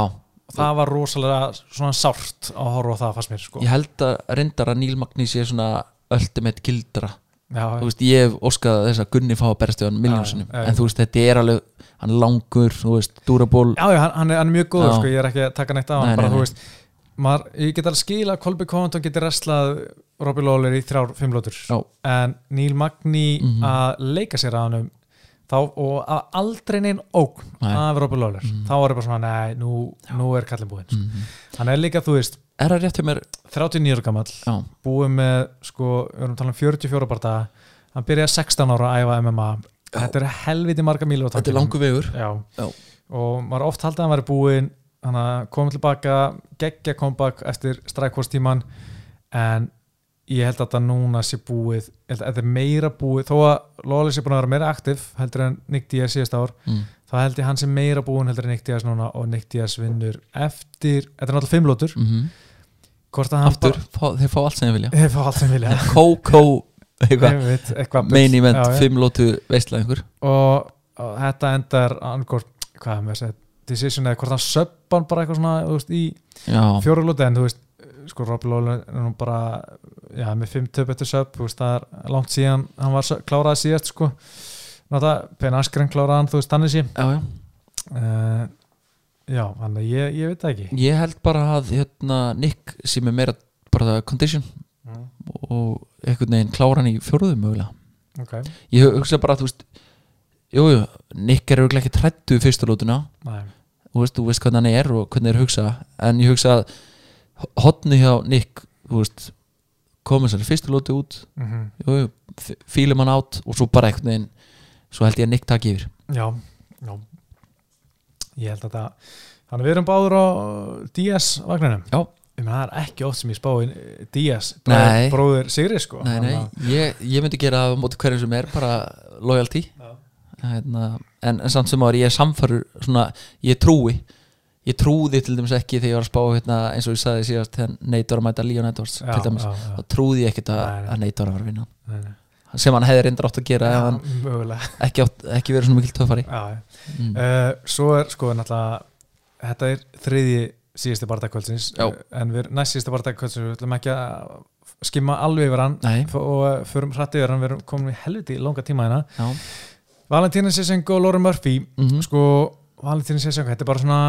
Speaker 1: það var rosalega svona sárt að horfa á það fannst mér sko
Speaker 2: ég held að reyndar að Neil Magni sé svona ultimate gildra
Speaker 1: já,
Speaker 2: þú veist, ég hef óskað þess að Gunni fá að berast við hann
Speaker 1: Já,
Speaker 2: miljónsinnum,
Speaker 1: já, já.
Speaker 2: en þú veist, þetta er alveg hann er langur, þú veist, dúraból
Speaker 1: já, já, hann, hann er, hann er mjög góður
Speaker 2: Já.
Speaker 1: sko, ég er ekki að taka neitt á hann
Speaker 2: Nei,
Speaker 1: bara
Speaker 2: nei,
Speaker 1: þú
Speaker 2: nei.
Speaker 1: veist, maður, ég get alveg skila að Colby Covington getur reslað Robbie Lawler í þrjár fimm lótur
Speaker 2: Já.
Speaker 1: en Neil Magni
Speaker 2: Mhm.
Speaker 1: að leika sér að hann þá, og að aldrei neinn ógn
Speaker 2: Nei.
Speaker 1: af Robbie Lawler,
Speaker 2: Mhm.
Speaker 1: þá er ég bara svona nei, nú, nú er kallin búinn sko.
Speaker 2: Mhm.
Speaker 1: hann er líka, þú veist,
Speaker 2: er það rétt hjá mér,
Speaker 1: 39 ára gamall
Speaker 2: já,
Speaker 1: búið með sko, við erum að tala um 44 barða hann byrjaði 16 ára að æfa MMA
Speaker 2: Já.
Speaker 1: þetta eru helviti marga mílu á
Speaker 2: þetta er langur vegur
Speaker 1: já.
Speaker 2: Já.
Speaker 1: og maður oft haldið að hann væri búinn hann komið tilbaka geggja comeback eftir strækvórstíman en ég held að þetta núna sé búið ég held að þetta er meira búið þó að Lawless er búin að vera meira aktiv heldur en Nick Diaz síðast ár
Speaker 2: mm.
Speaker 1: þá held ég hann sé meira búinn heldur en Nick Diaz núna og Nick Diaz vinnur eftir þetta er náttúrulega fimmlótur
Speaker 2: Mm
Speaker 1: hvort að hann (laughs)
Speaker 2: aftur, fá, þeir fá allt sem þeir vilja
Speaker 1: bara, hefur allt sem vilja
Speaker 2: Coco, eitthvað,
Speaker 1: Einmitt, eitthvað bull.
Speaker 2: main event
Speaker 1: Já, já.
Speaker 2: fimm lótu veistla einhver
Speaker 1: og, og þetta endar angort, hvað er með þess að decision eða hvort hann söppan bara eitthvað svona þú veist, í
Speaker 2: já,
Speaker 1: fjórulóti en þú veist sko Robbie Lawler er nú bara já, með fimm töp eftir söpp þú veist, það er langt síðan hann var sö- kláraði síðast sko Náttúrulega, Ben Askren kláraði hann, þú veist, þannig sé
Speaker 2: já, já
Speaker 1: uh, Já, þannig að ég, ég veit það ekki
Speaker 2: ég held bara að hérna, Nick sem er meira bara condition
Speaker 1: mm.
Speaker 2: og einhvern veginn klára hann í fjóruðum mögulega
Speaker 1: Ok,
Speaker 2: ég hugsa bara að þú veist jújú, jú, Nick er auðvitað ekki 30 fyrstu lótuna
Speaker 1: næ,
Speaker 2: þú veist, þú veist hvernig hann er og hvernig er hugsa en ég hugsa að hotni hjá Nick, þú veist komið sér í fyrstu lótu út
Speaker 1: mm
Speaker 2: jú, jú, f- fílum hann átt og svo bara einhvern veginn svo held ég að Nick takk yfir
Speaker 1: já Já, ég held að það Þannig að við erum báður á DS vagninum
Speaker 2: Já.
Speaker 1: Ég meina, það er ekki oft sem ég spái eh, DS
Speaker 2: Nei.
Speaker 1: Bróður Sigri sko
Speaker 2: Nei, nei,
Speaker 1: Þannig að-
Speaker 2: ég, ég myndi gera það á móti hverjum sem er bara loyalty
Speaker 1: Já.
Speaker 2: hérna, en, en samt sem ári ég samfarur svona, ég trúi ég trúði til dæmis ekki þegar ég var að spá hérna, eins og ég sagði síðast þegar Nate var að mæta Leon Edwards
Speaker 1: Já,
Speaker 2: til dæmis,
Speaker 1: já, já.
Speaker 2: þá trúði ég ekkit að,
Speaker 1: Nei, nei.
Speaker 2: að Nate var að fara að vinna hann.
Speaker 1: Nei, nei.
Speaker 2: sem hann hefði reyndar átt að gera ef hann
Speaker 1: Já, Mögulega
Speaker 2: ekki, átt, ekki verið svona mikil töffari
Speaker 1: Já, já.
Speaker 2: mm.
Speaker 1: Uh, Svo er sko náttúrulega Þetta er þriðji síðasti bardagkvöldsins
Speaker 2: Já.
Speaker 1: En við næst síðasti bardagkvöldsins Við ætlum ekki að skimma alveg yfir hann
Speaker 2: Nei,
Speaker 1: f- og eh, förum hrætt yfir hann, við erum komin í helviti í langa tíma hérna
Speaker 2: já
Speaker 1: Valentína Sessengo og Lauren Murphy
Speaker 2: mm
Speaker 1: sko, Valentína Sessengo, þetta er bara svona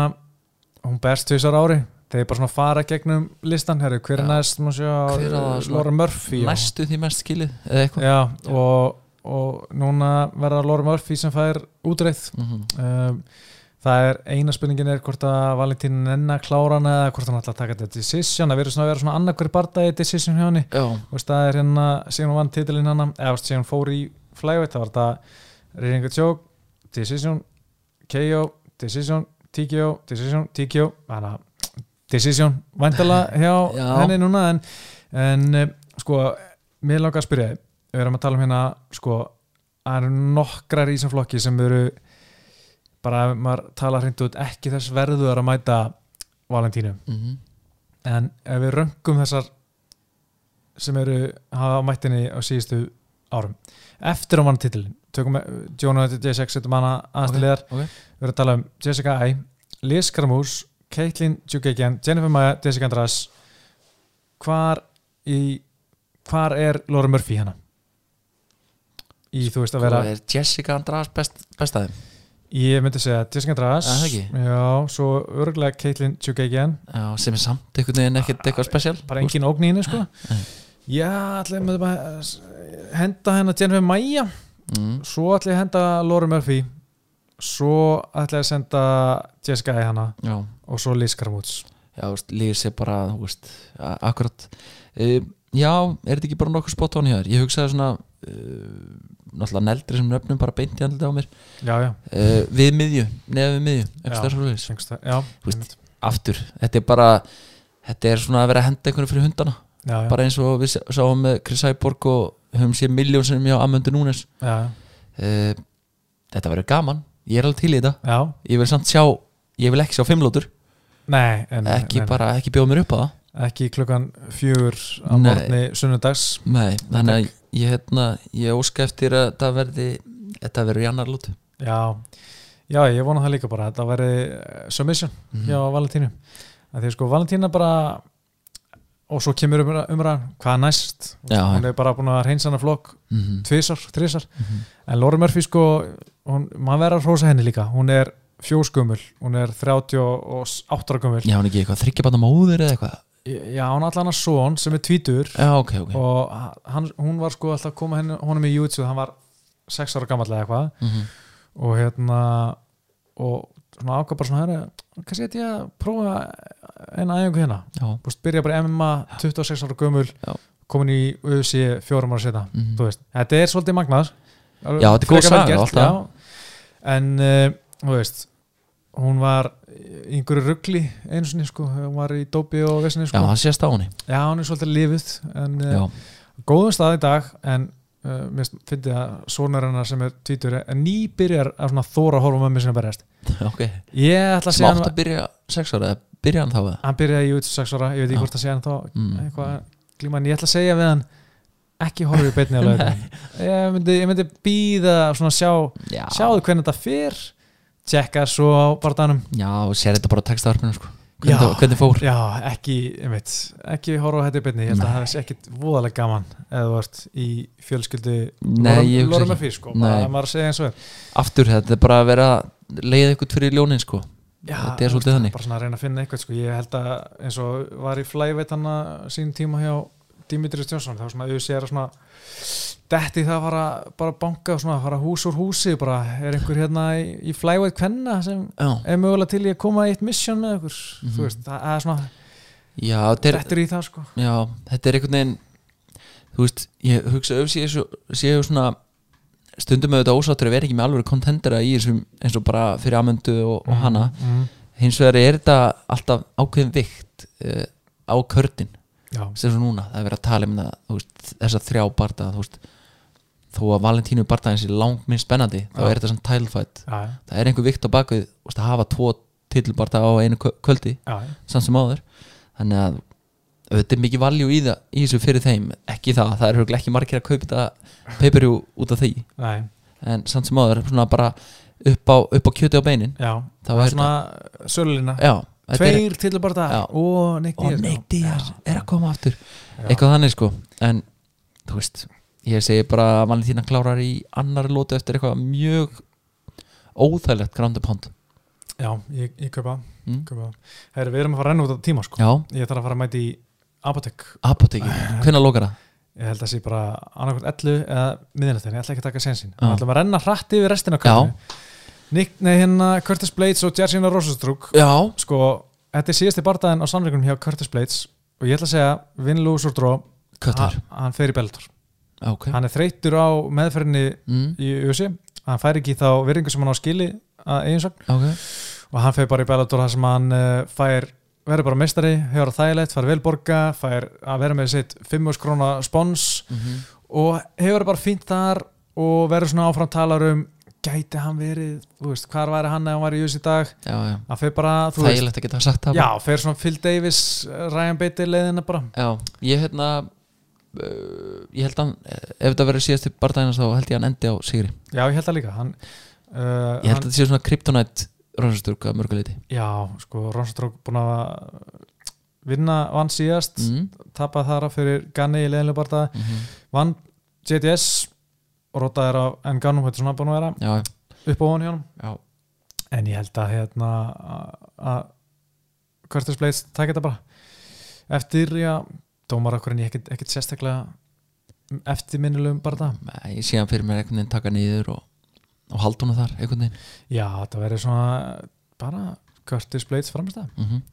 Speaker 1: hún berst tvisar ári þeir bara svona fara gegnum listan herri, hver er
Speaker 2: Já.
Speaker 1: næst, má sjá,
Speaker 2: Hver er það svona sko.
Speaker 1: Lauren Murphy og-
Speaker 2: Næstu því mest skilið eða eitthvað
Speaker 1: já, og, og núna verða Lauren Murphy sem fær útreið
Speaker 2: Mhm.
Speaker 1: um, það er eina spurningin er hvort að Valentín nenna klára hana eða hvort hann ætla að taka þetta decision það verður svona að vera svona annarkver bardagi decision hjá henni
Speaker 2: Já,
Speaker 1: Þú veist, það er hérna, síðan hún vann titilinn hana eða þú veist, síðan hún fór í flyweight það var þetta reyningu tjók decision, KO decision, TKO, decision, TKO hana, decision væntala hjá
Speaker 2: Já.
Speaker 1: henni núna en, en eh, sko mér langar að spyrja, þig, við erum að tala um hérna sko, það eru nokkrar í þessum flokki sem eru bara ef maður tala hreint út ekki þess verður að mæta Valentínu
Speaker 2: mm
Speaker 1: en ef við röngum þessar sem eru hafa á mættinni á síðustu árum eftir að vann titilin tökum eh, við Jonah J6 setjum hana aðeins til liðar
Speaker 2: ok.
Speaker 1: við erum að tala um Jessica I Liz Kramús, Caitlin Jukagian Jennifer Maya, Jessica Andras hvar í hvar er Laura Murphy hérna í þú veist að vera
Speaker 2: Sko, er Jessica Andras best, best aðeim
Speaker 1: ég myndi segja Jessica Andras
Speaker 2: Er það ekki?
Speaker 1: já, svo örgulega Caitlin Jukagian
Speaker 2: Já, sem er samt einhvern veginn ekkert eitthvað spesial
Speaker 1: Ah, bara engin ógn í henni sko
Speaker 2: Nei.
Speaker 1: já, ætlum við bara að s- henda hennar Jennifer Maja
Speaker 2: mm.
Speaker 1: svo ætlum við að henda Laura Murphy svo ætlum við að senda Jessica í hana
Speaker 2: Já,
Speaker 1: og svo Liz Kramutz
Speaker 2: já, veist, líður sér bara, þú veist, a- akkurat um, Já, er þetta ekki bara nokkuð spot on hjá þér? Ég hugsaði svona uh, náttúrulega neldri sem nöfnum bara beint í andlita á mér
Speaker 1: já, já,
Speaker 2: uh, Við miðju, neða við miðju,
Speaker 1: Já.
Speaker 2: einhvers þar svo
Speaker 1: syngst það já,
Speaker 2: Þú
Speaker 1: einmitt.
Speaker 2: Aftur, þetta er bara þetta er svona að vera að henda einhverju fyrir hundana
Speaker 1: já, já,
Speaker 2: bara eins og við sjá- sáum með Chris Cyborg og höfum séð miljón sem hjá Amöndu Núnes
Speaker 1: já, já,
Speaker 2: uh, Þetta verður gaman, ég er alveg til í þetta
Speaker 1: já
Speaker 2: Ég vil samt sjá, ég vil ekki sjá fimmlótur
Speaker 1: nei, en,
Speaker 2: ekki
Speaker 1: nei,
Speaker 2: bara, ekki bjóða mér upp á það
Speaker 1: ekki klukkan fjögur á
Speaker 2: Nei.
Speaker 1: morgni sunnudags
Speaker 2: Nei, þannig að ég, hérna, ég óska eftir að það verði þetta verður í annar lútu
Speaker 1: já, já, ég vona það líka bara þetta verði eh, submission
Speaker 2: Mhm.
Speaker 1: hjá Valentínu að því sko Valentína bara og svo kemur umra, umra hvað næst
Speaker 2: Já,
Speaker 1: hún er bara búin að reynsa hana flokk
Speaker 2: mm -hmm.
Speaker 1: tvisar, trisar
Speaker 2: Mhm.
Speaker 1: en Laura Murphy sko, hún, maður verður að hrósa henni líka hún er fjóskumul, hún er 38 gummul
Speaker 2: Já, hún er ekki eitthvað þryggjabanna móður eða eitthvað
Speaker 1: já, hún allan að son sem er tvítur
Speaker 2: Já, ok, ok
Speaker 1: og hann, hún var sko alltaf að koma henni, honum í YouTube, hann var 6 ára gamall eða eitthvað
Speaker 2: mm
Speaker 1: og hérna og svona ákvað bara svona hérna kannski ætti ég að prófa eina æfingu hérna
Speaker 2: Já,
Speaker 1: búst, byrja bara MMA 26 ára gömul
Speaker 2: Já.
Speaker 1: komin í UFC fjórum ára setna
Speaker 2: mm
Speaker 1: þú veist, þetta er svolítið magnað
Speaker 2: Já, þetta er góð
Speaker 1: Frekar
Speaker 2: saga,
Speaker 1: vel
Speaker 2: alltaf.
Speaker 1: já. en uh, þú veist hún var í einhverju ruggli einu sinni sko, hún var í dópi og vesinni
Speaker 2: já
Speaker 1: sko,
Speaker 2: það sést á henni
Speaker 1: já, hún er svolítið lifið en
Speaker 2: Já,
Speaker 1: uh, góðum stað í dag en uh, mér finnst ég að sonur hennar sem er tvítur er nýbyrjar að svona þóra að horfa á mömmu sinni berjast
Speaker 2: (laughs) ok
Speaker 1: ég ætla að
Speaker 2: Sem
Speaker 1: segja
Speaker 2: átt að
Speaker 1: hann,
Speaker 2: byrja sex ára eða byrja hann þá eða
Speaker 1: hann byrjaði í 26 ára, ég veit
Speaker 2: Já.
Speaker 1: ekki hvort að segja hann þá
Speaker 2: mm.
Speaker 1: eitthvað glíma en ég ætla að segja við hann ekki horfið
Speaker 2: (laughs)
Speaker 1: beinni á lögum ég myndi, ég myndi býða svona sjá
Speaker 2: Já,
Speaker 1: sjáðu hvernig þetta fyrr tjekka svo á barðanum
Speaker 2: já og sér þetta bara á textavarpinu sko
Speaker 1: Já.
Speaker 2: Hvernig, það- hvernig fór
Speaker 1: já, ekki, ég veit, ekki horfa á þetta í beinni ég held að það sé ekkit voðalega gaman eða þú ert í fjölskyldu
Speaker 2: Nei, ég hugsa
Speaker 1: Lorum
Speaker 2: ekki.
Speaker 1: að fyrir sko,
Speaker 2: Nei.
Speaker 1: bara maður að segja eins og er
Speaker 2: Aftur, þetta er bara að vera að leiða eitthvað fyrir ljónin sko
Speaker 1: Já,
Speaker 2: Þetta er
Speaker 1: þú
Speaker 2: svolítið
Speaker 1: veist,
Speaker 2: þannig.
Speaker 1: bara svona að reyna að finna eitthvað sko. ég held að eins og var í flæveit hann sín tíma hjá Dimitris Jónsson þá svona auðvitað er að svona detti það að fara bara að banka og svona að fara hús úr húsi bara er einhver hérna í, í flæveit kvenna sem
Speaker 2: Já,
Speaker 1: er mögulega til í að koma í eitt misjón með okkur
Speaker 2: Mhm.
Speaker 1: þú veist, það það er svona
Speaker 2: já þetta er,
Speaker 1: dettur í það sko
Speaker 2: Já, þetta er einhvern veginn þú veist, ég hugsa öf séu, séu svona stundum auðvitað ósáttur að vera ekki með alveg kontendera í þessum eins og bara fyrir amöndu og, og hana
Speaker 1: mm,
Speaker 2: hins vegar er þetta alltaf ákveðin vikt uh, á körtin
Speaker 1: já,
Speaker 2: sem svo núna, það er verið að tala um það þú veist, þessa þrjá barða þú veist, þó að Valentínu barðaðin sé langt minn spennandi, þá
Speaker 1: Já.
Speaker 2: er þetta samt title fight
Speaker 1: já, já,
Speaker 2: það er einhver vikt á bakvið þú veist, að hafa tvo titlbarða á einu kvö- kvöldi
Speaker 1: já, já.
Speaker 2: samt sem áður þannig að auðvitað er mikið valjú í, það, í þessu fyrir þeim ekki það, það er huglega ekki margir að kaupa þetta peiperjú út af því
Speaker 1: Nei,
Speaker 2: en samt sem áður, svona bara upp á, upp á kjöti á beinin
Speaker 1: já.
Speaker 2: þá
Speaker 1: það
Speaker 2: er
Speaker 1: er svona sölulina
Speaker 2: já, þetta er-
Speaker 1: tveir til bara
Speaker 2: Já.
Speaker 1: það og Nick
Speaker 2: og
Speaker 1: Diaz já.
Speaker 2: Nick Diaz
Speaker 1: Já.
Speaker 2: er að koma aftur
Speaker 1: Já.
Speaker 2: eitthvað þannig sko en þú veist, ég segi bara að Valentína klárar í annar lótu eftir eitthvað mjög óþægilegt ground and pound
Speaker 1: já, ég, ég kaupa,
Speaker 2: mm?
Speaker 1: kaupa. Heri, við erum að fara að renna út á tíma sko.
Speaker 2: já,
Speaker 1: ég þarf að fara að mæta í apotek
Speaker 2: apoteki, hvenær lókar það?
Speaker 1: ég held að sé bara annarkvæmt 11 eða miðinættin, ég ætla ekki að taka sensin
Speaker 2: Já.
Speaker 1: við ætlum að renna hratt yfir restina kvöldinu Nick, nei hérna Curtis Blades og Jersina Rosastrúk
Speaker 2: já,
Speaker 1: sko, þetta er síðasti bardaðin á sannleikunum hjá Curtis Blades og ég ætla að segja Vin Lúsurdró,
Speaker 2: köttur,
Speaker 1: hann fer í Bellator
Speaker 2: ok
Speaker 1: hann er þreyttur á meðferðinni
Speaker 2: mm,
Speaker 1: í USA hann fær ekki þá virðingu sem hann á skili að eiginsögn
Speaker 2: ok,
Speaker 1: og hann fer bara í Bellator þar sem hann uh, fær verður bara mestari, hefur það þægilegt, fær velborga fær að vera með sitt 5.000 króna spons
Speaker 2: mm
Speaker 1: og hefur bara fínt þar og verður svona áfram talar um gæti hann verið, þú veist, hvar væri hann ef hann væri í USA í dag,
Speaker 2: já, já
Speaker 1: hann fer bara þú veist,
Speaker 2: þægilegt að geta sagt það
Speaker 1: já,
Speaker 2: bara.
Speaker 1: fer svona Phil Davis eh, Ryan Beatty leiðina bara
Speaker 2: já, ég hérna uh, ég held að hann, ef þetta verður síðast til barndagina þá held ég að hann endi á sigri
Speaker 1: já, ég held það líka, hann Uh,
Speaker 2: ég held að
Speaker 1: hann,
Speaker 2: þetta sé svona kryptonite rannsasturka mörguleiti
Speaker 1: já, sko, Ronsdrók búin að vinna vann síðast, mm.
Speaker 2: mm,
Speaker 1: tapað þar af fyrir Ganni í leiðinlega barða,
Speaker 2: mm
Speaker 1: vann JDS og rotaði þér á Nganum, þetta er svona búin að vera
Speaker 2: já,
Speaker 1: upp á hann hjá hann
Speaker 2: já,
Speaker 1: en ég held að hérna að- að Curtis Blades takk þetta bara eftir, já, dómarakkurinn ég ekkert, ekkert sérstaklega eftirminnilegum bara það
Speaker 2: Nei, ég sé hann fyrir mér einhvern veginn taka niður og, og halda hana þar einhvern veginn
Speaker 1: já, þetta verður svona bara Curtis Blades framstæð
Speaker 2: mm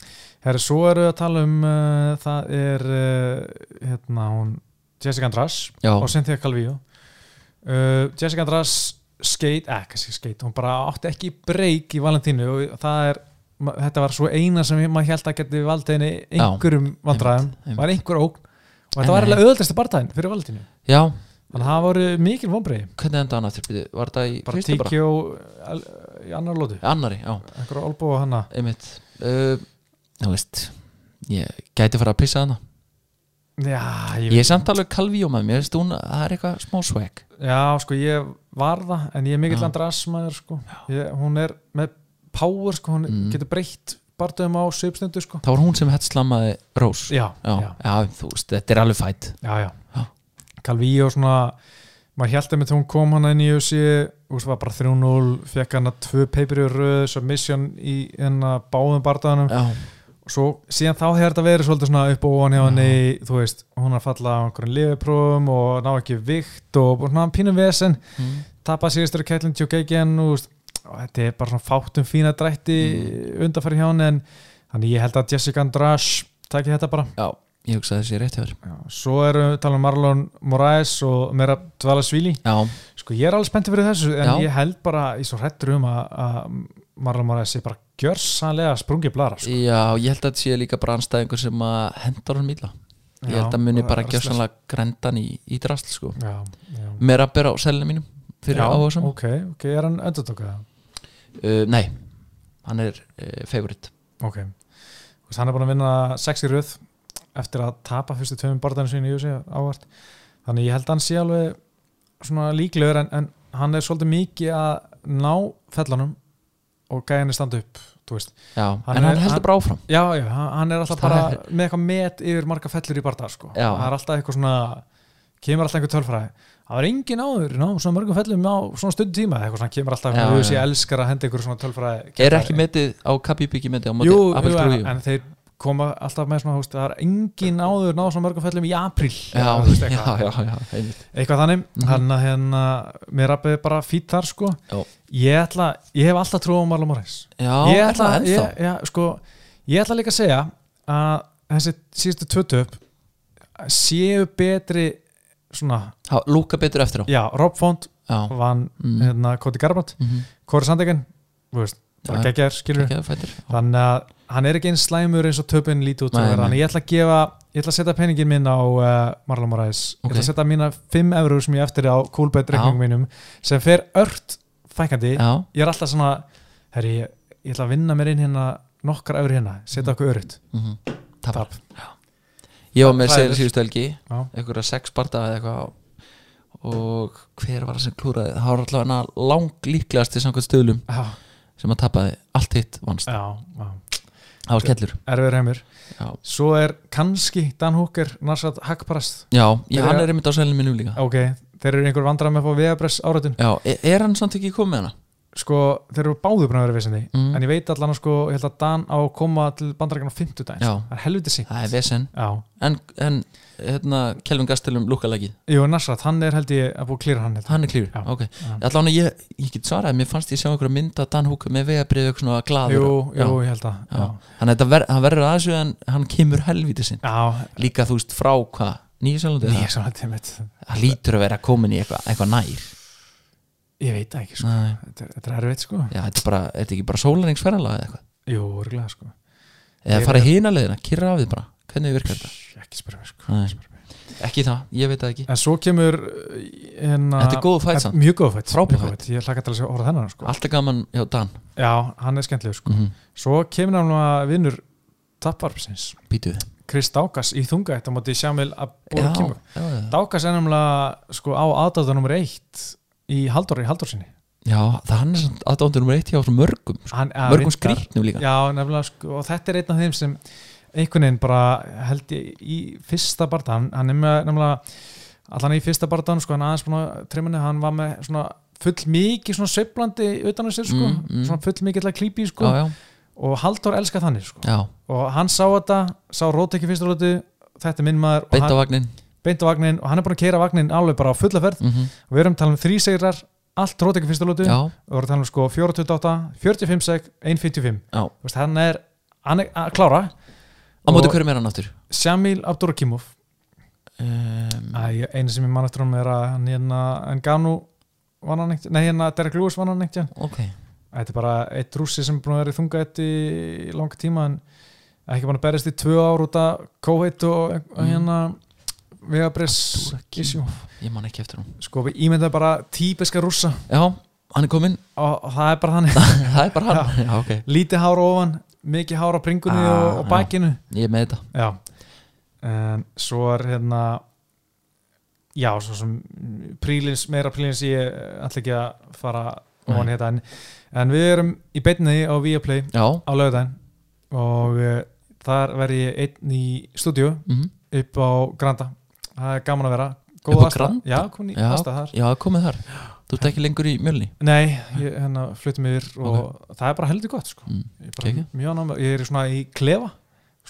Speaker 1: herri, svo eru að tala um uh, það er uh, hérna hún Jessica Andras
Speaker 2: Já,
Speaker 1: og Cynthia Calvillo uh, Jessica Andras skate, eh, kannski skate hún bara átti ekki breyk í Valentínu og það er, ma- þetta var svo eina sem ég- maður held að geti valdið henni einhverjum vandræðum,
Speaker 2: einmitt.
Speaker 1: var einhver ógn og þetta var
Speaker 2: En eh, nei.
Speaker 1: eiginlega auðvöldasta barndaginn fyrir Valentínu
Speaker 2: já,
Speaker 1: þannig að það voru mikil vonbreið
Speaker 2: hvernig enda hann aftur? Bíddu, Var þetta í
Speaker 1: bara
Speaker 2: fyrstu bara?
Speaker 1: tíkjó í annar lótu,
Speaker 2: Annari, já,
Speaker 1: einhverja olbúa hana
Speaker 2: einmitt uh, Þú veist, ég gæti fara að pissa hana
Speaker 1: já,
Speaker 2: Ég
Speaker 1: ég,
Speaker 2: er samt alveg kalvíó með mér, veist, hún, það er eitthvað smá swag
Speaker 1: já, sko ég var það, en ég er mikill
Speaker 2: Já.
Speaker 1: Andras maður, sko, ég, hún er með power, sko, hún
Speaker 2: Mm.
Speaker 1: getur breytt barndagum á söpstundu, sko
Speaker 2: Það var hún sem hett slammaði Rós
Speaker 1: já,
Speaker 2: já,
Speaker 1: já,
Speaker 2: þú veist, þetta er alveg fætt
Speaker 1: já, já.
Speaker 2: Já.
Speaker 1: Calvíó svona maður held að með hún kom hann inn í UFC þú veist, var bara 3-0, fekk hann að tvö peipir í röð, submission í hérna báðum barðanum
Speaker 2: Já,
Speaker 1: og svo síðan þá hefur þetta verið svolítið svona upp og ofan hjá
Speaker 2: Já.
Speaker 1: henni, þú veist hún er að falla á einhverjum lifiprófum og ná ekki vikt og bara svona pínum vesen
Speaker 2: mm.
Speaker 1: tapað síðustur Kætlin Tjókeikin og veist, og þetta er bara svona fátum fína drætti mm. undanfæri hjá henni en þannig ég held að Jessica Andrash takki þetta bara
Speaker 2: já ég hugsa þessi rétt hjá þér
Speaker 1: Já, svo eru tala um Marlon Moraes og meira Dvala Svíli
Speaker 2: Já,
Speaker 1: sko ég er alveg spenntið fyrir þessu en
Speaker 2: Já.
Speaker 1: ég held bara, ég er svo hrettur um að, að Marlon Moraes sé bara gjörsanlega sprungið blara sko.
Speaker 2: já, ég held að þetta sé líka bara anstæðingur sem að hendar hann mýla ég held að muni bara gjössanlega grendan í, í drasl sko.
Speaker 1: já, já.
Speaker 2: meira að bera á selinu mínum fyrir
Speaker 1: já,
Speaker 2: áhuga saman
Speaker 1: ok, ok, er hann öndurtókað
Speaker 2: uh, nei, hann er uh, favorite
Speaker 1: ok, Þú veist, hann er búin að vinna sex í röð eftir að tapa fyrstu tveimum barðinu sín í USA ávart þannig ég held að hann sé alveg svona líklegur en, en hann er svolítið mikið að ná fellanum og gæja henni standa upp, þú veist
Speaker 2: já,
Speaker 1: Hann
Speaker 2: en
Speaker 1: er-
Speaker 2: hann heldur
Speaker 1: hann-
Speaker 2: bara áfram
Speaker 1: Já, já, hann hann er alltaf
Speaker 2: Það
Speaker 1: bara
Speaker 2: er-
Speaker 1: með eitthvað met yfir marga fellur í barða sko.
Speaker 2: Já.
Speaker 1: það er alltaf eitthvað svona kemur alltaf einhver tölfræði það var engin áður, ná, svona mörgum fellum á svona stundu tíma eitthvað svona kemur alltaf,
Speaker 2: Já,
Speaker 1: þú veist
Speaker 2: já.
Speaker 1: ég elskar að henda ykkur svona tölfræði
Speaker 2: er ekki metið á Kabibiki metið á móti
Speaker 1: jú,
Speaker 2: Abel
Speaker 1: jú, en,
Speaker 2: Trujillo.
Speaker 1: en þeir koma alltaf með svona, þú veist, það er engin áður ná svona mörgum fellum í apríl
Speaker 2: já,
Speaker 1: þú veist,
Speaker 2: (laughs) já,
Speaker 1: eitthvað,
Speaker 2: já, já, einmitt.
Speaker 1: eitthvað þannig,
Speaker 2: Mhm.
Speaker 1: hann að hérna mér rappið bara fýtt þar sko
Speaker 2: Já.
Speaker 1: ég ætla, ég hef alltaf trú á Marla Morris
Speaker 2: já,
Speaker 1: ég ætla,
Speaker 2: er það ennþá?
Speaker 1: ég, já, sko, ég ætla líka að segja að þessi síðustu tvötu upp séu betri svona,
Speaker 2: Ha, lúka betur eftir á
Speaker 1: já, Rob Font
Speaker 2: já,
Speaker 1: vann
Speaker 2: mm,
Speaker 1: hérna Koti Garbrandt,
Speaker 2: mhm,
Speaker 1: Kori Sandegin þú veist, bara
Speaker 2: Já, já.
Speaker 1: geggjar skilur
Speaker 2: geggjaður fætir já,
Speaker 1: þannig að hann er ekki eins slæmur eins og töpinn lítið út að
Speaker 2: Nei,
Speaker 1: vera.
Speaker 2: nei.
Speaker 1: þannig að ég ætla að gefa ég ætla að setja peningin minn á uh, Marlon Moraes ég ætla
Speaker 2: Ok.
Speaker 1: að setja mína 5 eurur sem ég á eftir á coolbet reikningum mínum sem fer ört fækandi
Speaker 2: já,
Speaker 1: ég er alltaf svona, herri ég, ég ætla að vinna mér inn hérna nokkar eurur hérna setja okkur örytt
Speaker 2: mhm, tapar
Speaker 1: Tap.
Speaker 2: ég var með
Speaker 1: Það er-
Speaker 2: segil síðustu helgi
Speaker 1: Já.
Speaker 2: einhverja sex barda eða eitthvað og hver var það sem klúraði það var allavega lang líklegast í samkvæmt stöðlum
Speaker 1: já,
Speaker 2: sem að tapaði, allt hitt vannst
Speaker 1: já, já.
Speaker 2: það var skellur
Speaker 1: erfiður heimur
Speaker 2: já,
Speaker 1: svo er kannski Dan Hooker Narsat Hackparast
Speaker 2: já ég,
Speaker 1: Þeir
Speaker 2: hann
Speaker 1: eru-
Speaker 2: er einmitt á sælinu mínum líka
Speaker 1: ok, þeir eru einhver vandrar með að fá vegabress áratun
Speaker 2: já, er, er hann samt ekki komið hana?
Speaker 1: sko, þeir eru báðu búin að vera vissandi
Speaker 2: Mm.
Speaker 1: en ég veit allan að sko, ég held að Dan á að koma til bandarækjan á 50 dagins
Speaker 2: Já.
Speaker 1: það er helviti sín
Speaker 2: það er vesen
Speaker 1: já,
Speaker 2: en, en hérna, Kelvin Gastelum lúkalækið,
Speaker 1: Jú, Nasrat, hann er held ég að búið að klýra hann held. ég.
Speaker 2: hann er klífur
Speaker 1: Já.
Speaker 2: ok,
Speaker 1: Já.
Speaker 2: allan að ég, ég get svarað mér fannst ég sjá einhverja mynd að Dan Húk með vegabrið eitthvað svona glaður
Speaker 1: jú,
Speaker 2: Já.
Speaker 1: jú, ég held að já,
Speaker 2: Já. þannig að þetta ver, hann verður aðeins en hann kemur helvítið sinn
Speaker 1: já.
Speaker 2: líka þú veist frá hvað, Nýjaselandi
Speaker 1: ég er svona tímitt
Speaker 2: það lítur að vera komin í eitthvað eitthva nær
Speaker 1: ég veit það ekki, sko.
Speaker 2: Nei.
Speaker 1: þetta, er- þetta er erfitt sko.
Speaker 2: Já, þetta er bara, er þetta ekki bara sólaringsferðalega eða eitthvað
Speaker 1: jú, örgulega sko.
Speaker 2: eða
Speaker 1: Ég
Speaker 2: fara hina leiðina, kyrra af því bara hvernig virkar þetta?
Speaker 1: ekki spyrja mig sko.
Speaker 2: Nei.
Speaker 1: Ekki spyrja mig.
Speaker 2: Ekki það, ég veit það ekki
Speaker 1: en svo kemur hérna,
Speaker 2: Þetta er góð fæt samt.
Speaker 1: mjög góð fætt,
Speaker 2: Frábær
Speaker 1: mjög góð fætt. ég hlakka til að sjá orða þennan sko.
Speaker 2: Alltaf gaman hjá Dan
Speaker 1: já, hann er skemmtileg sko.
Speaker 2: mm -hmm.
Speaker 1: svo kemur hann að vinnur tapvarpsins
Speaker 2: Býtu við
Speaker 1: Chris Dákas í þunga þetta móti Sjámil að
Speaker 2: já,
Speaker 1: búið kemur
Speaker 2: já, já.
Speaker 1: Dákas er nefnilega sko á aðdáta nummer eitt í Halldóri, Halldórsinni
Speaker 2: já, það hann er aðdóndur um eitt hjá svo mörgum sko.
Speaker 1: Hann- að
Speaker 2: Mörgum
Speaker 1: reyndar-
Speaker 2: skrýtnum líka
Speaker 1: Já, nefnilega sko, og þetta er einn af þeim sem einhvern veginn bara held ég í fyrsta barða, hann, hann er með nefnilega, allan í fyrsta barða sko, hann aðeins búin að trimmunni, hann var með svona full mikið svona sveiflandi utan að sér sko,
Speaker 2: Mm, mm.
Speaker 1: svona full mikið til að klípi sko,
Speaker 2: Já, já,
Speaker 1: og Halldór elska þannig sko,
Speaker 2: já,
Speaker 1: og hann sá þetta, sá rót ekki fyrsta rótu, þetta er minn maður og
Speaker 2: beint
Speaker 1: hann,
Speaker 2: á vagnin
Speaker 1: beint á vagnin og hann er búin að keira vagnin alveg bara á fulla ferð
Speaker 2: mm -hmm.
Speaker 1: og við erum að tala um þrý segrar, allt rótekki fyrsta lótu
Speaker 2: Já,
Speaker 1: og við erum að tala um sko 428, 45 seg 155,
Speaker 2: já,
Speaker 1: Þú veist, hann er hann er að klára,
Speaker 2: á móti
Speaker 1: Og-
Speaker 2: hverjum er hann aftur?
Speaker 1: Shamil Abdurakimov
Speaker 2: Um,
Speaker 1: Æ, einu sem ég mann eftir honum er að hann hérna Nganu vann hann ekkert nei hérna Derek Lewis vann hann ekkert
Speaker 2: ok,
Speaker 1: þetta er bara eitt rússi sem er búin að vera í þunga þetta í langa tíma en ekki búin að berjast í tvö ár út af COVID og, og
Speaker 2: Mm.
Speaker 1: hérna Vegabriss
Speaker 2: Abdurakhimov. ég man ekki eftir hann
Speaker 1: sko við ímyndaðum bara típiska rússa
Speaker 2: Já, hann er kominn, (laughs)
Speaker 1: og, og það er bara þannig
Speaker 2: það er bara hann Já, ok,
Speaker 1: lítið hára ofan, mikið hára á bringunni
Speaker 2: Ah,
Speaker 1: og, og bakinu
Speaker 2: ég er með þetta
Speaker 1: já. en svo er hérna já, svo sem mm, prílins, meira prílins ég eh, ætla ekki að fara ofan
Speaker 2: Nei.
Speaker 1: í þetta en, en við erum í beinni á Viaplay
Speaker 2: Já,
Speaker 1: á laugardaginn og uh, þar verð ég einn í stúdíu
Speaker 2: mm
Speaker 1: upp á Granda það er gaman að vera
Speaker 2: Upp
Speaker 1: Góð
Speaker 2: á
Speaker 1: aðstaða.
Speaker 2: Granda?
Speaker 1: Já, komin í
Speaker 2: Já.
Speaker 1: aðstæð þar
Speaker 2: já komið þar Þú ert ekki lengur í mjölni
Speaker 1: Nei, ég hérna, flutum yfir og það er bara heldur gott sko.
Speaker 2: mm.
Speaker 1: Ég er bara
Speaker 2: Kekja.
Speaker 1: mjög ánægð með- ég er í svona í klefa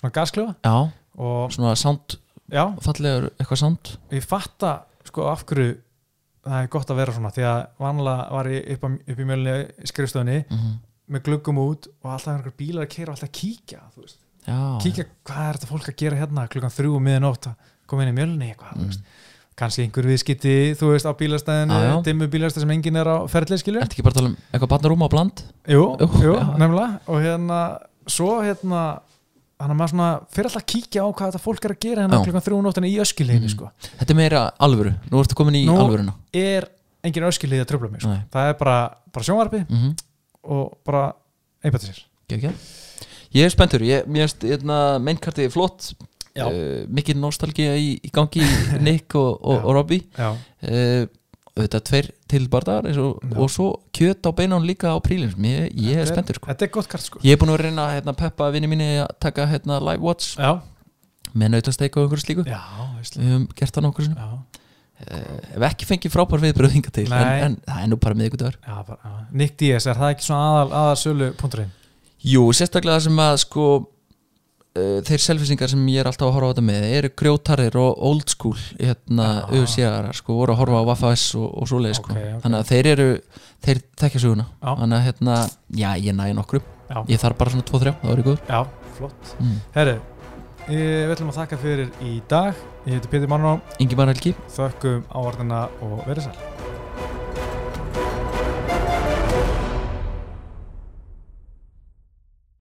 Speaker 1: svona gasklefa
Speaker 2: Já,
Speaker 1: og
Speaker 2: svona sound,
Speaker 1: já,
Speaker 2: fallegur eitthvað sound
Speaker 1: ég fatta sko af hverju það er gott að vera svona því að vanlega var ég upp, á, upp í mjölni skrifstöðinni
Speaker 2: mm
Speaker 1: með gluggum út og alltaf er einhver bílar að keira og alltaf að kíkja, þú veist,
Speaker 2: Já,
Speaker 1: kíkja hvað er þetta fólk að gera hérna klukkan þrjú og miðanótt að koma inn í mjölni eitthvað, þú
Speaker 2: mm.
Speaker 1: veist kannski einhver viðskiti, þú veist, á bílastæðinu
Speaker 2: Já, já.
Speaker 1: dimmu bílastæð sem enginn er á ferðleiskilur
Speaker 2: Ertu ekki bara að tala um eitthvað barnarúma á bland?
Speaker 1: Jú,
Speaker 2: Jú,
Speaker 1: jú
Speaker 2: já.
Speaker 1: nefnilega og hérna, svo hérna hann að maður svona, fyrir alltaf að kíkja á hvað þetta fólk er að gera hérna
Speaker 2: Já.
Speaker 1: klukkan 3.8 í öskilíðinni
Speaker 2: Mm.
Speaker 1: sko.
Speaker 2: Þetta er meira alvöru, nú ertu komin í
Speaker 1: Nú-
Speaker 2: alvöruna
Speaker 1: er engin öskilíði að tröfla mig sko.
Speaker 2: Nei.
Speaker 1: það er bara, bara sjónvarpi
Speaker 2: mm -hmm.
Speaker 1: og bara einbætti sér
Speaker 2: Ég er spenntur, ég, mér erst hérna, meinkartið er flott
Speaker 1: Já.
Speaker 2: uh, Mikið nostalgía í, í gangi í
Speaker 1: (laughs)
Speaker 2: Nick og, og,
Speaker 1: Já.
Speaker 2: og Robbie
Speaker 1: já,
Speaker 2: uh, Þetta tveir til barðar og,
Speaker 1: Já.
Speaker 2: og svo kjöt á beinan líka á prílins Ég, ég er
Speaker 1: Þetta er-
Speaker 2: spenntur sko
Speaker 1: þetta er gott kart sko.
Speaker 2: Ég er búinn að reyna að hérna, peppa vinni mínu að taka hérna, live watch
Speaker 1: já,
Speaker 2: með nautasteik og einhverju slíku
Speaker 1: já, veistlega
Speaker 2: Við höfum gert það nokkur sinnum
Speaker 1: já,
Speaker 2: uh, Ef ekki fengið frábær viðbröð hinga til en,
Speaker 1: Nei.
Speaker 2: en það er nú bara miðvikudagur
Speaker 1: já, bara, já. Nick Diaz, er það ekki svona aðal, aðal sölu punkturinn?
Speaker 2: Jú, sérstaklega það sem að sko uh, þeir selfisingar sem ég er alltaf að horfa á þetta með eru grjótarir og old school hérna
Speaker 1: Já.
Speaker 2: auðsíðar sko voru að horfa á Waffa S og, og svoleið sko
Speaker 1: Ah. Ok, ok.
Speaker 2: þannig að þeir eru, þeir þekkja söguna
Speaker 1: Já.
Speaker 2: þannig að hérna, já ég næ nokkrum
Speaker 1: Já.
Speaker 2: ég þarf bara svona 2-3, það var í góður
Speaker 1: já, flott
Speaker 2: mm.
Speaker 1: herru, eh, við ætlum að þakka fyrir í dag ég heiti Pétur Mannó,
Speaker 2: Ingi Helgi
Speaker 1: þökkum áordina og verið sæl